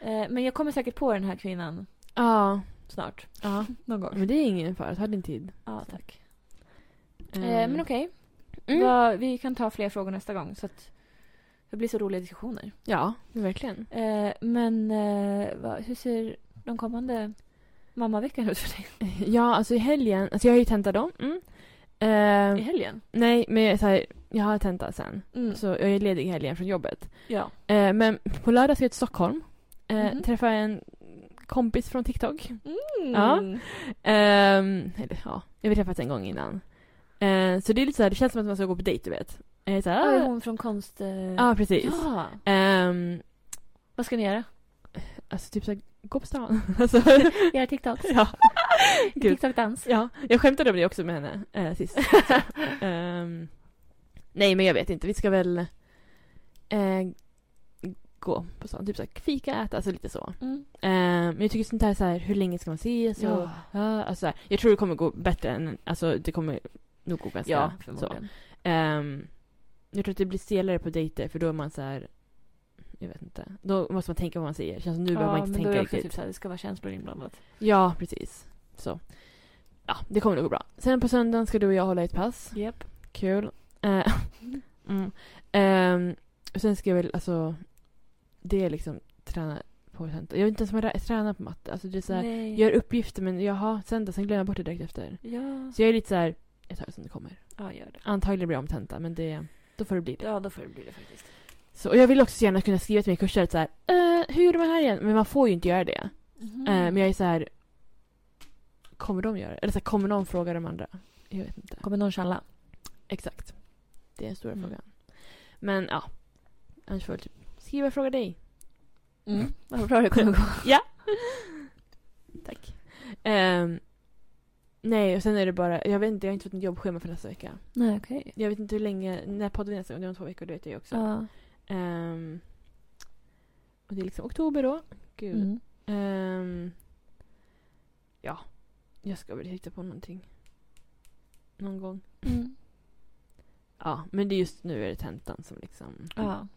Speaker 1: Eh, men jag kommer säkert på den här kvinnan
Speaker 2: Ja.
Speaker 1: snart.
Speaker 2: Ja.
Speaker 1: Någon gång.
Speaker 2: Men det är ingen fara, ta din tid.
Speaker 1: Ja tack.
Speaker 2: Ehm,
Speaker 1: Eh, men okej,
Speaker 2: mm.
Speaker 1: Vad- vi kan ta fler frågor nästa gång. Så att det blir så roliga diskussioner.
Speaker 2: Ja, verkligen.
Speaker 1: Eh, men eh, vad- hur ser de kommande mammaveckan ut för dig?
Speaker 2: Ja, alltså i helgen. Alltså jag har ju tenta då. Mm.
Speaker 1: I
Speaker 2: Ehm,
Speaker 1: helgen?
Speaker 2: nej, men jag, så här, jag har tenta sen.
Speaker 1: Mm.
Speaker 2: Så jag är ledig i helgen från jobbet.
Speaker 1: Ja.
Speaker 2: Ehm, men på lördag ska jag till Stockholm. Ehm,
Speaker 1: Mhm.
Speaker 2: Träffa en kompis från TikTok.
Speaker 1: Mm.
Speaker 2: Ehm, eller ja, jag har träffats en gång innan. Ehm, så det är lite så här, det känns som att man ska gå på dejt, du vet. Eh, så
Speaker 1: Ja. Är
Speaker 2: här, ah,
Speaker 1: hon från konst... Eh...
Speaker 2: ja, precis.
Speaker 1: ja.
Speaker 2: Ehm,
Speaker 1: Vad ska ni göra?
Speaker 2: alltså typ så här, gå på stan. alltså,
Speaker 1: Göra TikToks?
Speaker 2: ja. Gud.
Speaker 1: TikTok-dans?
Speaker 2: ja, jag skämtade om det också med henne eh, sist. Ehm, nej, men jag vet inte. Vi ska väl eh, gå på stan. Typ så här, fika, äta, alltså lite så.
Speaker 1: Mm.
Speaker 2: Ehm, men jag tycker sånt här, så här, hur länge ska man ses? Och,
Speaker 1: Ja.
Speaker 2: ja, alltså, så här, jag tror det kommer gå bättre än, alltså det kommer nog gå ganska
Speaker 1: Ja,
Speaker 2: så.
Speaker 1: förmodligen.
Speaker 2: Ehm, jag tror att det blir stelare på dejter för då är man så här. Jag vet inte. Då måste man tänka vad man säger. Känns som nu behöver man
Speaker 1: men
Speaker 2: inte
Speaker 1: då är
Speaker 2: tänka
Speaker 1: det också
Speaker 2: riktigt.
Speaker 1: typ så här, det ska vara känslor inblandat.
Speaker 2: Ja, precis. Så. Ja, det kommer nog gå bra. Sen på söndagen ska du och jag hålla ett pass.
Speaker 1: Yep.
Speaker 2: Kul. Eh, mm. Ehm, och sen ska jag väl alltså. Det är liksom träna på söndag. Jag vet inte ens om jag rä- tränar på matte. Alltså det är så här.
Speaker 1: Nej.
Speaker 2: Gör uppgifter men jaha, söndag. Sen glömmer jag bort det direkt efter.
Speaker 1: Ja.
Speaker 2: Så jag är lite så här. Jag tar det som det kommer.
Speaker 1: ja, gör det.
Speaker 2: Antagligen blir det om tenta men det. Då får det bli det.
Speaker 1: Ja, då får det bli det faktiskt.
Speaker 2: Så, och jag vill också gärna kunna skriva till mina kurser så här, eh, hur gjorde man här igen? Men man får ju inte göra det.
Speaker 1: Mm-hmm.
Speaker 2: Eh,
Speaker 1: Mm.
Speaker 2: men jag är så här, kommer de göra det? Eller så här, kommer någon fråga de andra? Jag vet inte.
Speaker 1: Kommer någon tjalla?
Speaker 2: Exakt. Det är den stora
Speaker 1: Mm.
Speaker 2: frågan. Men ja, annars får jag typ skriva och fråga dig.
Speaker 1: Mm. Vad bra det kommer gå.
Speaker 2: Tack. Ehm, nej, och sen är det bara, jag vet inte, jag har inte fått något jobbschema för nästa vecka.
Speaker 1: Nej, okej.
Speaker 2: Jag vet inte hur länge, när poddar vi nästa gång? Det är om två veckor, det vet jag ju också.
Speaker 1: Ja.
Speaker 2: Ehm, och det är liksom oktober då. Gud.
Speaker 1: Mm.
Speaker 2: Ehm, ja, jag ska väl hitta på någonting. Någon gång.
Speaker 1: Mm.
Speaker 2: Ja, men det är just nu är det tentan som liksom...
Speaker 1: Ja.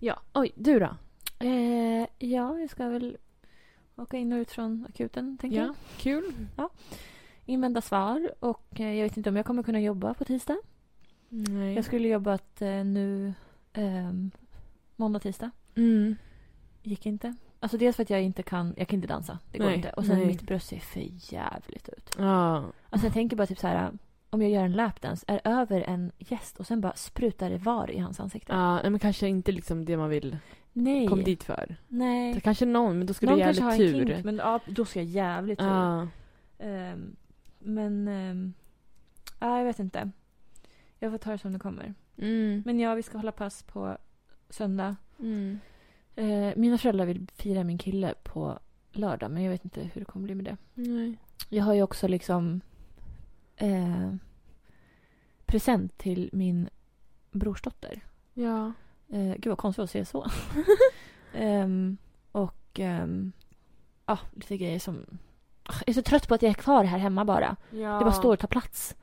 Speaker 2: Ja, oj, du då?
Speaker 1: Eh, ja, jag ska väl åka in och ut från akuten, tänker jag.
Speaker 2: kul.
Speaker 1: Invända svar och eh, jag vet inte om jag kommer kunna jobba på tisdag.
Speaker 2: Nej.
Speaker 1: Jag skulle jobbat eh, nu ehm, måndag, tisdag.
Speaker 2: Mm.
Speaker 1: Gick inte. Alltså dels för att jag inte kan, jag kan inte dansa. Det går
Speaker 2: Nej,
Speaker 1: inte. Och sen
Speaker 2: nej.
Speaker 1: mitt bröst ser för jävligt ut.
Speaker 2: Ja.
Speaker 1: Alltså jag tänker bara typ så här om jag gör en lapdance, är över en gäst och sen bara sprutar det var i hans ansikte.
Speaker 2: Ja, nej, men kanske inte liksom det man vill
Speaker 1: Nej.
Speaker 2: komma dit för.
Speaker 1: Nej.
Speaker 2: Det kanske någon, men då ska
Speaker 1: Någon
Speaker 2: du ha
Speaker 1: kanske har
Speaker 2: jävligt
Speaker 1: en
Speaker 2: tur.
Speaker 1: kink, men ja, då ska jag jävligt tur.
Speaker 2: ja.
Speaker 1: Ehm, men... ehm, ja, jag vet inte. Jag får ta det som det kommer.
Speaker 2: Mm.
Speaker 1: Men ja, vi ska hålla pass på söndag.
Speaker 2: Mm.
Speaker 1: Eh, mina föräldrar vill fira min kille på lördag, men jag vet inte hur det kommer bli med det.
Speaker 2: Nej.
Speaker 1: Jag har ju också liksom... eh, present till min brorsdotter
Speaker 2: Ja.
Speaker 1: Eh, gud vad konstigt att säga så. Ehm, och ehm, ja, lite grejer som... Ah, Jag är så trött på att jag är kvar här hemma bara.
Speaker 2: ja.
Speaker 1: Det bara står och tar plats.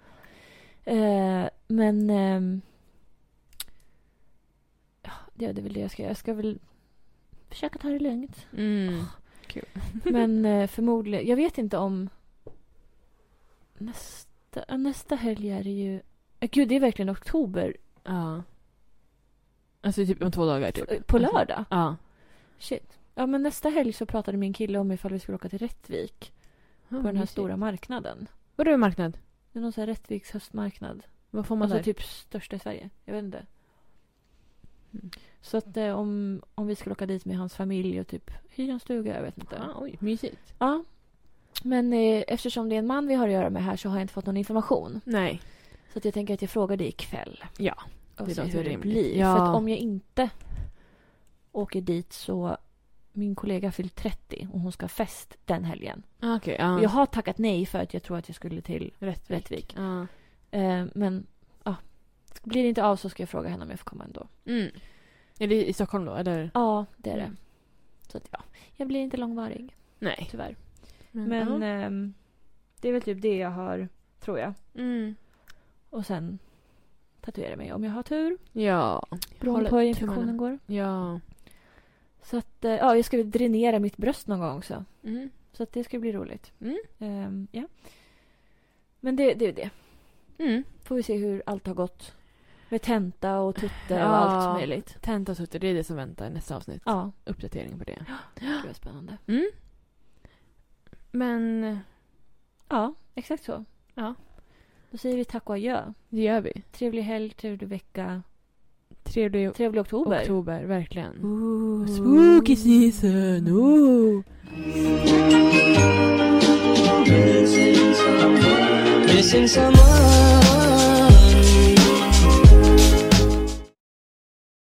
Speaker 1: Eh, men... ehm, ja, det är väl det jag ska göra. Jag ska väl försöka ta det lugnt.
Speaker 2: Mm.
Speaker 1: Men eh, förmodligen... Jag vet inte om... Nästa, ja, nästa helg är det ju... Eh, Gud, det är verkligen oktober.
Speaker 2: Ja. Alltså typ om två dagar typ.
Speaker 1: eh, På lördag.
Speaker 2: Ja.
Speaker 1: Shit. Ja, men nästa helg så pratade min kille om ifall vi skulle åka till Rättvik på den här stora marknaden.
Speaker 2: Vad är det för marknad?
Speaker 1: Det är någon sån här Rättviks höstmarknad.
Speaker 2: Vad får man
Speaker 1: Alltså
Speaker 2: där?
Speaker 1: typ största i Sverige. Jag vet inte.
Speaker 2: Mm.
Speaker 1: Så att eh, om, om vi skulle åka dit med hans familj och typ hyra en stuga, jag vet inte.
Speaker 2: ah, oj, mysigt.
Speaker 1: Ja. Men eh, eftersom det är en man vi har att göra med här så har jag inte fått någon information.
Speaker 2: Nej.
Speaker 1: Så att jag tänker att jag frågar dig ikväll.
Speaker 2: Ja,
Speaker 1: Och
Speaker 2: det
Speaker 1: ser
Speaker 2: låter
Speaker 1: hur det
Speaker 2: rimligt.
Speaker 1: blir.
Speaker 2: Ja.
Speaker 1: För att om jag inte åker dit så... Min kollega har fyllt 30 och hon ska ha fest den helgen.
Speaker 2: Ah, Okej, ja.
Speaker 1: Och jag har tackat nej för att jag tror att jag skulle till...
Speaker 2: Rättvik.
Speaker 1: Rättvik.
Speaker 2: Ja.
Speaker 1: Eh, men ja. Blir det inte av så ska jag fråga henne om jag får komma ändå.
Speaker 2: Mm. Är det i Stockholm då, eller?
Speaker 1: Ja, det är det.
Speaker 2: Mm.
Speaker 1: Så att, ja. Jag blir inte långvarig,
Speaker 2: Nej.
Speaker 1: tyvärr.
Speaker 2: Mm,
Speaker 1: Men ehm, det är väl typ det jag har, tror jag.
Speaker 2: Mm.
Speaker 1: Och sen tatuera mig om jag har tur.
Speaker 2: Ja.
Speaker 1: Beroende
Speaker 2: Håller
Speaker 1: på hur infektionen
Speaker 2: tummarna.
Speaker 1: går.
Speaker 2: Ja.
Speaker 1: Så att, eh, ja, jag ska väl dränera mitt bröst någon gång också.
Speaker 2: Mm.
Speaker 1: Så att det ska bli roligt.
Speaker 2: Mm.
Speaker 1: Ehm, ja. Men det, det är det.
Speaker 2: Mm.
Speaker 1: Får vi se hur allt har gått. Med tenta och tutte och
Speaker 2: Ja.
Speaker 1: allt möjligt.
Speaker 2: Tenta och sutter, det är det som väntar i nästa avsnitt.
Speaker 1: Ja,
Speaker 2: Uppdatering på det.
Speaker 1: det var spännande.
Speaker 2: Men
Speaker 1: Ja, exakt så.
Speaker 2: Ja.
Speaker 1: Då säger vi tack och adjö.
Speaker 2: det gör vi.
Speaker 1: Trevlig helg, trevlig vecka.
Speaker 2: Trevlig
Speaker 1: Trevlig oktober.
Speaker 2: oktober, verkligen.
Speaker 1: Ooh.
Speaker 2: Spooky season! Ooh.
Speaker 3: Missing someone.